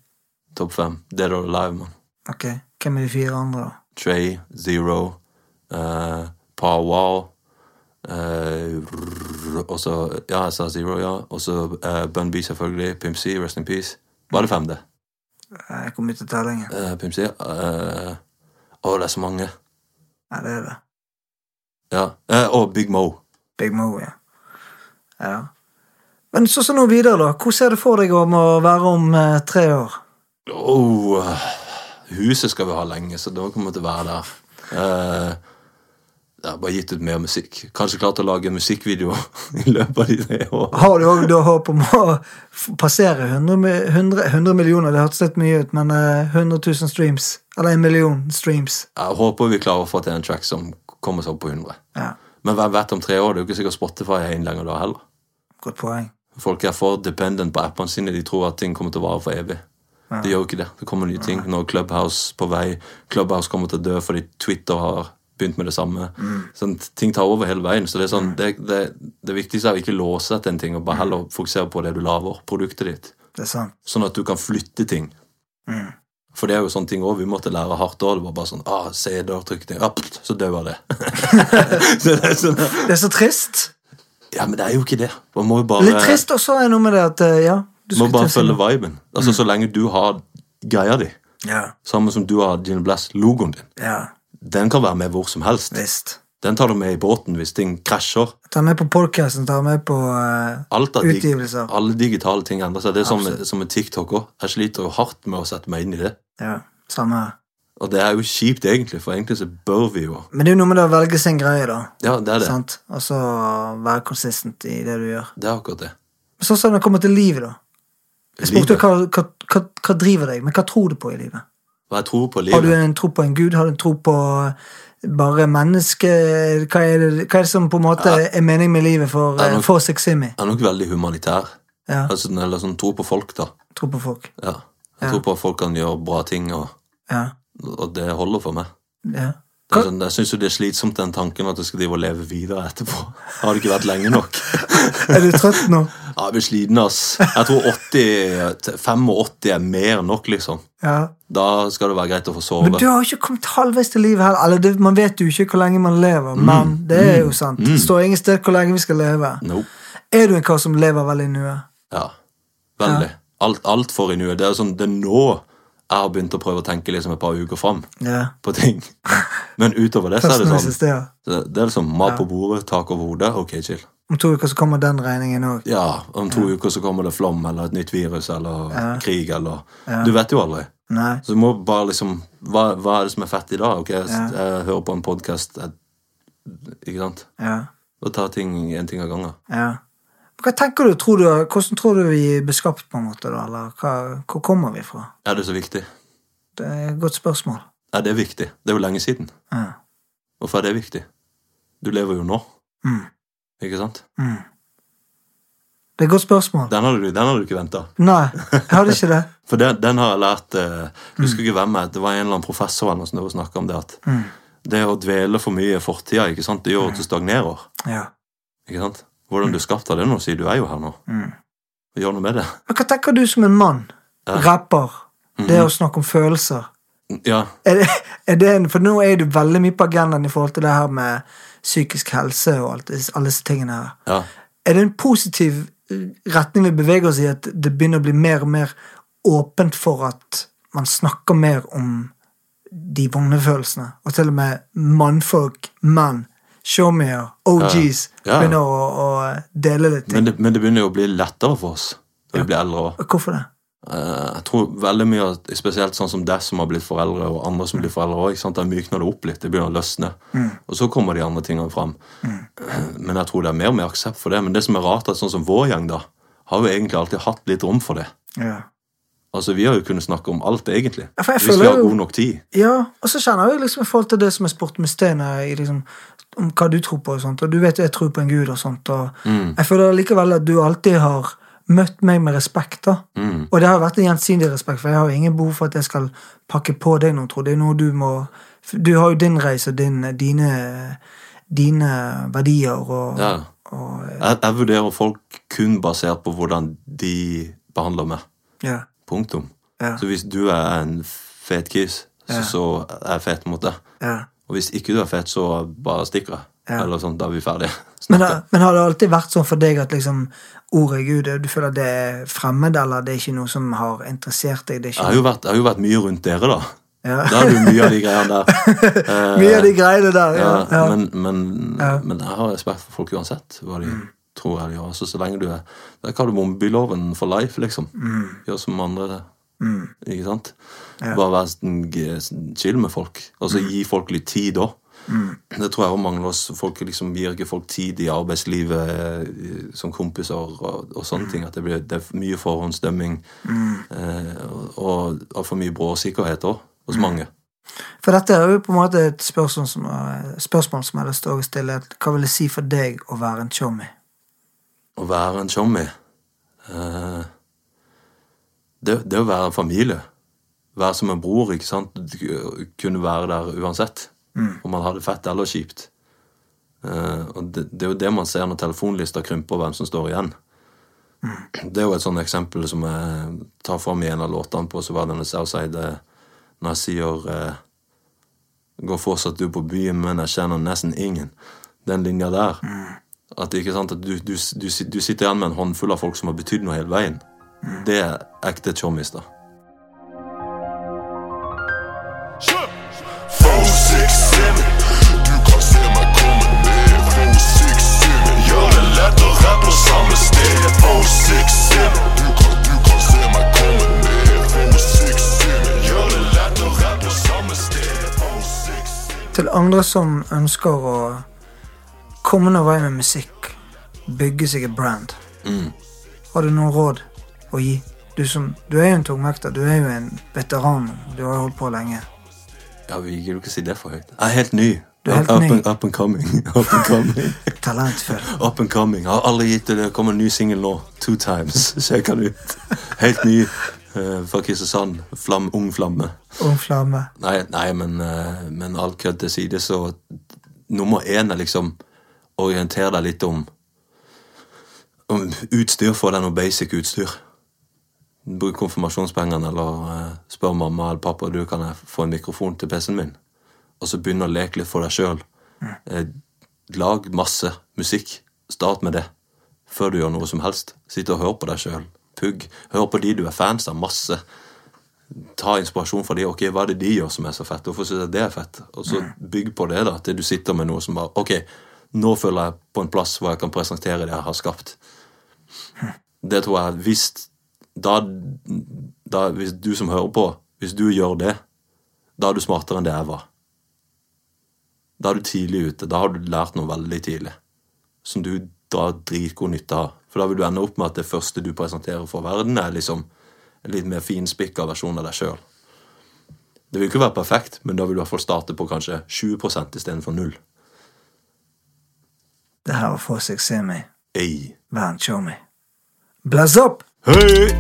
Speaker 2: Topp fem. Dead or Alive, mann.
Speaker 5: Ok, Hvem er de fire andre, da?
Speaker 2: Trey, Zero, uh, Pow Wow eh, rrr, Og så Ja, jeg sa Zero, ja. Og så uh, Bun B, selvfølgelig. Pimp C, Rest in Peace. Var det fem, det?
Speaker 5: Jeg kom ut av tellingen.
Speaker 2: Eh, Pimp C eh, Å, det er så mange.
Speaker 5: Ja, det er det.
Speaker 2: Ja. Eh, og Big Mo.
Speaker 5: Big Mo, ja. ja. Men så så nå videre, da. Hvor ser du for deg om å være om eh, tre år?
Speaker 2: Oh, eh, huset skal vi ha lenge, så da kommer vi til å være der. Eh, jeg har bare gitt ut mer musikk. Kanskje klart å lage en musikkvideo i løpet av de tre årene.
Speaker 5: Har du òg da håp om å f- passere 100, mi- 100, 100 millioner? Det hørtes litt mye ut, men eh, 100 000 streams. Eller en million streams.
Speaker 2: Jeg håper vi klarer å få til en track som kommer seg opp på 100.
Speaker 5: Ja,
Speaker 2: Men hvem vet om tre år? Det er jo ikke sikkert Spotify er inn lenger da heller.
Speaker 5: Godt poeng.
Speaker 2: Folk er for dependent på appene sine. De tror at ting kommer til å vare for evig. Det gjør jo ikke det. Det kommer nye ting. Nå er Clubhouse på vei. Clubhouse kommer til å dø fordi Twitter har begynt med det samme. Sånn, ting tar over hele veien. Så det, er sånn, det, det, det viktigste er å ikke låse etter en ting, og bare heller fokusere på det du lager, produktet ditt.
Speaker 5: Det er sant.
Speaker 2: Sånn at du kan flytte ting. For det er jo sånne ting også, Vi måtte lære hardt òg. Det var bare sånn ah, CD-er, trykk ting, ah, pst, så dauer det. så det er sånn,
Speaker 5: Det er så trist.
Speaker 2: ja, men det er jo ikke det. Man må jo bare,
Speaker 5: Litt trist, og så er det noe med det at eh, Ja. Du
Speaker 2: må
Speaker 5: skulle
Speaker 2: bare
Speaker 5: til å si
Speaker 2: følge
Speaker 5: noe.
Speaker 2: viben. Altså, Så lenge du har greia di,
Speaker 5: Ja,
Speaker 2: samme som du har Gin Blast, logoen din,
Speaker 5: ja,
Speaker 2: den kan være med hvor som helst.
Speaker 5: visst.
Speaker 2: Den tar du med i båten hvis ting krasjer.
Speaker 5: Ta med på podkasten, ta med på eh,
Speaker 2: Alt av dig-
Speaker 5: utgivelser.
Speaker 2: alle digitale ting endrer seg. Det er som, som med TikTok òg. Jeg sliter jo hardt med å sette meg inn i det.
Speaker 5: Ja, samme her.
Speaker 2: Og det er jo kjipt, egentlig, for egentlig så bør vi jo
Speaker 5: Men det er jo noe med det å velge sin greie, da.
Speaker 2: Ja, det er det.
Speaker 5: Sant? Og så være konsistent i det du gjør.
Speaker 2: Det er akkurat det.
Speaker 5: Sånn som det kommer til livet, da. Jeg spurte
Speaker 2: Livet.
Speaker 5: hva, hva, hva, hva driver deg, men hva tror du på i livet?
Speaker 2: Hva jeg tror på
Speaker 5: Har du
Speaker 2: livet.
Speaker 5: en tro på en gud? Har du en tro på bare menneske? Hva er det, hva er det som på en måte er mening med livet for,
Speaker 2: Ja,
Speaker 5: eh,
Speaker 2: nå-
Speaker 5: for Seximi?
Speaker 2: Jeg er nok veldig humanitær.
Speaker 5: Ja,
Speaker 2: Altså, eller sånn tro på folk, da.
Speaker 5: tro på folk.
Speaker 2: Ja. Jeg tror på at folk kan gjøre bra ting, og,
Speaker 5: Ja.
Speaker 2: og det holder for meg.
Speaker 5: ja.
Speaker 2: Det er sånn, jeg syns jo det er slitsomt, den tanken at jeg skal drive og leve videre etterpå. Har det ikke vært lenge nok?
Speaker 5: Er du trøtt nå?
Speaker 2: Ja, jeg blir sliten, ass. Jeg tror 80, 85 er mer enn nok, liksom.
Speaker 5: Ja.
Speaker 2: Da skal det være greit å få sove.
Speaker 5: Men du har jo ikke kommet halvveis til livet heller. Eller det, man vet jo ikke hvor lenge man lever,
Speaker 2: Mm.
Speaker 5: men det er jo sant. Det står ingen sted hvor lenge vi skal leve.
Speaker 2: Nope.
Speaker 5: Er du en kar som lever veldig nå?
Speaker 2: Ja. Veldig. Alt, alt for i nuet. Det er jo sånn, det er nå jeg har begynt å prøve å tenke liksom et par uker fram
Speaker 5: Ja.
Speaker 2: på ting. Men utover det så er
Speaker 5: Først
Speaker 2: det
Speaker 5: nå
Speaker 2: sånn
Speaker 5: siste, ja.
Speaker 2: Det er liksom mat på bordet, tak over hodet. Ok, chill.
Speaker 5: Om to uker så kommer den regningen òg.
Speaker 2: Ja, om to uker så kommer det flom eller et nytt virus eller krig eller Du vet jo aldri.
Speaker 5: Nei.
Speaker 2: Så du må bare liksom Hva, hva er det som er fett i dag? Ok, jeg,
Speaker 5: Ja.
Speaker 2: jeg hører på en podkast Ikke sant?
Speaker 5: Ja.
Speaker 2: Og ta ting en ting av gangen.
Speaker 5: ja. Hva tenker du, tror du, Hvordan tror du vi er beskapt, på en måte? da? Eller hva, hvor kommer vi fra?
Speaker 2: Er det så viktig?
Speaker 5: Det er et godt spørsmål.
Speaker 2: Er det viktig? Det er jo lenge siden.
Speaker 5: Ja.
Speaker 2: Hvorfor er det viktig? Du lever jo nå,
Speaker 5: Mm.
Speaker 2: ikke sant?
Speaker 5: Mm. Det er et godt spørsmål.
Speaker 2: Den hadde du, den hadde du ikke venta.
Speaker 5: Nei, jeg hadde ikke det.
Speaker 2: For den, den har jeg lært eh, Jeg husker ikke hvem jeg Det var en eller annen professor eller noe som snakka om det at
Speaker 5: Mm.
Speaker 2: det å dvele for mye i fortida, ikke sant, det gjør at du stagnerer.
Speaker 5: Ja.
Speaker 2: Ikke sant? Hvordan du er skapt av det nå, sier du er jo her nå.
Speaker 5: Mm.
Speaker 2: Gjør noe med det.
Speaker 5: Men hva tenker du som en mann?
Speaker 2: Ja.
Speaker 5: Rapper. Det
Speaker 2: Mhm.
Speaker 5: å snakke om følelser.
Speaker 2: Ja.
Speaker 5: Er det, er det en, for nå er du veldig mye på agendaen i forhold til det her med psykisk helse og alt, dis- alle disse tingene her.
Speaker 2: ja.
Speaker 5: Er det en positiv eh, retning vi beveger oss i, at det begynner å bli mer og mer åpent for at man snakker mer om de vonde følelsene? Og til og med mannfolk, menn, showmeer, OGs
Speaker 2: Ja. Ja.
Speaker 5: begynner å, å dele litt ting.
Speaker 2: Men, det, men det begynner jo å bli lettere for oss når vi blir eldre òg.
Speaker 5: Hvorfor det?
Speaker 2: Jeg tror veldig mye, at- spesielt sånn som deg som har blitt foreldre, og andre
Speaker 5: Mm.
Speaker 2: som blir foreldre òg, da mykner det opp litt. Det begynner å løsne. Og så kommer de andre tingene fram.
Speaker 5: Mm.
Speaker 2: Men jeg tror det er mer og mer aksept for det. Men det som er rart, er at sånn som vår gjeng, da, har jo egentlig alltid hatt litt rom for det.
Speaker 5: Ja.
Speaker 2: Altså, Vi har jo kunnet snakke om alt, egentlig.
Speaker 5: Ja, for jeg
Speaker 2: Hvis vi
Speaker 5: føler
Speaker 2: har
Speaker 5: jo-
Speaker 2: god nok tid.
Speaker 5: Ja, og så kjenner jeg jo liksom i forhold til det som er sport med stener, i liksom, om hva du tror på og sånt, og du vet jo jeg tror på en gud og sånt, og jeg føler likevel at du alltid har møtt meg med respekt da, og det har vært en gjensidig respekt, for jeg har jo ingen behov for at jeg skal pakke på deg noe, tror jeg. det er noe du må, du har jo din reise og din, dine, dine verdier og,
Speaker 2: Ja.
Speaker 5: og
Speaker 2: Jeg, jeg vurderer folk kun basert på hvordan de behandler meg.
Speaker 5: ja,
Speaker 2: Punktum.
Speaker 5: Ja.
Speaker 2: Så hvis du er en fet kis, så, så er jeg fet mot deg.
Speaker 5: ja.
Speaker 2: Og hvis ikke du er fet, så bare stikker jeg. Eller sånn, da er vi ferdige.
Speaker 5: Men,
Speaker 2: Snakker.
Speaker 5: har- men har det alltid vært sånn for deg at liksom, ordet Gud Du føler det er fremmed, eller det er ikke noe som har interessert deg? Det er
Speaker 2: Jeg har,
Speaker 5: ikke
Speaker 2: jo vært, jeg har jo vært mye rundt dere, da.
Speaker 5: Ja.
Speaker 2: Da er det jo mye av de greiene der. Eh,
Speaker 5: Mye av de greiene der. Ja,
Speaker 2: ja,
Speaker 5: ja.
Speaker 2: Eh, Men, men, men jeg har respekt for folk uansett hva de tror er de gjør. Altså, så lenge du er Det er kardemommebyloven for life, liksom.
Speaker 5: Mm.
Speaker 2: Gjør som andre. Ikke sant? Bare være sånn g- sånn chill med folk. Altså
Speaker 5: Mm.
Speaker 2: gi folk litt tid òg. Det tror jeg også mangler oss. Folk liksom gir ikke folk tid i arbeidslivet eh, som kompiser og, og
Speaker 5: Mm.
Speaker 2: sånne ting. At det, blir, det er mye forhåndsdømming eh, og, og for mye bråsikkerhet òg
Speaker 5: Mm.
Speaker 2: hos mange.
Speaker 5: For dette er jo på en måte et spørsmål som, er- spørsmål som jeg har lyst til å stille. at Hva vil det si for deg å være en chommy?
Speaker 2: Å være en chommy eh, det, det å være en familie. Være som en bror, ikke sant. Du k- Kunne være der uansett. Om man har det fett eller kjipt. Eh, og det, det er jo det man ser når telefonlista krymper, hvem som står igjen. Det er jo et sånt eksempel som jeg tar fram i en av låtene på så var denne Southside eh, Når jeg sier eh, Går fortsatt du på byen, men jeg kjenner nesten ingen. Den linja der. At, ikke sant, at du, du, du, sit- du sitter igjen med en håndfull av folk som har betydd noe hele veien. Det er ekte chommis, da.
Speaker 5: Til andre som ønsker å komme noen vei med musikk, bygge seg et brand,
Speaker 2: Mm.
Speaker 5: har du noen råd å gi? Du, som, du er jo en tungvekter, du er jo en veteran, du har holdt på lenge.
Speaker 2: Ja, Vi gidder jo ikke si det for høyt. Jeg er helt ny.
Speaker 5: Du er helt
Speaker 2: up,
Speaker 5: ny.
Speaker 2: And, up and coming. Up and coming.
Speaker 5: Talentfull.
Speaker 2: up and coming. Jeg har aldri gitt det. Det kommer en ny singel nå. Two times. Sjekk den ut. Helt ny eh, fra Kristiansand. Flam, ung flamme.
Speaker 5: Ung flamme.
Speaker 2: Nei, nei men, eh, men alt kødd til side, så nummer én er liksom Orienter deg litt om, om utstyr. Få deg noe basic utstyr. Bruk konfirmasjonspengene, eller eh, spør mamma eller pappa du kan jeg få en mikrofon til PC-en min. Og så begynn å leke litt for deg sjøl. Eh, lag masse musikk. Start med det før du gjør noe som helst. Sitt og hør på deg sjøl. Pugg. Hør på de du er fans av. Masse ta inspirasjon fra de, ok, hva er det de gjør som er så fett, hvorfor synes jeg det er fett, og så bygg på det da, til du sitter med noe som bare, ok, nå føler jeg på en plass hvor jeg kan presentere det jeg har skapt. Det tror jeg, hvis da, da hvis du som hører på, Hvis du gjør det, da er du smartere enn det jeg var. Da er du tidlig ute. Da har du lært noe veldig tidlig som du drar dritgod nytte av. For da vil du ende opp med at det første du presenterer for verden, er liksom en litt mer finspikka versjon av deg sjøl. Det vil ikke være perfekt, men da vil du i hvert fall starte på kanskje 20 istedenfor null.
Speaker 5: Det her var Forsøk se meg.
Speaker 2: Ei.
Speaker 5: Vern show meg. Blass opp!
Speaker 2: Hei!